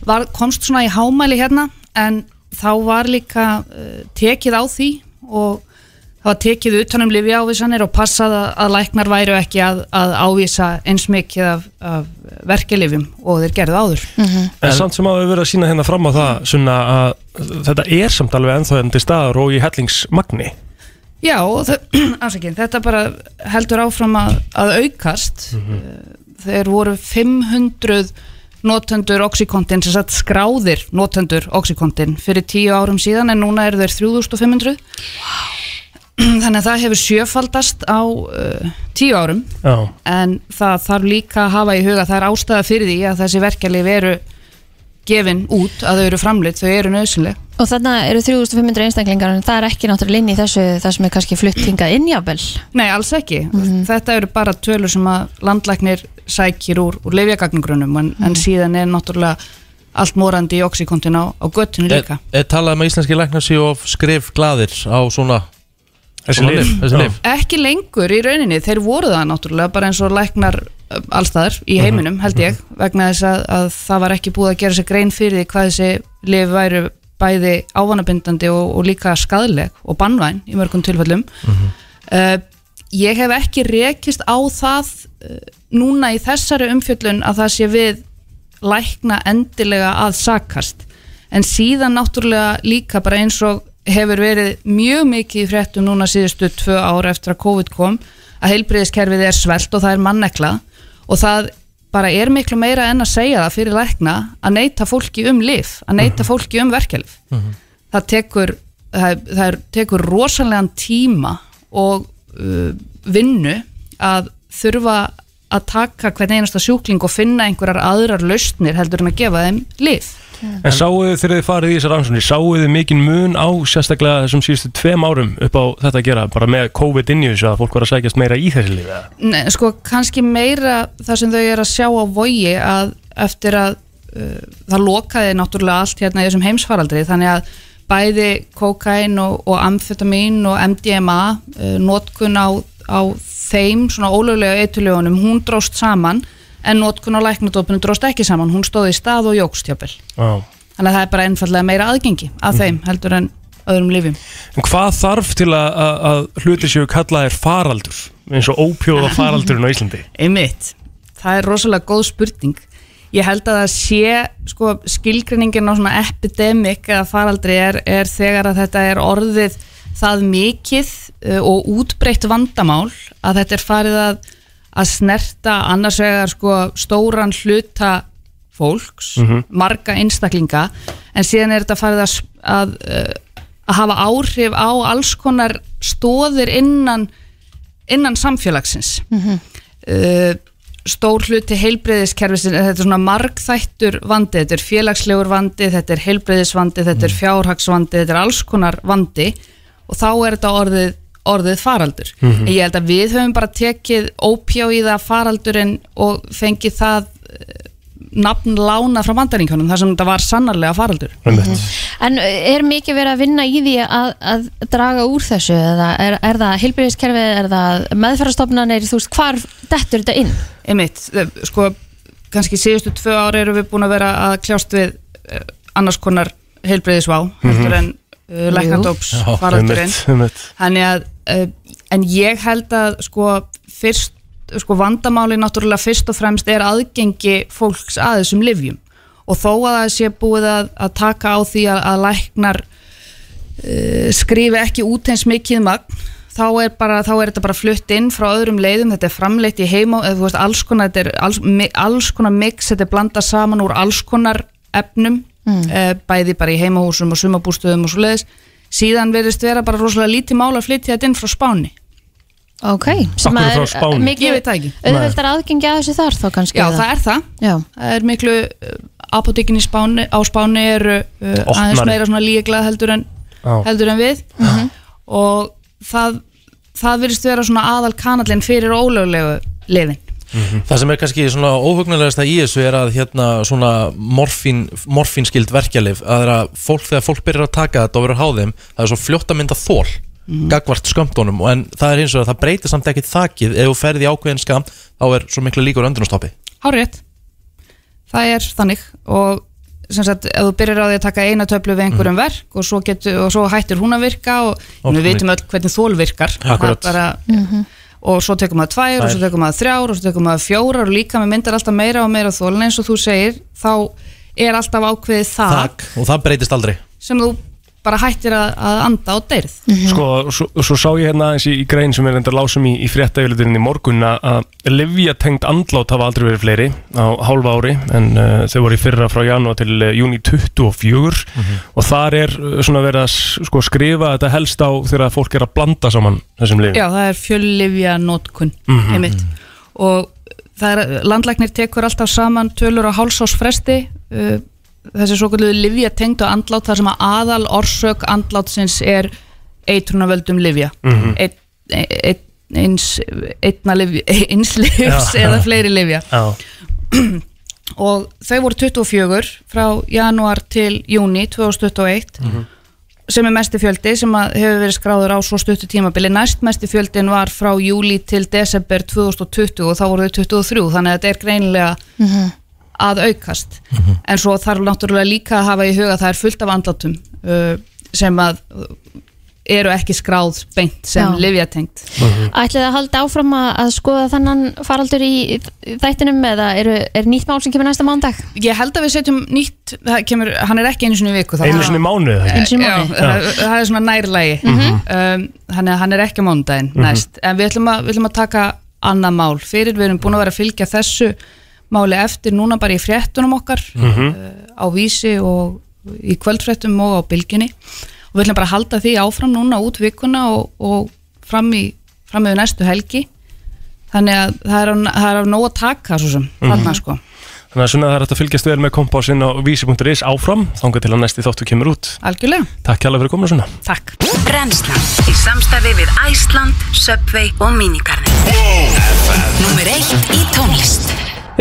Speaker 14: var, komst svona í eh, hámæli hérna en þá var líka uh, tekið á því og hafa tekið utanum lifi ávísanir og passað að, að læknar væru ekki að, að ávísa eins mikið af, af verkelifum og þeir gerðu áður
Speaker 3: En samt sem hafa verið að sína hérna fram á það svona að þetta er samt alveg ennþá enn til staðar og í hellingsmagni
Speaker 14: Já, og þau- afsakið, þetta bara heldur áfram að, að aukast Eh, þeir voru 500 notendur oxykontin sem sagt skráðir notendur oxykontin fyrir tíu árum síðan en núna eru þeir 3500 þannig að það hefur sjöfaldast á uh, tíu árum
Speaker 3: Já
Speaker 14: en það þarf líka að hafa í huga það er ástæða fyrir því að þessi verkeflið eru gefin út að þau eru framleitt, þau eru nöðsynleg
Speaker 2: Og þarna eru 3500 einstaklingar en það er ekki náttúrulega inn í þessu það sem er kannski flutt hingað inn jáfnvel
Speaker 14: Nei, alls ekki. Þetta eru bara tölur sem að landlæknir sækir úr, úr leifjagagningrunum en, en síðan er náttúrulega allt morandi í oxykontin á, á göttinu
Speaker 1: Eh,
Speaker 14: líka.
Speaker 1: Er talað um að íslenski læknar séu of skrif gladir á svona
Speaker 3: Þessi
Speaker 1: svona
Speaker 3: lyf.
Speaker 1: lyf, Þessi
Speaker 3: Já.
Speaker 1: lif
Speaker 14: Ekki lengur í rauninni, þeir voru það náttúrulega bara eins og læknar ö, allstaðar í
Speaker 1: Mhm.
Speaker 14: heiminum held ég vegna þess að, að það var ekki búið að gera sér grein fyrir því hvað þessi lif væru bæði ávanabindandi og, og líka skadleg og bannvæn í mörgum tilfellum.
Speaker 1: Mhm.
Speaker 14: Uh, ég hef ekki rekist á það uh, núna í þessari umfjöllun að það sé við lækna endilega að sakast en síðan náttúrulega líka bara eins og hefur verið mjög mikið í fréttum núna síðustu tvö ár eftir að COVID kom að heilbriðiskerfið er svelt og það er mannekla og það bara er miklu meira en að segja það fyrir lækna að neyta fólki um lif, að neyta fólki um verkelif það tekur það, það er, tekur rosalega tíma og uh, vinnu að þurfa að taka hvern einasta sjúkling og finna einhverjar aðrar lausnir heldur en að gefa þeim lif
Speaker 3: En sáuðu þið þegar þið farið í þessar rannsóknir sáuðu þið mikinn mun á sérstaklega þessum síðustu tveim árum upp á þetta að gera bara með COVID inn í þessu að fólk var að sækjast meira í þessi lífi
Speaker 14: Nei, sko kannski meira það sem þau eru að sjá á vogi að eftir að uh, það lokaði náttúrulega allt hérna í þessum heimsfaraldri þannig að bæði kokain og, og amfetamin og MDMA uh, notkun á, á þeim svona ólöglega eitulögunum hún dróst saman en notkun á læknadópunum dróst ekki saman, hún stóði í stað og jókst hjápil.
Speaker 3: Já
Speaker 14: Þannig að það er bara einfallega meira aðgengi að þeim heldur en öðrum lifum.
Speaker 3: En hvað þarf til að, að, að hluti séu kallaðir faraldur eins og ópjóða faraldurinn á Íslandi
Speaker 14: Einmitt, það er rosalega góð spurning Ég held að það sé sko, skilgreiningin á svona epidemic eða faraldri er, er þegar að þetta er orðið það mikið uh, og útbreytt vandamál að þetta er farið að, að snerta annars vegar sko, stóran hluta fólks,
Speaker 13: Mhm.
Speaker 14: marga einstaklinga en síðan er þetta farið að, að, uh, að hafa áhrif á alls konar stóðir innan, innan samfélagsins uh, stór hluti heilbreyðiskerfisins, þetta er svona margþættur vandi, þetta er félagslegur vandi, þetta er heilbreyðisvandi, þetta er fjárhagsvandi, þetta er alls konar vandi og þá er þetta orðið, orðið faraldur.
Speaker 13: Mhm.
Speaker 14: En ég held að við höfum bara tekið ópjóiða faraldurinn og fengið það eh, nafn lána frá bandaríkjónum þar sem þetta var sannarlega faraldur.
Speaker 2: En uh, er mikið verið að vinna í því að, að draga úr þessu eða er, er það heilbyrðiskerfið, er það meðferðarstofnanir, þú veist, hvar dettur þetta inn?
Speaker 14: Einmitt, eh, sko kannski síðustu tvö ári eru við búin að vera að kljást við eh, annars konar heilbreyðisvá heldur en uh, læknadóps faraldurinn þannig að uh, en ég held að sko fyrst sko vandamáli náttúrulega fyrst og fremst er aðgengi fólks að þessum livjum og þó að það sé búið að, að taka á því að, að læknar uh, skrifi ekki út eins mikið magn þá er, bara, þá er þetta bara flutt inn frá öðrum leiðum, þetta er framleitt í heima eða þú veist, alls konar, þetta er alls, mi- alls konar mix, þetta er blandað saman úr alls konar efnum mm. bæði bara í heimahúsum og sumabústöðum og svo leiðis, síðan verðist vera bara rosalega lítið mál að flytja þetta inn frá Spáni
Speaker 2: Ok,
Speaker 14: Af hverju frá Spáni? Ég
Speaker 2: mikið
Speaker 14: veit það ekki.
Speaker 2: auðveldar eh, aðgengi að þessu þar þá kannski
Speaker 14: Já,
Speaker 2: eða?
Speaker 14: það er það.
Speaker 2: Já.
Speaker 14: Það er miklu uh, apotekin í Spáni, á Spáni eru uh,
Speaker 2: Opnari.
Speaker 14: aðeins meira svona líklað heldur en,
Speaker 2: Já.
Speaker 14: heldur en við og það, það virðist vera svona aðal kanallin fyrir ólöglegu lifin.
Speaker 1: Það sem er kannski svona óhugnulegasta í þessu er að hérna svona morfín, morfínskild verkjalif að, það er að fólk, þegar fólk byrjar að taka þetta og verður háðum það er svo fljótt að mynda þól mm. gagvart skömmtunum en það er eins og að það breytir samt ekkit þakið ef þú ferði ákveðin skam þá er svo miklu líkur öndunastoppi
Speaker 14: Hárétt. Það er þannig og sem sagt, ef þú byrjar á því að taka eina töflu við einhverjum verk og svo, getur, og svo hættir hún að virka og
Speaker 13: Oft
Speaker 14: við
Speaker 13: Mm.
Speaker 14: vitum
Speaker 13: þannig.
Speaker 14: öll hvernig þól virkar Það er
Speaker 13: Akkurat.
Speaker 14: bara, og svo tekum maður tvær, og svo
Speaker 13: Tvær.
Speaker 14: tekum maður þrjár og svo tekum maður fjórar og líka með myndar alltaf meira og meira þól en eins og þú segir, þá er alltaf ákveðið það
Speaker 1: Takk, og það breytist aldrei
Speaker 14: sem þú bara hættir að, að anda á deyrð
Speaker 3: Sko, svo, svo sá ég hérna aðeins í, í grein sem við reyndar lásum í, í fréttæfjöldurinn í morgun að- að livja tengt andlát hafa aldrei verið fleiri á hálfa ári en uh, þau voru í fyrra frá janúar til uh, júni 24 og þar er uh, svona verið að s- sko, skrifa þetta helst á þegar fólk er að blanda saman þessum lifum.
Speaker 14: Já, það er fjöllifja notkun
Speaker 3: Mhm.
Speaker 14: einmitt og það er, landlæknir tekur alltaf saman tölur á hálsásfresti uh, þessi svo kvöldu livja tengd og andlát þar sem að aðal orsök andlátsins er eitrunavöldum livja
Speaker 13: Mhm.
Speaker 14: Ein- ein- eins einna livja, eins livs
Speaker 13: Já.
Speaker 14: eða fleiri livja
Speaker 3: Já.
Speaker 14: og þau voru 24 frá januar til júni 2021
Speaker 3: Mhm.
Speaker 14: sem er mesti fjöldi sem að hefur verið skráður á svo stuttu tímabili næst mesti fjöldin var frá júli til desember 2020 og þá voru þau 23 þannig að þetta er greinilega að aukast
Speaker 3: Mhm.
Speaker 14: en svo þarf náttúrulega líka að hafa í huga að það er fullt af andlátum uh, sem að uh, eru ekki skráð beint sem
Speaker 2: Já.
Speaker 14: livjatengt
Speaker 3: Mhm.
Speaker 2: Ætlið þið að halda áfram að, að skoða þannan faraldur í í þættinum eða eru, er nýtt mál sem kemur næsta mándag?
Speaker 14: Ég held að við setjum nýtt, það kemur, hann er ekki einu sinni í viku þá-
Speaker 3: Einu sinni í mánuði sko, það
Speaker 14: Já, það, það er svona nærlægi um, Þannig að hann er ekki á mánudaginn
Speaker 3: Mhm.
Speaker 14: næst En við ætlum, að, við ætlum að taka annað mál Fyrir við erum búin að vera að fylgja þessu máli eftir Núna bara í fréttunum okkar á Vísi og í kvöldfréttum og á Bylginni og við ætlum bara að halda því áfram núna út vikuna og, og fram, í, fram yfir næstu helgi Þannig að það er, af- það er af nóg að taka svo sem
Speaker 3: Mhm.
Speaker 14: þarna sko
Speaker 3: Þannig að svona það er hægt að fylgjast vel með kompásinn á vísi.is áfram þangað til að næsti þáttu kemur út.
Speaker 14: Algjörlega
Speaker 3: Takk hérlega fyrir komuna svona.
Speaker 14: Takk
Speaker 6: Brennslan Í samstarfi við Æsland, Subway og Minigarnin Númer eitt í tónlist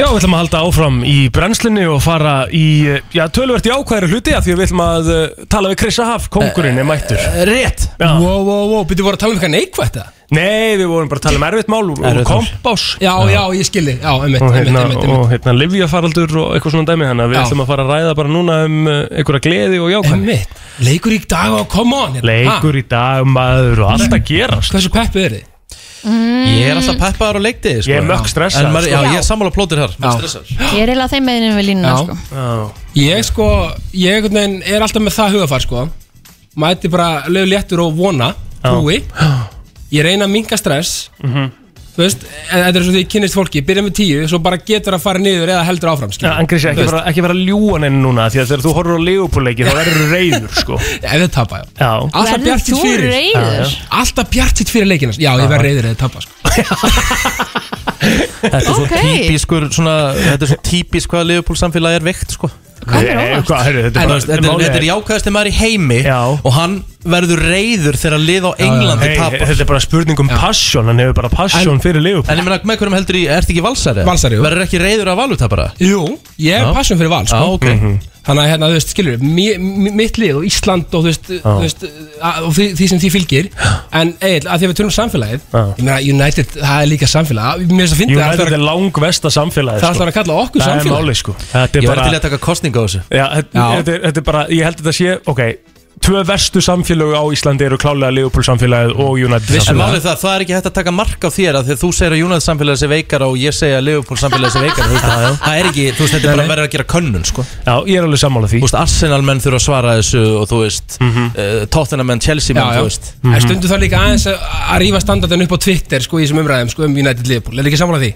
Speaker 3: Já, við ætlum að halda áfram í brennslunni og fara í, eh, já, tölvert í ákvæðri hluti að því að við ætlum að uh, tala við Krissa Haf, kongurinn
Speaker 4: Eh,
Speaker 3: er mættur.
Speaker 1: Eh,
Speaker 4: Rétt
Speaker 3: Já.
Speaker 4: Wow, wow, wow, byrju voru að tala um eitthvað neikvætt það
Speaker 3: Nei, við vorum bara að tala um erfitt mál og
Speaker 4: Erfitt mál.
Speaker 3: kompás.
Speaker 4: Já, já, ég skildi, já, einmitt,
Speaker 3: Og
Speaker 4: einmitt,
Speaker 3: hérna,
Speaker 4: einmitt,
Speaker 3: og
Speaker 4: einmitt.
Speaker 3: hérna livjafaraldur og eitthvað svona dæmi þannig að við
Speaker 4: Já.
Speaker 3: ætlum að fara að ræða bara núna um uh, einhverja gleði og jákvæðni.
Speaker 4: Einmitt. Leikur í dag og come on hérna.
Speaker 3: Leikur í dag, maður og allt að gerast.
Speaker 4: Hversu peppið er þið?
Speaker 2: Mm,
Speaker 1: Ég er alltaf peppaður og leikti sko.
Speaker 3: Ég er mökk stressaður,
Speaker 1: En maður-
Speaker 4: sko.
Speaker 1: Já, ég er sammála plótir þar Mökk stressaður
Speaker 2: Ég er eiginlega á þeim meðinu við línuna sko.
Speaker 4: Ég sko, ég einhvern veginn er alltaf með það hugafar sko Mæti bara lög léttur og vona Trúi Ég reyna að minka stress
Speaker 3: Mhm.
Speaker 4: Þú veist, en þetta er svo því ég kynnist fólki Byrja með tíu, svo bara getur að fara niður eða heldur áfram
Speaker 3: Já,
Speaker 4: skilur.
Speaker 3: en Krissi,
Speaker 4: Þú
Speaker 3: ekki,
Speaker 4: veist,
Speaker 3: fara- ekki vera að ljúa neina núna því að þegar þú horfur á leigupúleiki þá verður reyður, sko.
Speaker 4: Ef þið tapa, já.
Speaker 3: Já.
Speaker 4: Alltaf
Speaker 3: Verður
Speaker 4: bjartitt
Speaker 3: þú
Speaker 4: fyrir
Speaker 3: reiður? Já, já.
Speaker 4: Alltaf bjartitt fyrir leikina Já, ég verð reyður eða tapa sko.
Speaker 1: Þetta er svo
Speaker 4: Ok.
Speaker 1: típiskur svona, Þetta er svo típisk hvað Liverpool samfélagi er veikt sko.
Speaker 3: Hvað er óvart? Hvað er- þetta er
Speaker 1: En
Speaker 3: bara-
Speaker 1: þú veist, Þetta er-
Speaker 3: málið
Speaker 1: þetta
Speaker 3: er-
Speaker 1: er jákvæðasti maður í heimi já. Og hann verður reyður þegar lið á Englandi
Speaker 3: Nei,
Speaker 1: tapar
Speaker 3: Þetta er bara spurning um passion, hann hefur bara passion
Speaker 1: En-
Speaker 3: fyrir Liverpool
Speaker 1: En ég meina, með hverjum heldur í, ertu ekki valsari?
Speaker 4: Valsari, jú.
Speaker 1: Verður ekki reyður af valutapara?
Speaker 4: Jú, ég er
Speaker 1: Já.
Speaker 4: passion fyrir val sko.
Speaker 1: Já, ok. Mhm.
Speaker 4: Þannig að hérna, þú veist, skilur mi- mi- Mitt lið og Ísland og þú veist, þú veist að- og því, því sem því fylgir En eil, að því að við tölum um samfélagið Ég meina, United, það er líka samfélag Mér finnst að finna
Speaker 3: United er langvesta samfélagið sko.
Speaker 4: Það ætlar að kalla okkur
Speaker 3: Það er
Speaker 4: samfélag.
Speaker 3: málið, sko. Þetta er
Speaker 1: Ég
Speaker 3: bara-
Speaker 1: verður til að taka kostninga á þessu
Speaker 3: Já, þetta,
Speaker 1: Já.
Speaker 3: Þetta, er, þetta er bara, ég held að þetta sé Ok, tvö verstu samfélög á Íslandi eru klálega Liverpool samfélagið og United
Speaker 1: En
Speaker 3: samfélagið
Speaker 1: málið það, það er ekki hægt að taka mark á þér af því að þú segir að United samfélagi sé veikara og ég segja að Liverpool samfélagi sé veikara þú veist, það, það er ekki, þú veist, þetta er bara verður að gera könnun sko.
Speaker 3: Já, ég er alveg sammála því
Speaker 1: Þú
Speaker 3: Mhm.
Speaker 1: veist, Arsenal menn þurfa að svara þessu og þú veist, mm Tottenham menn, Chelsea menn,
Speaker 4: Já, já.
Speaker 1: þú veist
Speaker 4: En stundu það líka aðeins að að rífa standardin upp á Twitter sko, í þessum umræðum sko, um United Liverpool Er ekki samanlega því?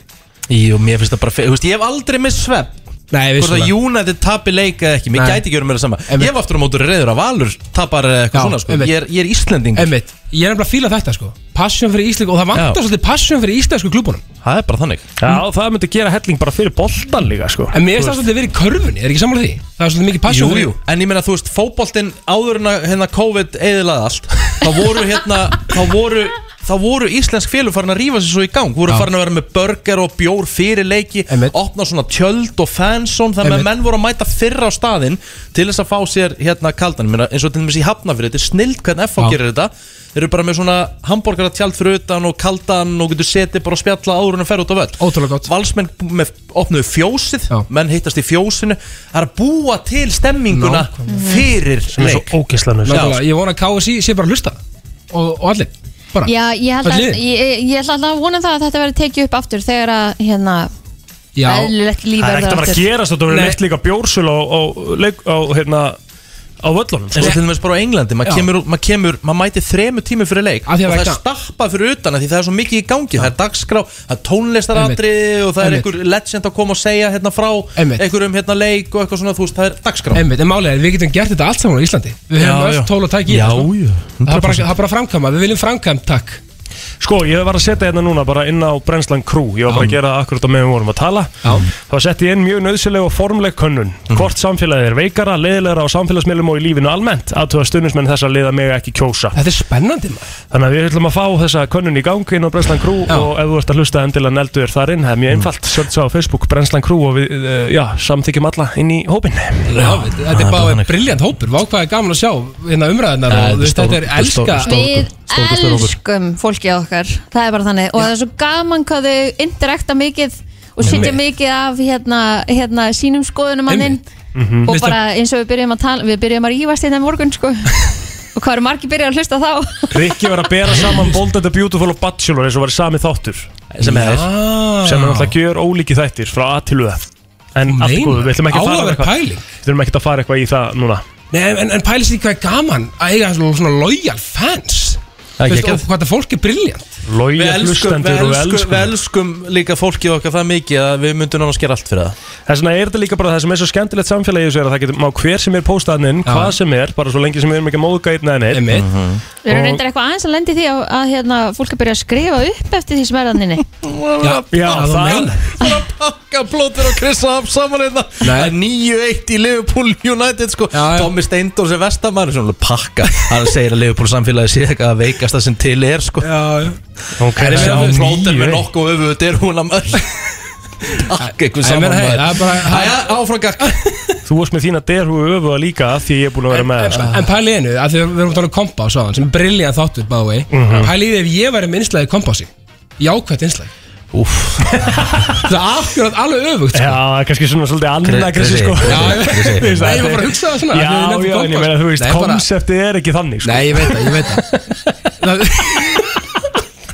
Speaker 1: Jú, mér finnst það bara, fe- þú veist, ég hef aldrei með svepp
Speaker 4: Nei,
Speaker 1: Hvort að
Speaker 4: vissulega.
Speaker 1: United tapi leik eða ekki, mér
Speaker 4: Nei.
Speaker 1: gæti ekki verið meira sama Ég hef aftur á mótur reyður af Valur, tapar eða eitthvað svona, sko
Speaker 4: einmitt.
Speaker 1: Ég er, ég er Íslending
Speaker 4: Einmitt, ég er nefnilega að fíla þetta sko Passion fyrir Ísland og það vantar
Speaker 1: Já.
Speaker 4: svolítið passion fyrir íslensku klúbunum
Speaker 1: Það er bara þannig
Speaker 3: Já, það myndi gera helling bara fyrir boltan líka, sko
Speaker 4: En mér er það svolítið verið í körfunni, er ekki samanlega því? Það er svolítið mikið passion
Speaker 1: Jú,
Speaker 4: fyrir
Speaker 1: jú, en ég meina þú veist, fótboltinn áður en að hérna COVID eðilaði allt þá voru hérna, þá voru þá voru íslensk félug farin að rífa sér svo í gang voru
Speaker 4: Já.
Speaker 1: farin að vera með burger og bjór fyrir leiki opna svona tjöld og fansón þannig
Speaker 4: Einmitt.
Speaker 1: að menn voru að mæta fyrra á staðinn til þess að fá sér hérna kaldan, ég meina, eins og til dæmis í hafnafyrir þetta er snild hvernig FH
Speaker 4: Já.
Speaker 1: gerir þetta eru bara með svona hambúrgara tjald fyrir utan og kaldan og getur setið bara og spjalla árun og fer út á völl Ótrúlega gott Valsmenn með, opnuðu fjósið, menn hittast í fjósinu Það er að búa til stemminguna
Speaker 4: Nákvæmlega.
Speaker 1: fyrir
Speaker 3: Sem er svo ógeðslega nauðsynlegt.
Speaker 1: Já.
Speaker 4: Nákvæmlega, Ég vona að KSI sé bara að hlusta Og, og allir, bara
Speaker 2: Já, ég held að,
Speaker 4: Öll liðin.
Speaker 2: ég, ég- ég held alltaf að vona það að þetta verði tekið upp aftur þegar að, hérna,
Speaker 4: Já.
Speaker 2: eðlilegt líf
Speaker 3: Það er
Speaker 2: verður
Speaker 3: ekkert að fara að
Speaker 2: aftur.
Speaker 3: gerast þetta verður
Speaker 4: Nei.
Speaker 3: leikt líka bjórsölu á, á, leik, á, hérna, á völlunum sko.
Speaker 1: En svo til dæmis bara á Englandi, maður
Speaker 3: Já.
Speaker 1: kemur, mað kemur, maður mæti þremu tími fyrir leik og
Speaker 3: því að
Speaker 1: það er
Speaker 3: vegna-
Speaker 1: stappað fyrir utan af því það er svo mikið í gangi, það er dagskrá, það er tónlistaratri og það er
Speaker 4: Einmitt.
Speaker 1: einhver legend að koma og segja hérna frá
Speaker 4: Einmitt.
Speaker 1: einhverjum hérna leik og eitthvað svona, þú veist, það er dagskrá
Speaker 4: Einmitt, en málið er, við getum gert þetta allt saman á Íslandi Við
Speaker 1: Já,
Speaker 4: höfum
Speaker 1: já.
Speaker 4: öll tól og tæki í
Speaker 1: Já,
Speaker 4: þetta, sko.
Speaker 1: já,
Speaker 4: Það er bara,
Speaker 3: 100%.
Speaker 4: það er bara framkvæma, við viljum framkvæm, takk
Speaker 3: Sko, ég var að setja hérna núna bara inn á Brennslan Crew Ég var bara að gera það akkurat á meðan við vorum að tala Já. Þá setti ég inn mjög nöðsileg og formleg könnun
Speaker 4: Mhm.
Speaker 3: Hvort samfélagið er veikara, leiðilegra á samfélagsmiðlum og í lífinu almennt Aðtöða stundismenn þess að leiða mig ekki kjósa
Speaker 4: Þetta er spennandi maður
Speaker 3: Þannig að við ætlum að fá þessa könnun í gang inn á Brennslan Crew Og ef þú ert að hlusta endilega neldu þér þar inn Það er
Speaker 4: Mhm.
Speaker 3: mjög einfalt, sörðu svo á Facebook Brennslan Crew Og við, uh, já, samþykjum alla inn í hópinn
Speaker 4: Já, þetta
Speaker 3: Ah,
Speaker 4: er bara briljant hópur, vá hvað er gaman að sjá hérna umræðinar
Speaker 3: Já,
Speaker 4: og
Speaker 3: þetta er
Speaker 4: þú veist,
Speaker 3: stór-
Speaker 4: þetta er
Speaker 3: þetta er stór-
Speaker 4: elska
Speaker 3: stór-
Speaker 2: Við
Speaker 3: Stór- stór- stór hópur.
Speaker 2: elskum fólkið okkar, það er bara þannig og það er svo gaman hvað þau interakta mikið og sitja
Speaker 4: Einmitt.
Speaker 2: mikið af hérna, hérna sínum skoðunum manninn
Speaker 4: Mhm.
Speaker 2: og
Speaker 4: Veist
Speaker 2: bara eins og við byrjum að tala við byrjum að rífast hérna í morgun sko og hvað eru margir byrjað að hlusta þá
Speaker 3: Rikki var að bera saman Bold and the Beautiful og Bachelor eins og var sami þáttur sem er,
Speaker 4: Já.
Speaker 3: sem er alltaf gjör ólíki þættir frá að til það en allt í góðu, við ætlum ekki að fara
Speaker 4: Áhugaverð
Speaker 3: eitthvað
Speaker 4: pæling.
Speaker 3: við ætlum ekki að fara eitthvað í það núna
Speaker 4: Nei, en, en- en pælis því hvað er gaman að eiga svona, svona loyal fans
Speaker 3: Það er
Speaker 4: Þú veist,
Speaker 3: geggjað.
Speaker 4: og hvað það fólk er briljant
Speaker 1: Við
Speaker 3: Lója
Speaker 1: elskum, við,
Speaker 3: hlustendur og við
Speaker 1: elskum,
Speaker 3: elskum
Speaker 1: við elskum líka fólkið okkar það mikið að við myndum náttúrulega skera allt fyrir það
Speaker 3: Þess vegna er þetta líka bara það sem er svo skemmtilegt samfélagi er að það getur má hver sem er póstaðnin,
Speaker 1: Já.
Speaker 3: hvað sem er bara svo lengi sem við erum ekki að móðuga einn eða Mhm. neitt
Speaker 2: Við erum reyndar eitthvað aðeins að lendi því að, að hérna, fólk er byrjað að skrifa upp eftir því sem er þannig
Speaker 3: Já, já, það
Speaker 1: Það er að pakka plótur og krissa af saman hérna Það er 9-1 í Liverpool United sko Tommy Steindor sem vestamann sem alveg pakka Hann segir að Liverpool samfélagi sé eitthvað að veikasta sem til er sko
Speaker 4: Já, já
Speaker 1: Það
Speaker 3: okay,
Speaker 1: er
Speaker 4: já,
Speaker 1: sem plótur
Speaker 4: 9-1.
Speaker 1: með nokkuð öfuð er hún að mörg Takk
Speaker 4: Æ,
Speaker 1: eitthvað
Speaker 4: menn,
Speaker 1: saman
Speaker 4: hey,
Speaker 1: maður.
Speaker 4: það er bara-
Speaker 1: Jæja, áfram gakk
Speaker 3: Þú varst með þína derhu öfuða líka af því ég er búin að vera með sko.
Speaker 4: En, sko, en pæli einu, að því við erum að tala um kompa á sáðan sem er briljant þáttur, by the way
Speaker 3: Mhm.
Speaker 4: Pæli í því ef ég væri með innslagi kompási Jákvæmt innslag Það er akkurat alveg öfugt sko.
Speaker 3: Já, það er kannski svona svolítið annagressi sko
Speaker 4: Já, ég veit
Speaker 3: Þú veist,
Speaker 4: Nei, ég var bara
Speaker 3: þetta er-
Speaker 4: að hugsa það svona
Speaker 3: Já,
Speaker 4: af því við
Speaker 3: já, en
Speaker 4: nefndum
Speaker 3: ég meina, þú veist,
Speaker 4: Nei, bara-
Speaker 3: konseptið er ekki þannig sko.
Speaker 4: Nei, ég veit það, ég veit það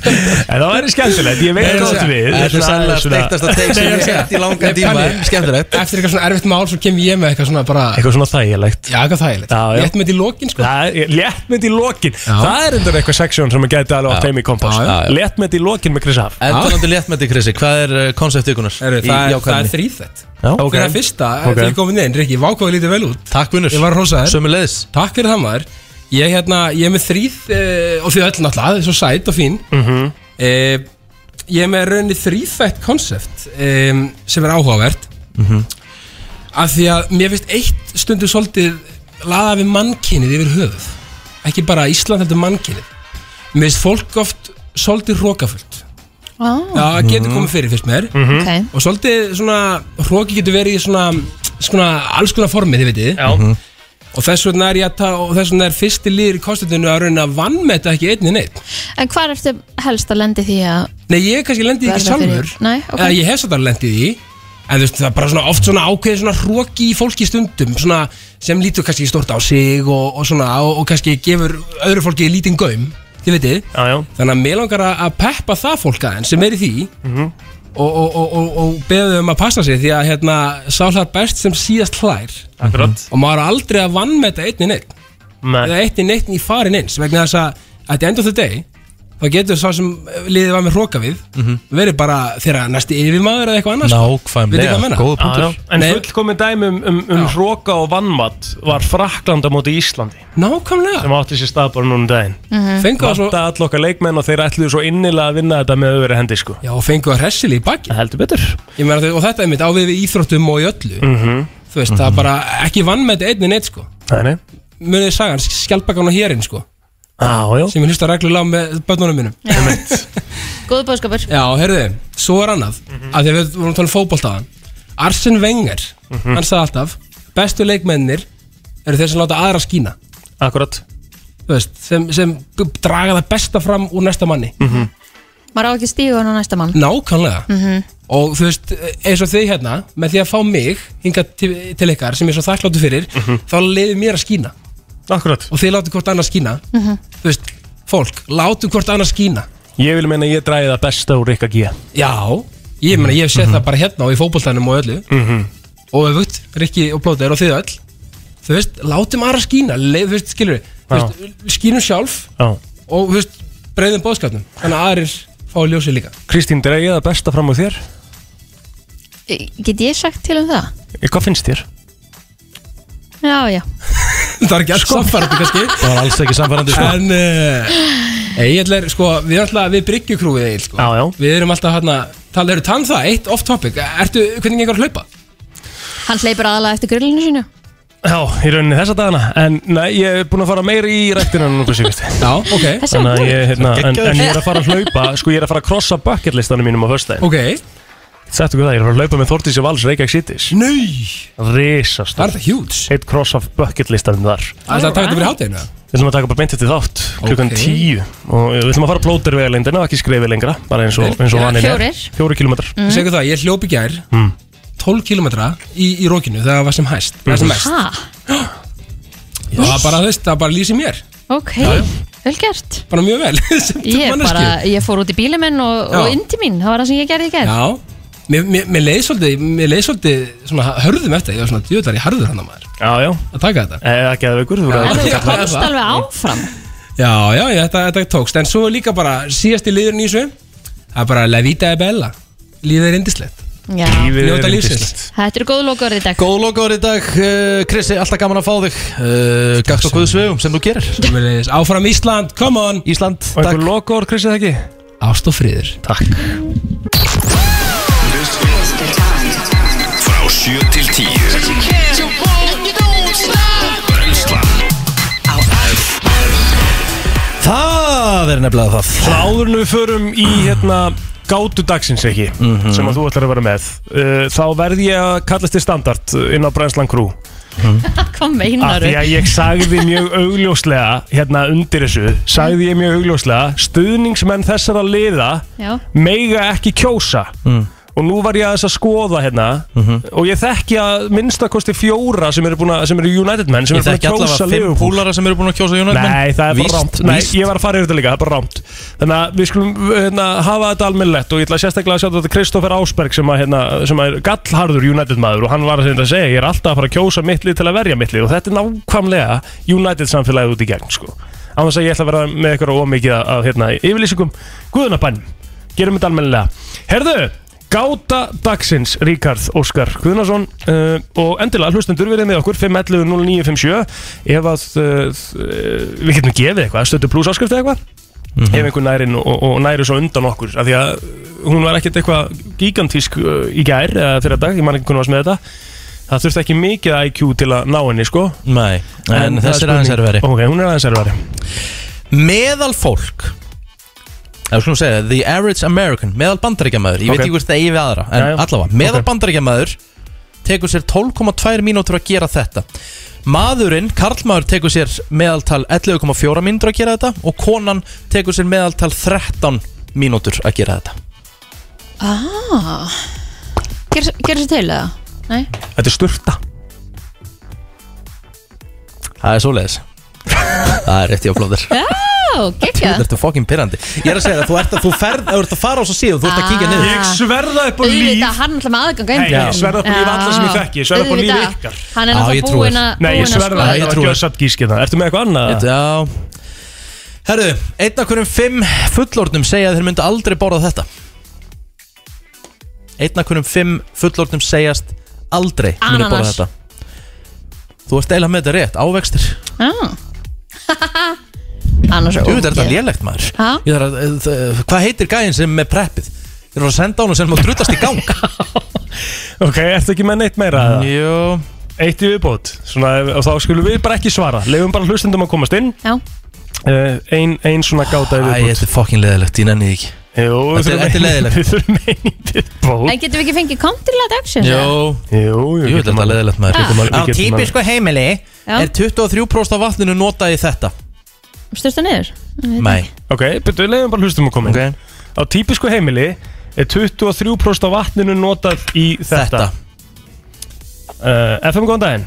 Speaker 3: En það væri skemmtilegt, ég veit
Speaker 4: Nei,
Speaker 3: hvað
Speaker 4: ég
Speaker 3: átt
Speaker 4: sé.
Speaker 3: við
Speaker 1: Þetta er sannlega steiktasta take sem
Speaker 4: Nei,
Speaker 1: ég hef
Speaker 4: ég
Speaker 1: sett
Speaker 4: sé.
Speaker 1: í langan
Speaker 4: Nei,
Speaker 1: tíma
Speaker 4: pæli.
Speaker 1: Skemmtilegt
Speaker 4: Eftir eitthvað svona erfitt mál svo kem ég með eitthvað svona bara
Speaker 3: Eitthvað svona þægilegt
Speaker 4: Já, eitthvað þægilegt
Speaker 3: Já, já.
Speaker 4: Létt með þetta í lokin sko
Speaker 3: Það er léttmynd í lokin Það er endur eitthvað seksjón sem að geta alveg átt heim í kompás
Speaker 1: Já, já.
Speaker 3: Léttmynd í lokin með Chris Haf
Speaker 4: um-
Speaker 1: Endurlandi léttmætti Krissi, hvað er eh, konseptíkunar?
Speaker 4: Það er, það er þrýþætt
Speaker 1: Ok.
Speaker 4: Fyrir að fyrsta,
Speaker 1: Ok.
Speaker 4: þegar ég kom inn, Rikki, vákvaði lítið vel út
Speaker 1: Takk vinnur
Speaker 4: Ég var að hrósa þér
Speaker 1: Sömulegðis
Speaker 4: Takk fyrir það maður Ég, hérna, ég er með þrýð eh, og þið öll náttúrulega, þið er svo sæt og fín
Speaker 3: Mhm.
Speaker 4: eh, Ég er með rauninni þrýþætt konsept eh, sem er áhugavert
Speaker 1: Mhm.
Speaker 4: Af því að mér finnst eitt stundu svolítið laða við mannkynið yfir höfuð Ekki bara Ísland heldur mannkynið Mér finnst fólk oft svolítið hrókafullt Já,
Speaker 2: oh.
Speaker 4: það
Speaker 9: Mhm.
Speaker 4: getur komið fyrir fyrst mér
Speaker 2: Ok.
Speaker 4: Og svolítið svona Hróki getur verið í svona, svona Alls konar formi, þið veitir
Speaker 3: Já
Speaker 4: Og þess vegna er ég að ta Og þess vegna er fyrsti liður í kostutinu Að raun að vannmeta ekki einni neitt
Speaker 2: En hvað ertu helst að lendi því að
Speaker 4: Nei, ég kannski lendi því ekki
Speaker 2: Verða fyrir-
Speaker 4: sjálfur
Speaker 2: Nei, ok.
Speaker 4: Eða ég hef satt að lendi því En þú veist, það er bara svona oft svona ákveðið svona hróki í fólki stundum Svona sem lítur kannski stort á sig Og, og svona, og, og kannski gefur öðru fólki lítinn gaum Þið veitir
Speaker 3: Já, já
Speaker 4: Þannig að mér langar að að peppa það fólk aðeins sem er í því
Speaker 3: Mhm.
Speaker 4: og, og, og, og, og beðum um að passa sig því að hérna, sáhlar best sem síðast hlær
Speaker 3: Akkurat
Speaker 4: og maður á aldrei að vannmeta einni neitt
Speaker 3: Nei.
Speaker 4: eða einni neitt í farin eins vegna þess að at the end of the day þá getur sá sem liðið var með hróka við verið bara þeirra næsti yfirmaður eða eitthvað annars
Speaker 1: Mhm. Nákvæmlega, góður punktur.
Speaker 3: Já, já. En fullkomin dæmi um, um, um hróka og vannmatt var Frakland á móti Íslandi
Speaker 4: Nákvæmlega
Speaker 3: sem átti sér stað bara núna um daginn
Speaker 4: Mhm. Fengu það svo-
Speaker 3: Vanda all okkar leikmenn og þeir ætluðu svo innilega að vinna þetta með öðru hendi sko
Speaker 4: Já, og fengu að hressili í baki
Speaker 3: Heldur betur
Speaker 4: meina, þau- og þetta er mitt á við í íþróttum og í öllu
Speaker 3: Mhm.
Speaker 4: þú veist, það er bara ekki vannmeta einni neitt sko
Speaker 3: Þannig
Speaker 4: munið þið sagan, skjálpakan og hérinn sko
Speaker 3: Já, já
Speaker 4: sem ég hlusta reglulega á með börnunum mínum
Speaker 2: góðu bóðskapur
Speaker 4: Já, heyrðu, svo er annað mm
Speaker 3: Mhm.
Speaker 4: að því að við vorum að tala um fótboltaðan Arsene Wenger,
Speaker 3: Mhm.
Speaker 4: hann sagði alltaf bestu leikmennir eru þeir sem láta aðra skína
Speaker 3: Akkurat
Speaker 4: þú veist, sem, sem draga það besta fram úr næsta manni
Speaker 3: Mhm.
Speaker 2: maður á ekki stígu hann á næsta mann
Speaker 4: nákvæmlega
Speaker 2: Mhm.
Speaker 4: og þú veist, eins og þið hérna með því að fá mig hingað til, til ykkar sem ég er svo þakkláttu fyrir þá leiði mér að skína
Speaker 3: Mhm. Akkurat.
Speaker 4: og þið látið hvort annað skína
Speaker 2: Mhm.
Speaker 4: þú veist, fólk, látið hvort annað skína
Speaker 3: Ég vil meina að ég dræði það besta úr Rikka G
Speaker 4: Já, ég meina ég hef sett það bara hérna og í fótboltanum og öllu
Speaker 3: Mhm.
Speaker 4: og öfugt, Rikki og Plóter og þið öll þú veist, látum aðra skína leið, þú veist, skilur við, þú
Speaker 3: Já.
Speaker 4: veist, skínum sjálf
Speaker 3: Já.
Speaker 4: og þú veist, breyðum bóðskapnum þannig að aðrir fá ljósið líka
Speaker 3: Kristín, dræði það besta fram úr þér?
Speaker 2: Í- Eh, Get ég sagt til um það?
Speaker 3: Eh, Hvað finnst þér?
Speaker 2: Já, Sko. já
Speaker 4: það var ekki alls samfærandi kannski
Speaker 1: Það var alls ekki samfærandi sko
Speaker 4: en uh, Egil er, sko, við erum alltaf við bryggjukrúið Egil, sko, já, já. við erum alltaf hérna, tala, eru tann það, eitt off topic ertu, hvernig gengur að hlaupa?
Speaker 2: Hann hleypur aðalega eftir grillinu sínu
Speaker 3: Já, í rauninni þessa dagana En nei, ég er búin að fara meira í rættina en nokkuð síðust
Speaker 4: Já, ok
Speaker 2: Þessi var
Speaker 3: Þannig að ég,
Speaker 2: góður.
Speaker 3: hérna, en,
Speaker 2: Geggjaður.
Speaker 3: en ég er að fara að hlaupa Sko, ég er að fara að krossa bucket listanum mínum á föstudaginn
Speaker 4: Ok
Speaker 3: Sættu hvað það, ég er að fara að hlaupa með Þortís og Vals Reykjavík Citys Nei Risast
Speaker 4: Það er það hjúts
Speaker 3: Eitt cross of bucket listanum þar
Speaker 4: Það er að taka þetta fyrir hátæðinu
Speaker 3: Við ætlum að taka bara beint eftir þátt klukkan
Speaker 4: Ok.
Speaker 3: 10 og við ætlum að fara plóter við lengdina og ekki skrefi lengra bara eins og, eins og
Speaker 4: Já,
Speaker 3: vanin er Mm.
Speaker 4: fjórir.
Speaker 3: Fjóri kilometrar
Speaker 4: mm. Segðu það, ég hljóp í gær 12 km í, í rókinu þegar það var sem hæst Það var
Speaker 3: Mm.
Speaker 4: sem mest
Speaker 2: Ha,
Speaker 4: Það var bara, þú veist, það bara lýsi mér
Speaker 2: ok, vel gert
Speaker 4: Bara mjög vel sem
Speaker 2: Ég,
Speaker 4: manneskju.
Speaker 2: bara, ég fór út í bílinn minn og, og
Speaker 4: Já.
Speaker 2: inn til mín, það var það sem ég gerði í gerð
Speaker 4: Já, mér, mér, mér leið svolítið Mér leið svolítið svona hörðum eftir Ég var svona djöðlar í harður hann að maður
Speaker 3: Já, já
Speaker 4: Að taka þetta
Speaker 3: Eða ekki að veikur
Speaker 4: Já,
Speaker 2: En þú
Speaker 4: þetta-
Speaker 2: komst alveg áfram
Speaker 4: já, já, já, þetta, þetta tókst En svo er líka bara síðasti liðurinn í þessu Það er bara La Vita e Bella Lífið er indislegt
Speaker 2: Já.
Speaker 4: Njóta lífsins
Speaker 2: Þetta eru góð lokaður í dag
Speaker 1: Góð lokaður í dag, eh, Kristi, alltaf gaman að fá þig uh, Gakt og guðsvegum sem þú gerir
Speaker 4: Sömuleiðis. Áfram Ísland, come on
Speaker 1: Ísland,
Speaker 3: Og einhver lokaður, Kristi, það ekki?
Speaker 4: Ást og friður
Speaker 3: Takk
Speaker 5: Frá 7 til 10 Brennslan
Speaker 1: Það er nefnilega það
Speaker 3: Áður en við förum í hérna gátu dagsins ekki
Speaker 4: Mhm.
Speaker 3: sem að þú ætlar að vera með uh, þá verð ég að kallast þér standard uh, inn á Brænslan Crew
Speaker 2: Hvað
Speaker 3: af
Speaker 2: meinar
Speaker 3: því að ég sagði mjög augljóslega hérna undir þessu sagði ég mjög augljóslega stuðningsmenn þessara liða
Speaker 2: Já.
Speaker 3: meiga ekki kjósa
Speaker 1: Mm.
Speaker 3: og nú var ég aðeins að skoða hérna
Speaker 1: Mhm.
Speaker 3: og ég þekki að minnstakosti fjóra sem eru, búna, sem eru United menn sem
Speaker 1: Ég
Speaker 3: eru búin
Speaker 1: þekki
Speaker 3: að
Speaker 1: allavega
Speaker 3: kjósa
Speaker 1: fimm
Speaker 3: Liverpool
Speaker 1: púlara sem eru búin að kjósa United menn.
Speaker 3: Nei, það er
Speaker 1: Víst,
Speaker 3: bara rámt Nei,
Speaker 1: víst.
Speaker 3: ég var að fara yfir þetta líka, það er bara rámt Þannig að við skulum hérna, hafa þetta almennlegt og ég ætla sérstaklega að sjá þetta Kristoffer Ásberg sem, að, hérna, sem að er gallharður United maður og hann var að segja, segja ég er alltaf að fara að kjósa mittli til að verja mittli og þetta er nákvæmlega United samfélagið út í gegn sko. Á þess að ég ætla að vera með ykkur ómikið að hérna, yfirlýsingum Guðunabann, gerum þetta almennlega Herðu, Gáta dagsins, Ríkard Óskar Guðnason uh, og endilega hlustendur verið með okkur 511 0957 ef að uh, uh, við getum gefið eitthvað, stöndu pluss áskrift eða eitthvað
Speaker 1: Mhm.
Speaker 3: ef einhver nærin og, og næri svo undan okkur af því að hún var ekkert eitthvað gigantísk uh, í gær eða fyrir dag, ég man ekki hvernig varst með þetta það þurfti ekki mikið IQ til að ná henni sko
Speaker 1: Nei, en
Speaker 3: það
Speaker 1: þessi er aðeins
Speaker 3: spurning-
Speaker 1: erfiðari.
Speaker 3: Ok, hún er aðeins erfari
Speaker 1: Meðal fólk Það skulum segja, the average American Meðal bandaríkjamaður, ég
Speaker 3: Ok.
Speaker 1: veit ekki hvort það eigi við aðra En
Speaker 3: Já, já.
Speaker 1: allavega, meðal
Speaker 3: Ok.
Speaker 1: bandaríkjamaður Tekur sér 12,2 mínútur að gera þetta Maðurinn, karlmaður tekur sér meðaltal 11,4 mínútur að gera þetta Og konan tekur sér meðaltal 13 mínútur að gera þetta
Speaker 2: Ah. Gerðu gerðu sér til eða? Nei
Speaker 1: Þetta er sturta Það er svoleiðis Það er rétt í áflóðir
Speaker 2: Já,
Speaker 1: Þetta
Speaker 2: geggjað
Speaker 1: ertu fokkin pirrandi Ég er að segja það, þú ert að, þú ferð, þú ert að fara á svo síðu Þú ert að kíkja niður
Speaker 2: Ah. Ég
Speaker 3: sverða upp
Speaker 2: Auðvitað, hann ætla með aðganga inn
Speaker 3: Nei, ég sverða upp á líf alla sem ég þekki, ég sverða upp á líf
Speaker 2: Auðvitað.
Speaker 3: ykkar.
Speaker 2: Hann er
Speaker 3: Já, ég
Speaker 2: náttúrulega
Speaker 3: trúi
Speaker 2: búinn
Speaker 3: þessu.
Speaker 2: að
Speaker 3: Nei, ég
Speaker 2: búinn að
Speaker 3: sverða
Speaker 2: skoða
Speaker 3: það, ég
Speaker 2: þetta.
Speaker 3: trúi þessu. satt gískið það Ertu með eitthvað annað?
Speaker 1: Já Herru, einn af hverjum fimm fullornum segja að þeir myndu aldrei borða þetta Einn af hverjum fimm fullornum segjast aldrei myndu borða
Speaker 2: Ananas.
Speaker 1: þetta Þú ert eiginlega með þetta rétt, ávextir
Speaker 2: Annars
Speaker 1: Þú veit, er þetta
Speaker 2: ógeð.
Speaker 1: lélegt maður
Speaker 2: Ha?
Speaker 3: Ah.
Speaker 1: Ég þarf að, eh, þ- Hvað heitir gæinn sem er með preppið? Þeir eru að senda honum sem má drutast í gang
Speaker 3: Ok, ertu ekki með neitt meira?
Speaker 1: Jú
Speaker 3: Eitt í viðbót Svona, ef- og þá skulum við bara ekki svara Leifum bara hlustendum að komast inn
Speaker 2: Já.
Speaker 3: uh, ein, ein svona gáta í
Speaker 1: Æ,
Speaker 3: viðbót
Speaker 1: þetta er fokkin leðilegt, ég nenni því ekki
Speaker 3: Jú,
Speaker 1: Þetta er- þetta er leiðilegt.
Speaker 3: Við þurfum einn í viðbót
Speaker 2: En getum við ekki fengið Counterlat Action?
Speaker 1: Jó,
Speaker 3: jú, jú
Speaker 1: Jú, þetta er leðilegt
Speaker 2: Ah.
Speaker 1: maður sko,
Speaker 2: Getum
Speaker 1: Á
Speaker 3: alveg- getum alveg-
Speaker 1: típisku heimili
Speaker 2: Já.
Speaker 1: er 23% af vatninu notað í þetta
Speaker 2: Stursta niður? Ég veit
Speaker 1: Nei
Speaker 3: Ok, betur við leiðum bara hlustum að koma okay. Á típisku heimili er 23% af vatninu notað í þetta, Uh, FM, góðan daginn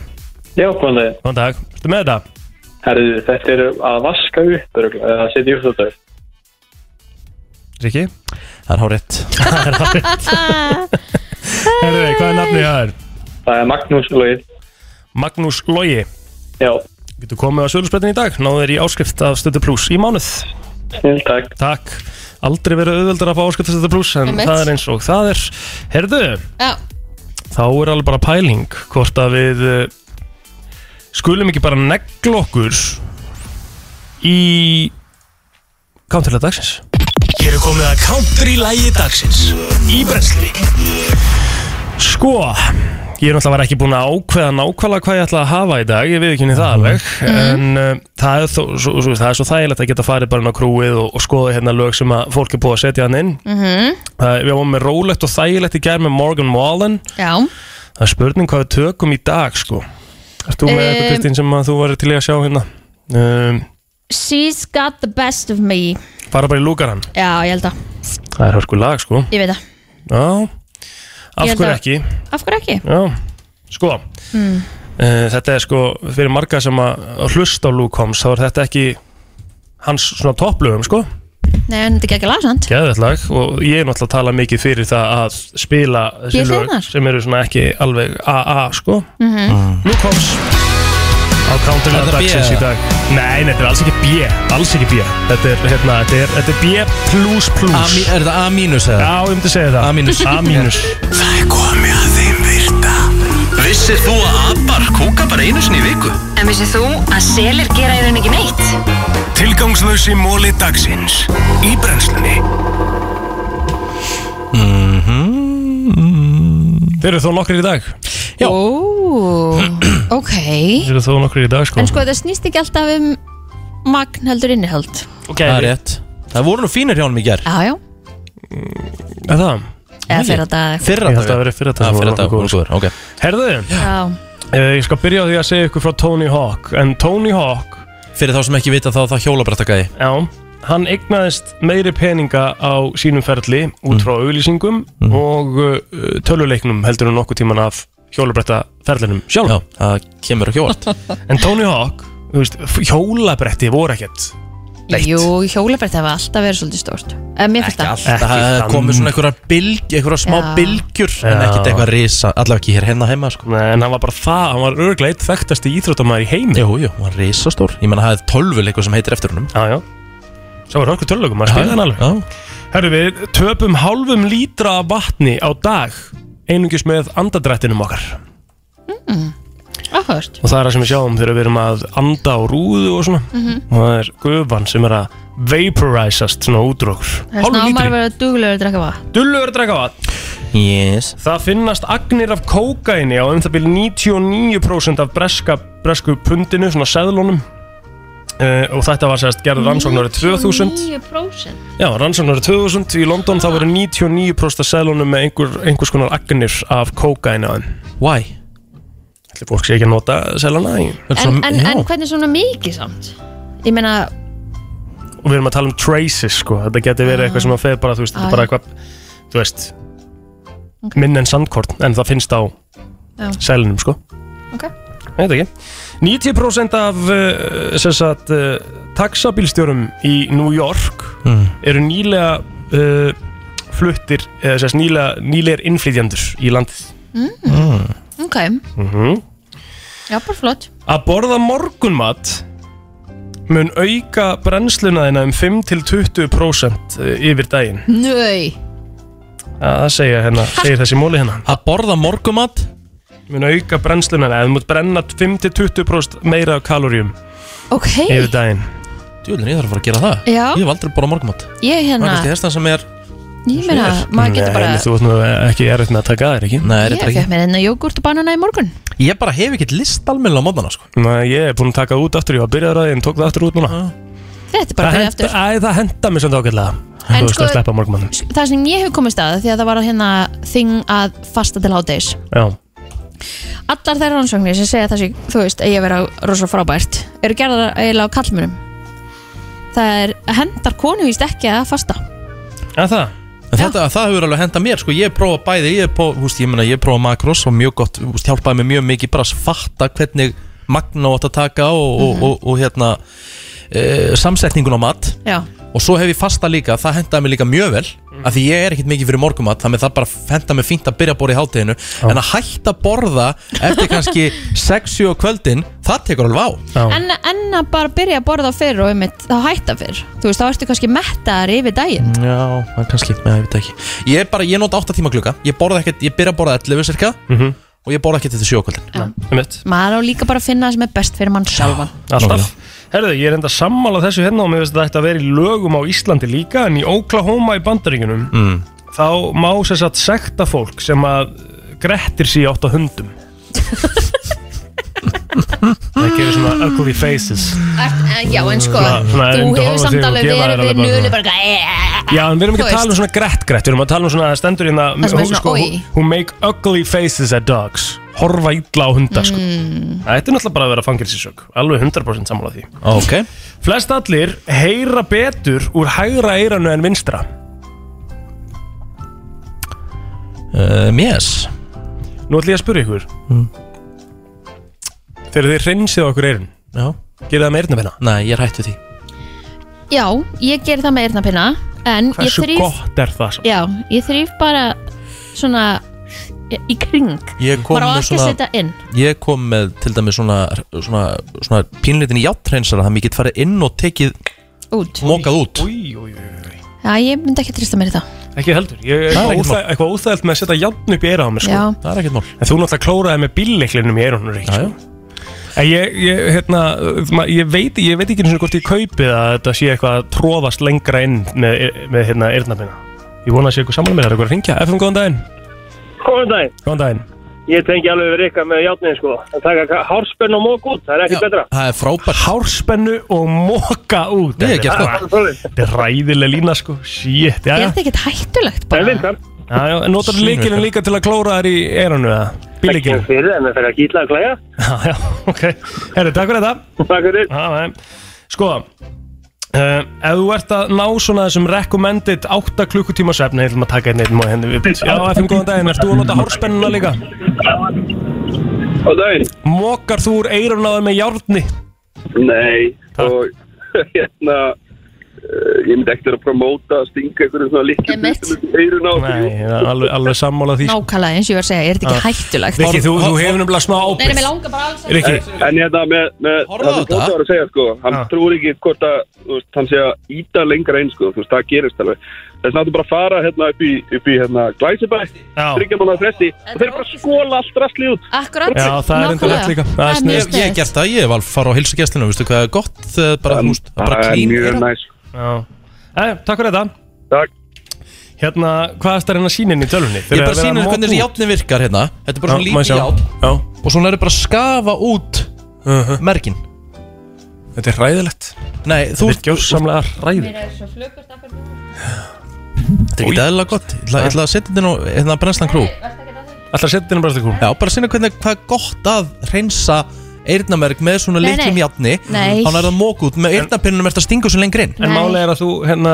Speaker 13: Já, góðan daginn
Speaker 3: Góðan dag, ertu með þetta?
Speaker 13: Herðu, þetta er að vaska upp örugglega, eða að setja upp þetta
Speaker 3: Riki?
Speaker 1: Það er hárétt
Speaker 3: Það er hárétt Herðu, hvað er nafnið það er?
Speaker 13: Það er Magnús Lógi
Speaker 3: Magnús Lógi
Speaker 13: Já
Speaker 3: Getur komið á sölusbrettin í dag, náðu þér í áskrift af Stötu Plus í mánuð
Speaker 13: Snill, takk
Speaker 3: Takk Aldrei verið auðveldur að fá áskrift af Stötu Plus en
Speaker 2: Einmitt.
Speaker 3: það er eins og það er Herðu,
Speaker 2: Já,
Speaker 3: þá er alveg bara pæling hvort að við uh, skulum ekki bara negl okkur í Counterlega dagsins
Speaker 15: Hér er komið að country lægi dagsins Í brensli
Speaker 3: Sko, ég er náttúrulega ekki búin að ákveða nákvæmlega hvað ég ætla að hafa í dag, ég við ekki henni
Speaker 2: Mhm.
Speaker 3: það alveg, en uh, það, er þó, svo, svo, það er svo þægilegt að geta farið bara inn á krúið og, og skoða hérna lög sem að fólk er búið að setja hann inn.
Speaker 2: mhm
Speaker 3: Uh, við varum með rólegt og þægilegt í gerð með Morgan Wallen,
Speaker 2: Já
Speaker 3: það er spurning hvað við tökum í dag sko. Erst þú með eitthvað
Speaker 2: Um,
Speaker 3: Kristín sem að þú væri til í að sjá hérna? Um,
Speaker 2: She's got the best of me
Speaker 3: fara bara í lúkaran,
Speaker 2: Já, ég held að,
Speaker 3: það er hörku lag sko.
Speaker 2: ég veit að
Speaker 3: Já,
Speaker 2: Ég
Speaker 3: af
Speaker 2: held
Speaker 3: hverju
Speaker 2: að-
Speaker 3: ekki?
Speaker 2: Af hverju ekki?
Speaker 3: Já, sko.
Speaker 2: Mm.
Speaker 3: Eh, Þetta er sko, fyrir marga sem að að hlusta á Luke Combs þá er þetta ekki hans svona topplöfum sko
Speaker 2: Nei, en þetta er ekki lasand
Speaker 3: Geðvett lag og ég er náttúrulega að tala mikið fyrir það að spila þessi
Speaker 2: Ég sé
Speaker 3: lög
Speaker 2: það.
Speaker 3: sem eru svona ekki alveg AA sko
Speaker 2: Mhm.
Speaker 3: Luke Combs á counterlega
Speaker 1: Er þetta B
Speaker 3: dagsins í
Speaker 1: eða?
Speaker 3: dag Nei, nei, þetta er alls ekki B, alls ekki B Þetta er, hérna, þetta er, þetta er B plus plus
Speaker 1: A- Er þetta A mínus eða?
Speaker 3: Já, ég myndi segja það
Speaker 1: A mínus
Speaker 3: A mínus
Speaker 15: Það er komið að þeim virta Vissir þú að abar kúka bara einu sinni í viku?
Speaker 6: En vissið þú að selir gera í raun ekki neitt?
Speaker 15: Tilgangslösi móli dagsins Í brennslunni
Speaker 3: Mhm. Þeir eru þó nokkrir í dag
Speaker 2: Já Ó, ok
Speaker 3: Þeir eru þó nokkrir í dag sko
Speaker 2: En sko, þetta snýst ekki alltaf um magn heldur innihald
Speaker 3: okay.
Speaker 1: Það er rétt Það voru nú fínir hjá honum í ger
Speaker 2: Já, já,
Speaker 3: Er það?
Speaker 2: eða fyrir að dag
Speaker 1: Fyrra
Speaker 3: Ég held að það verið fyrra dag
Speaker 1: Fyrra
Speaker 3: sem voru
Speaker 1: dag,
Speaker 3: nokkuð
Speaker 1: hún góður, ok
Speaker 3: Herðu,
Speaker 2: Já,
Speaker 3: eh, ég skal byrja á því að segja ykkur frá Tony Hawk En Tony Hawk,
Speaker 1: Fyrir þá sem ekki vita þá það hjólabrættakæði
Speaker 3: já, hann eignaðist meiri peninga á sínum ferli Út frá auglýsingum og uh, töluleiknum heldur en nokkuð tíman af hjólabretta ferlinum sjálf Já,
Speaker 1: það kemur ekki óvart
Speaker 3: En Tony Hawk, þú veist, f- hjólabretti voru ekkert
Speaker 2: Jú, hjólabrætt hefur alltaf verið svolítið stórt Eh, Mér finnst það
Speaker 1: Það hefði komið svona einhverjar bylg, einhverjar smá
Speaker 2: Já.
Speaker 1: bylgjur En ekkert eitthvað risa, allavega ekki hér hérna heima sko.
Speaker 3: Nei, en hann var bara það, hann var örglega eitt þekktasti íþróttamæður í heimi
Speaker 1: Jú, jú, hann var risastór Ég menna, það hefði tölvuleikur sem heitir eftir húnum
Speaker 3: Já, já Svo var hörku töluleikum, maður spilaði hann alveg
Speaker 1: alveg
Speaker 3: Herru, við töpum hálfum lítra af vatni á dag einungis með andadrættinum okkar
Speaker 2: Áhört
Speaker 3: og það er það sem við sjáum þegar við erum að anda á rúðu og svona
Speaker 2: Mhm.
Speaker 3: og það er gufan sem er að vaporizast svona útrókur
Speaker 2: Það er svona ámar að vera duglegur að drekka vatn
Speaker 3: Dullur að drega vatn
Speaker 1: yes.
Speaker 3: Það finnast agnir af kókaini á um það byrju 99% af breska, bresku pundinu, svona seðlunum uh, og þetta var sérst gerð rannsóknar 2000
Speaker 2: 9%
Speaker 3: Já, rannsóknar 2000 í London þá voru 99% af seðlunum með einhver, einhvers konar agnir af kókaini á þeim.
Speaker 1: Why?
Speaker 3: Ætli fólk sé ekki að nota seðlana í.
Speaker 2: en, en, en hvernig svona mikið samt? Ég meina,
Speaker 3: Og við erum að tala um traces sko, þetta geti verið eitthvað sem að feð bara, þú veist, þetta
Speaker 2: Ah,
Speaker 3: er bara eitthvað, þú veist, minn en sandkorn, en það finnst á
Speaker 2: Já.
Speaker 3: seðlunum sko.
Speaker 2: ok
Speaker 3: Nei, þetta ekki. 90% af, uh, sem sagt, uh, taxabílstjórum í New York
Speaker 1: Mm.
Speaker 3: eru nýlega uh, fluttir, eða sérst nýlega, nýlegar innflytjandur í landið.
Speaker 2: mm. Ok,
Speaker 3: Mm
Speaker 2: já, bara flott
Speaker 3: Að borða morgunmat mun auka brennsluna þina um 5-20% eh, yfir daginn.
Speaker 2: Nöi
Speaker 3: Að það segja, hérna, segir þessi móli hérna.
Speaker 1: Að borða morgunmat?
Speaker 3: Mun auka brennsluna þina, eða þú mútt brenna 5-20% meira af kaloríum
Speaker 2: Ok,
Speaker 3: yfir daginn.
Speaker 1: Djúlinn, ég þarf að fara að gera það
Speaker 2: Já.
Speaker 1: Ég hef aldrei borða morgunmat
Speaker 2: ég
Speaker 1: Það er
Speaker 2: hérna
Speaker 1: kannski þess sem er
Speaker 2: Ég meina, maður getur bara
Speaker 3: Nei, þú ert nú ekki erfitt með að taka þér, ekki?
Speaker 1: Nei,
Speaker 2: Ég fekk mér hérna jógurt og banana í morgun
Speaker 1: Ég bara hef ekkert list almennilega á mótana sko.
Speaker 3: Nei, ég er búinn að taka það út aftur, ég var byrjaður að því en tók það aftur út núna
Speaker 1: Ah.
Speaker 2: Þetta er bara
Speaker 3: það
Speaker 2: fyrir
Speaker 3: henda,
Speaker 2: eftir
Speaker 3: æ, það henda mér svolítið ágætlega
Speaker 2: En
Speaker 3: Þú veist
Speaker 2: sko-
Speaker 3: að sleppa morgmannum
Speaker 2: Það sem ég hef komist að því að það var hérna þing að fasta til hádegis
Speaker 3: Já,
Speaker 2: Allar þær rannsóknir sem segja þessi, þú veist, eigi að vera rosa frábært eru gerðar eiginlega á kallmönum það er hendar konu víst ekki að fasta
Speaker 3: En það?
Speaker 1: Þetta, það hefur alveg henda mér, sko, ég prófa bæði, ég prófa, húst, ég meina, ég prófa makros og mjög gott, húst, hjálpaði mig mjög mikið bara að fatta hvernig magna átt að taka og, og, og, og hérna, e, samsetningun á mat
Speaker 2: Já,
Speaker 1: og svo hef ég fasta líka, það hendaði mig líka mjög vel, af því ég er ekkit mikið fyrir morgumat, þannig að það bara hendaði mig fínt að byrja að borða í hátteginu, en að hætta að borða eftir kannski 6-7 á kvöldin, það tekur alveg á.
Speaker 2: en, en að bara byrja að borða fyrr og einmitt þá hætta fyrr Þú veist, þá ertu kannski mettaðar yfir daginn
Speaker 1: Já, það er kannski, með, ég veit það ekki Ég er bara, ég nota 8 tíma klukka Ég borða ekkert, ég byrja að borða 11 cirka
Speaker 3: Mhm.
Speaker 1: Og ég borða ekkert eftir 7 kvöldin
Speaker 3: Einmitt.
Speaker 2: Maður á líka bara að finna það sem er best fyrir mann sjálfan
Speaker 3: Alltaf Herðu, ég er enda sammála þessu hérna og mér finnst að þetta ætti að vera í lögum á Íslandi líka en í Oklahoma í bandaríkunum
Speaker 1: mm.
Speaker 3: þá má sér satt sekta fólk sem að grettir sér átt á hundum Það gerir svona ugly faces
Speaker 2: Ert- Já, en sko,
Speaker 3: Svona- svona
Speaker 2: þú
Speaker 3: reyndi að
Speaker 2: hefur
Speaker 3: horfa á
Speaker 2: samt
Speaker 3: þig og
Speaker 2: alveg
Speaker 3: gefa þér alveg bara
Speaker 2: verið við nöðlu
Speaker 3: svona-
Speaker 2: bara eitthvað, "Eh."
Speaker 3: Já, en við erum ekki
Speaker 2: Þú
Speaker 3: að tala um
Speaker 2: veist.
Speaker 3: svona grett-grett, við erum að tala um svona það stendur hérna
Speaker 2: Það sem er svona oj.
Speaker 3: who, who make ugly faces at dogs Horfa illa á hunda sko
Speaker 2: Hmm.
Speaker 3: Þetta er náttúrulega bara að vera fangilsisök Alveg 100% sammála því
Speaker 1: Ah, Ok
Speaker 3: Flest allir heyra betur úr hægra eiranu en vinstra
Speaker 1: um, Yes
Speaker 3: Nú ætlum ég að spyrja ykkur
Speaker 1: Mm.
Speaker 3: Þegar þið reynsið á okkur eirun
Speaker 1: Já
Speaker 3: Gerið það með eirnafinna?
Speaker 1: Nei, ég er hættu því
Speaker 2: Já, ég ger það með eyrnapinna En ég
Speaker 3: Hversu
Speaker 2: þrýf
Speaker 3: gott er það? samt?
Speaker 2: Já, ég þrýf bara svona í- í kring
Speaker 1: Ég kom
Speaker 2: Bara á
Speaker 1: með
Speaker 2: ekki að
Speaker 1: svona-
Speaker 2: setja inn
Speaker 1: Ég kom með til dæmis svona Svona, svona pínleitin í játtrensara Þannig að ég get farið inn og tekið
Speaker 2: Út
Speaker 1: Mokað út
Speaker 3: Új, új, új, új.
Speaker 2: Já, ég myndi ekki trista mér í það
Speaker 3: Ekki heldur, ég er
Speaker 1: Það er
Speaker 3: eitthvað
Speaker 1: ekkert
Speaker 3: óþæ- eitthvað óþægilt með að setja játn upp í eira á mér sko.
Speaker 2: Já.
Speaker 1: Það er ekkert mál
Speaker 3: En þú náttúrulega klóraði með bílleiklinum í eirunum ekki, sko. En ég, ég, hérna, ma- ég, veit, ég veit ekki einu sinni hvort ég kaupi að þetta sé eitthvað að tróðast lengra inn með, með hérna, eirnabina Ég vona að sé eitthvað saman með það, er eitthvað að ringja FM, góðan daginn
Speaker 13: Góðan daginn
Speaker 3: Góðan daginn
Speaker 13: Ég tengi alveg við Rikka með játnin sko Það taka hárspenn og mók út, það er ekkert betra
Speaker 1: Það er frábært
Speaker 3: Hárspennu og móka út
Speaker 13: Ég er ekki að
Speaker 3: Þetta
Speaker 13: sko.
Speaker 3: bara- Þetta er ræðileg lína sko Shit, já,
Speaker 2: Er
Speaker 3: já
Speaker 2: þetta ekkert hættulegt bara?
Speaker 3: Já, já, en notar
Speaker 13: Svínvirkar.
Speaker 3: líkilinn líka til að klóra þær í eiranu eða
Speaker 13: Ekki
Speaker 3: bílleikilinn
Speaker 13: fyrir, en það fer að gítla að klæja
Speaker 3: Já, já, ok Herri, takk fyrir þetta
Speaker 13: Takk fyrir
Speaker 3: já, já. Sko, uh, ef þú ert að ná svona þessum recommended 8 klukkutíma svefni Ég ætlum að taka einn einn og henni við Já, FM, góðan daginn, ert þú að nota hárspennuna líka?
Speaker 13: Góðan daginn
Speaker 3: Mokar þú úr eiranáður með járni?
Speaker 13: Nei, og hérna eh, Ég myndi ekkert vera að promóta að stinga einhverjum svona litlum hlutum í eyrun á okkur, jú.
Speaker 3: Nei, það er alveg, alveg sammála því
Speaker 2: Nákvæmlega eins og ég var að segja, er þetta
Speaker 3: Ah.
Speaker 2: ekki hættulegt?
Speaker 3: Rikki, þú, þú hefur nefnilega smá
Speaker 2: Nei, nei,
Speaker 3: ábyrgð
Speaker 2: mér langar bara alls
Speaker 3: Rikki. Ah.
Speaker 13: En hérna með, með það sem Tóta var að segja sko, hann trúir ekki hvort að þú veist, hann sé að íta lengra einn sko, þú veist, það gerist alveg. Þess vegna áttu bara að fara hérna upp í, upp í hérna glæsibæ, þryggja mánuða fresti og þeir bara skóla allt rastlið út.
Speaker 2: Akkurat,
Speaker 1: Já, það er enda rétt líka
Speaker 2: Það er
Speaker 1: Ég
Speaker 2: mjög
Speaker 1: ég hef
Speaker 2: sniðugt.
Speaker 1: gert það, ég hef alveg farið á hilsugestlinu Vistu hvað er gott, eh, bara, um, húst, bara
Speaker 13: það er
Speaker 1: clean
Speaker 13: mjög
Speaker 1: eyrun.
Speaker 13: næs.
Speaker 3: Já. Æ, takk fyrir þetta
Speaker 13: Takk
Speaker 3: Hérna, hvað erst það hérna sínin í tölunni?
Speaker 1: Ég er bara að sína þér hvernig þessi játni virkar hérna Þetta er bara svona lítið játn
Speaker 3: Já.
Speaker 1: Og svona er bara að skafa út
Speaker 3: uh -huh.
Speaker 1: Merkin
Speaker 3: Þetta er ræðilegt
Speaker 1: Nei, þú
Speaker 3: Þetta er gjörsamlega ræðilegt
Speaker 1: Þetta er ekki eðlilega gott Ég ætla- ég ætla að setja þetta nú Hérna brennslan krú
Speaker 3: Alltaf að setja þetta nú brennslan krú
Speaker 1: Já, bara að sína hvernig hvað er gott að reynsa Eirnamerk með svona
Speaker 2: Nei,
Speaker 1: litlum
Speaker 2: nei.
Speaker 1: játni
Speaker 2: Nei.
Speaker 1: Þannig er það mók út Með eirnapinnum eftir að stinga svo lengri inn
Speaker 3: En málið er að þú, hérna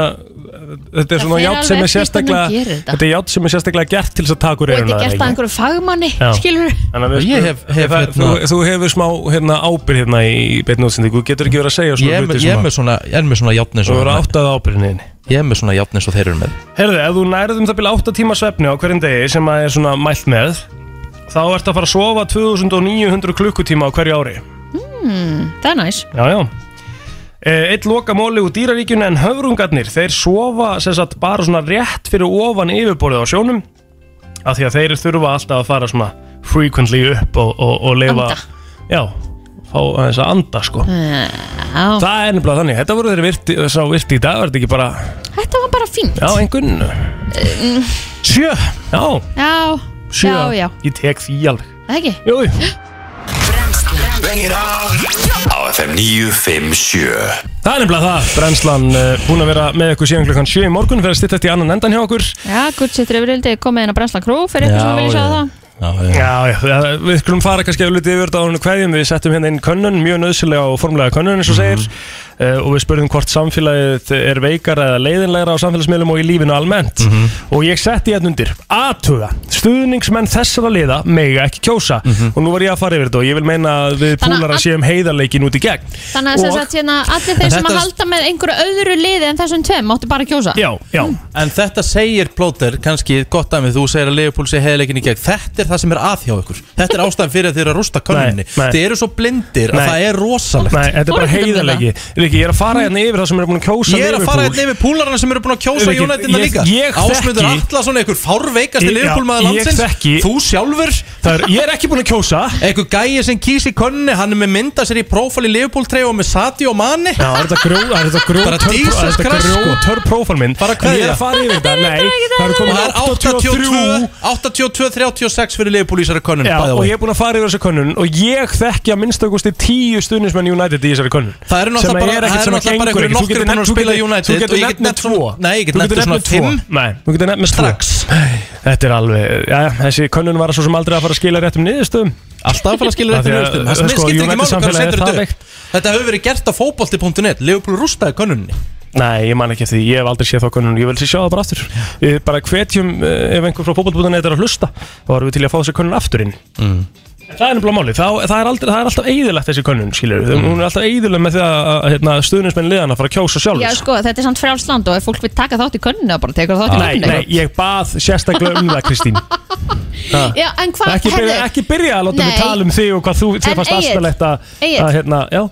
Speaker 3: Þetta er svona
Speaker 2: fer
Speaker 3: játn sem
Speaker 2: alveg
Speaker 3: er
Speaker 2: eftir
Speaker 3: sérstaklega
Speaker 2: hvernig gerir þetta.
Speaker 3: Þetta er játn sem er sérstaklega gert til þess að taka úr
Speaker 2: Og þetta
Speaker 3: eyrun á
Speaker 2: er
Speaker 3: þér,
Speaker 2: gert að
Speaker 3: ekki?
Speaker 2: einhverju fagmanni,
Speaker 3: Já.
Speaker 2: skilur
Speaker 3: Þannig að við
Speaker 1: Ég
Speaker 3: skulum-
Speaker 1: hef- hef,
Speaker 3: það-
Speaker 1: hérna-
Speaker 3: þú- Þú hefur smá hérna, ábyrð hérna í beinni útsendingu Þú getur ekki verið að segja
Speaker 1: Ég
Speaker 3: svona
Speaker 1: er með- ég er með svona Ég er með svona játni
Speaker 3: Þú verður áttað ábyrðinni
Speaker 1: Ég er með svona játni eins og þeir eru með
Speaker 3: Herðu, ef þú nærðum það byrja 8 tíma svefni á hverjum degi sem að er svona mælt með þá ert að fara að sofa 2900 klukkutíma á hverju ári
Speaker 2: Hmm, Það er næs
Speaker 3: Já, já Eh, Einn loka móli úr dýraríkjunu en höfrungarnir þeir sofa sem sagt bara svona rétt fyrir ofan yfirborðið á sjónum af því að þeir þurfa alltaf að fara svona frequently upp og, og, og lifa
Speaker 2: Anda.
Speaker 3: Já, fá aðeins að anda sko
Speaker 2: Eh, Já,
Speaker 3: Það er nefnilega þannig, þetta voru þeir virti, sá virti í dag, var þetta ekki bara,
Speaker 2: þetta var bara fínt
Speaker 3: já, einhvern
Speaker 2: Mm,
Speaker 3: Sjö, já,
Speaker 2: Já,
Speaker 3: sjö
Speaker 2: já, já
Speaker 3: Ég tek því alveg
Speaker 2: Það ekki?
Speaker 3: Jú, jú
Speaker 5: Á FM 957
Speaker 3: Það er nefnilega það, brennslan uh, búin að vera með ykkur síðan klukkan 7 í morgun fyrir að stýttast í annan endan hjá okkur
Speaker 2: Já, gudsettur yfir vildi komið inn á Brensla Krú fyrir ykkur sem
Speaker 3: Já,
Speaker 2: vilja sjá
Speaker 3: já.
Speaker 2: það
Speaker 1: Já,
Speaker 3: já, já, við
Speaker 1: Mhm.
Speaker 3: skulum fara kannski að lutið yfir þetta á hvernig við settum hérna inn könnun, mjög nöðsilega og formulega könnun eins og segir uh, og við spurðum hvort samfélagið er veikara eða leiðinlegra á samfélagsmiðlum og í lífinu almennt
Speaker 1: Mhm.
Speaker 3: og ég setti hérna undir aðtuga, stuðningsmenn þessara liða mega ekki kjósa
Speaker 1: Mhm.
Speaker 3: og nú var ég að fara yfir þetta og ég vil meina að við
Speaker 2: Þannig að
Speaker 3: púlara
Speaker 2: all-
Speaker 3: séum heiðarleikin út í gegn
Speaker 2: Þannig að sem
Speaker 3: Og-
Speaker 2: sagt hérna allir
Speaker 3: En
Speaker 2: þeir sem
Speaker 3: þetta-
Speaker 2: að halda með einhverju öðru liði en þessum tveim máttu bara kjósa
Speaker 3: já
Speaker 1: En þetta segir Plóter, kannski gott að mig Þú segir að Leopold sé heiðleikin í gegn Þetta er það sem er að hjá ykkur Þetta er ástæðan fyrir að þið eru að rústa könninni
Speaker 3: nei.
Speaker 1: Þið eru svo blindir
Speaker 3: Nei.
Speaker 1: að það er rosalegt
Speaker 3: Nei, þetta er bara heiðarleiki Riki, ég er að fara hérna yfir það sem er búin að kjósa
Speaker 1: Ég er að fara hérna yfir púlarana sem eru búin að kjósa
Speaker 3: Riki,
Speaker 1: United
Speaker 3: ég-
Speaker 1: líka
Speaker 3: ég þekki-
Speaker 1: Ásmundur Atlason, einhver fárveikasti
Speaker 3: Ég- já,
Speaker 1: Leopold maður
Speaker 3: ég
Speaker 1: landsins
Speaker 3: þekki-
Speaker 1: Þú sjálfur
Speaker 3: er, Ég er ekki búin að kjósa
Speaker 1: Einhver gæi sem kýsi könninni Hann er með mynda sér í prófál í Leopold 3 og með Sadio Mane
Speaker 3: Já, er þetta grjó, er þetta grjó
Speaker 1: Bara
Speaker 3: törn-
Speaker 1: Jesus
Speaker 3: er þetta
Speaker 1: Christ,
Speaker 3: grjó
Speaker 1: sko.
Speaker 3: törn prófál minn Bara
Speaker 1: kveðja.
Speaker 3: Ég er að fara yfir þetta, nei Það eru komin
Speaker 1: Og er
Speaker 3: 83
Speaker 1: 82-36 fyrir Leopold í þessari könnun
Speaker 3: Já,
Speaker 1: by the
Speaker 3: og
Speaker 1: way.
Speaker 3: ég er búin að fara yfir þessa könnun og ég þekki að minnstakosti tíu stuðnismenn United í þessari könnun
Speaker 1: Það eru náttúrulega bara- það eru náttúrulega bara einhverjir nokkrir búin að spila í United
Speaker 3: Þú
Speaker 1: og
Speaker 3: getur
Speaker 1: ég get
Speaker 3: nefnir
Speaker 1: nefnt
Speaker 3: tvo
Speaker 1: svona- Nei, ég get
Speaker 3: Þú
Speaker 1: nefnt
Speaker 3: getur
Speaker 1: svona
Speaker 3: nefnt tvo.
Speaker 1: fimm.
Speaker 3: Nei, þú getur nefnir strax Þetta er alveg, já, þessi könnun var svo sem aldrei að fara að skila réttum niðurstöðum
Speaker 1: Alltaf að fara að skilja réttum niðurstöðum Það
Speaker 3: sko,
Speaker 1: skiptir ekki
Speaker 3: United
Speaker 1: máli hvað þú
Speaker 3: samfélagið er
Speaker 1: sendur
Speaker 3: það
Speaker 1: þetta
Speaker 3: veikt.
Speaker 1: upp Þetta hefur verið gert á fótbolti.net Leopold rústaði könnunni
Speaker 3: Nei, ég man ekki eftir því, ég hef aldrei séð þá konun Ég vil sér sjá það bara aftur Við bara hvetjum, eh, ef einhver frá fótballbúðan er að hlusta þá erum við til í að fá þessi konun aftur inn
Speaker 1: Mm.
Speaker 3: En Það er nefnilega máli, það, það, er, aldrei, það er alltaf eðilegt þessi konun, skiljur mm. Hún er alltaf eðileg með því að að, hérna, stuðnismenn liðan að fara að kjósa sjálfur
Speaker 2: Já sko, þetta er samt frjálsland og ef fólk vil taka þátt í könninu þá bara tekur það þátt í
Speaker 3: Nei,
Speaker 2: könninu
Speaker 3: nei, ég bað sérstaklega um það, Kristín Ha.
Speaker 2: Já, en hvað,
Speaker 3: ekki, byrja,
Speaker 2: heyrðu,
Speaker 3: ekki byrja að láta mig
Speaker 2: Nei.
Speaker 3: tala um þig og hvað þú
Speaker 2: En
Speaker 3: þér fannst
Speaker 2: Egill,
Speaker 3: aðstæðlegt að,
Speaker 2: Egill.
Speaker 3: að hérna, já,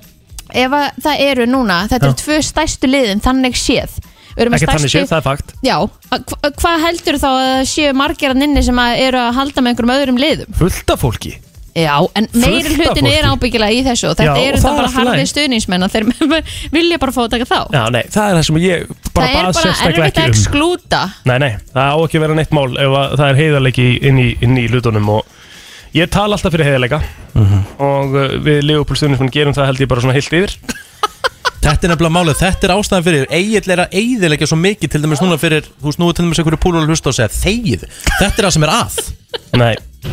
Speaker 2: ef að það eru núna, þetta
Speaker 3: Já.
Speaker 2: eru tvö stærstu liðin þannig séð Við erum með
Speaker 3: ekki þannig
Speaker 2: stærstu-
Speaker 3: séð, það er fakt
Speaker 2: Já, að hva- hvað heldur þá að það séu margir að ninni sem að eru að halda með einhverjum öðrum liðum?
Speaker 3: Fullt af fólki
Speaker 2: Já, en
Speaker 3: Fullt
Speaker 2: meiri
Speaker 3: af
Speaker 2: hlutin er
Speaker 3: fólki.
Speaker 2: ábyggilega í þessu og
Speaker 3: Já,
Speaker 2: þetta
Speaker 3: og
Speaker 2: eru
Speaker 3: það er
Speaker 2: það bara
Speaker 3: allt í
Speaker 2: harfið
Speaker 3: lagi.
Speaker 2: stuðningsmenn að þeir vilja bara fá að taka þá
Speaker 3: Já, nei, það er það sem ég bara
Speaker 2: Það er
Speaker 3: bað
Speaker 2: bara
Speaker 3: sérstaklega
Speaker 2: erfitt
Speaker 3: ekki
Speaker 2: að
Speaker 3: um
Speaker 2: exklúta
Speaker 3: Nei, nei, það á ekki að vera neitt mál ef að það er heiðarleiki inn í, inn í hlutunum og ég tala alltaf fyrir heiðarleika
Speaker 1: Mhm.
Speaker 3: og uh, við Leopold Stunismann gerum það held ég bara svona heilt yfir
Speaker 1: Þetta er nefnilega málið, þetta er ástæðan fyrir Egil er að eiðilegja svo mikið til dæmis núna fyrir Þú snúið til dæmis einhverju púlar að hlusta og segja Þegið, þetta er það sem er að
Speaker 3: Nei,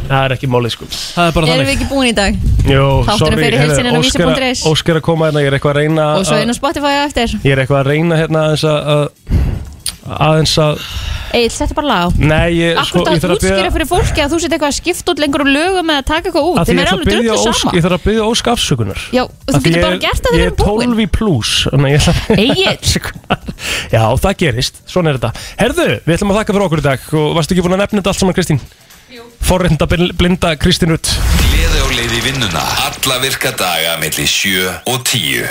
Speaker 3: það er ekki málið sko
Speaker 1: Það er bara
Speaker 2: Erum við
Speaker 1: þannig
Speaker 2: ekki búin í dag?
Speaker 3: Jó,
Speaker 2: Þátturinn
Speaker 3: sorry,
Speaker 2: fyrir
Speaker 3: heyrðu,
Speaker 2: heilsinni á
Speaker 3: Óskar-
Speaker 2: vísir.is.
Speaker 3: Óskar er að koma hérna, ég er eitthvað að reyna
Speaker 2: Og svo
Speaker 3: að-
Speaker 2: inn á Spotify á eftir
Speaker 3: Ég er eitthvað að reyna hérna aðeins að að- aðeins að
Speaker 2: Egil, þetta bara lag á
Speaker 3: Nei, ég, sko,
Speaker 2: Akkur
Speaker 3: ég
Speaker 2: það
Speaker 3: þarf að
Speaker 2: útskýra
Speaker 3: biðja-
Speaker 2: fyrir fólki að þú set eitthvað að skipta út lengur um lögum eða taka eitthvað út
Speaker 3: Af því ég
Speaker 2: Þeim
Speaker 3: ætla
Speaker 2: er
Speaker 3: að
Speaker 2: alveg
Speaker 3: biðja
Speaker 2: drullu
Speaker 3: Ósk-
Speaker 2: sama
Speaker 3: Ég þarf að byggja ósk afsökunar
Speaker 2: Já, og þú
Speaker 3: Af því
Speaker 2: getur bara
Speaker 3: ég-
Speaker 2: gert það þegar við erum búin
Speaker 3: Ég er 12 í plus Þannig að ég ætla að
Speaker 2: Egill.
Speaker 3: Já, það gerist, svona er þetta Herðu, við ætlum að þakka fyrir okkur í dag og varstu ekki búin að nefna þetta allt saman Kristín? Jú Forrenda blinda Kristín Rutt
Speaker 5: Gleði á leið í vinnuna Alla virka daga melli 7 og 10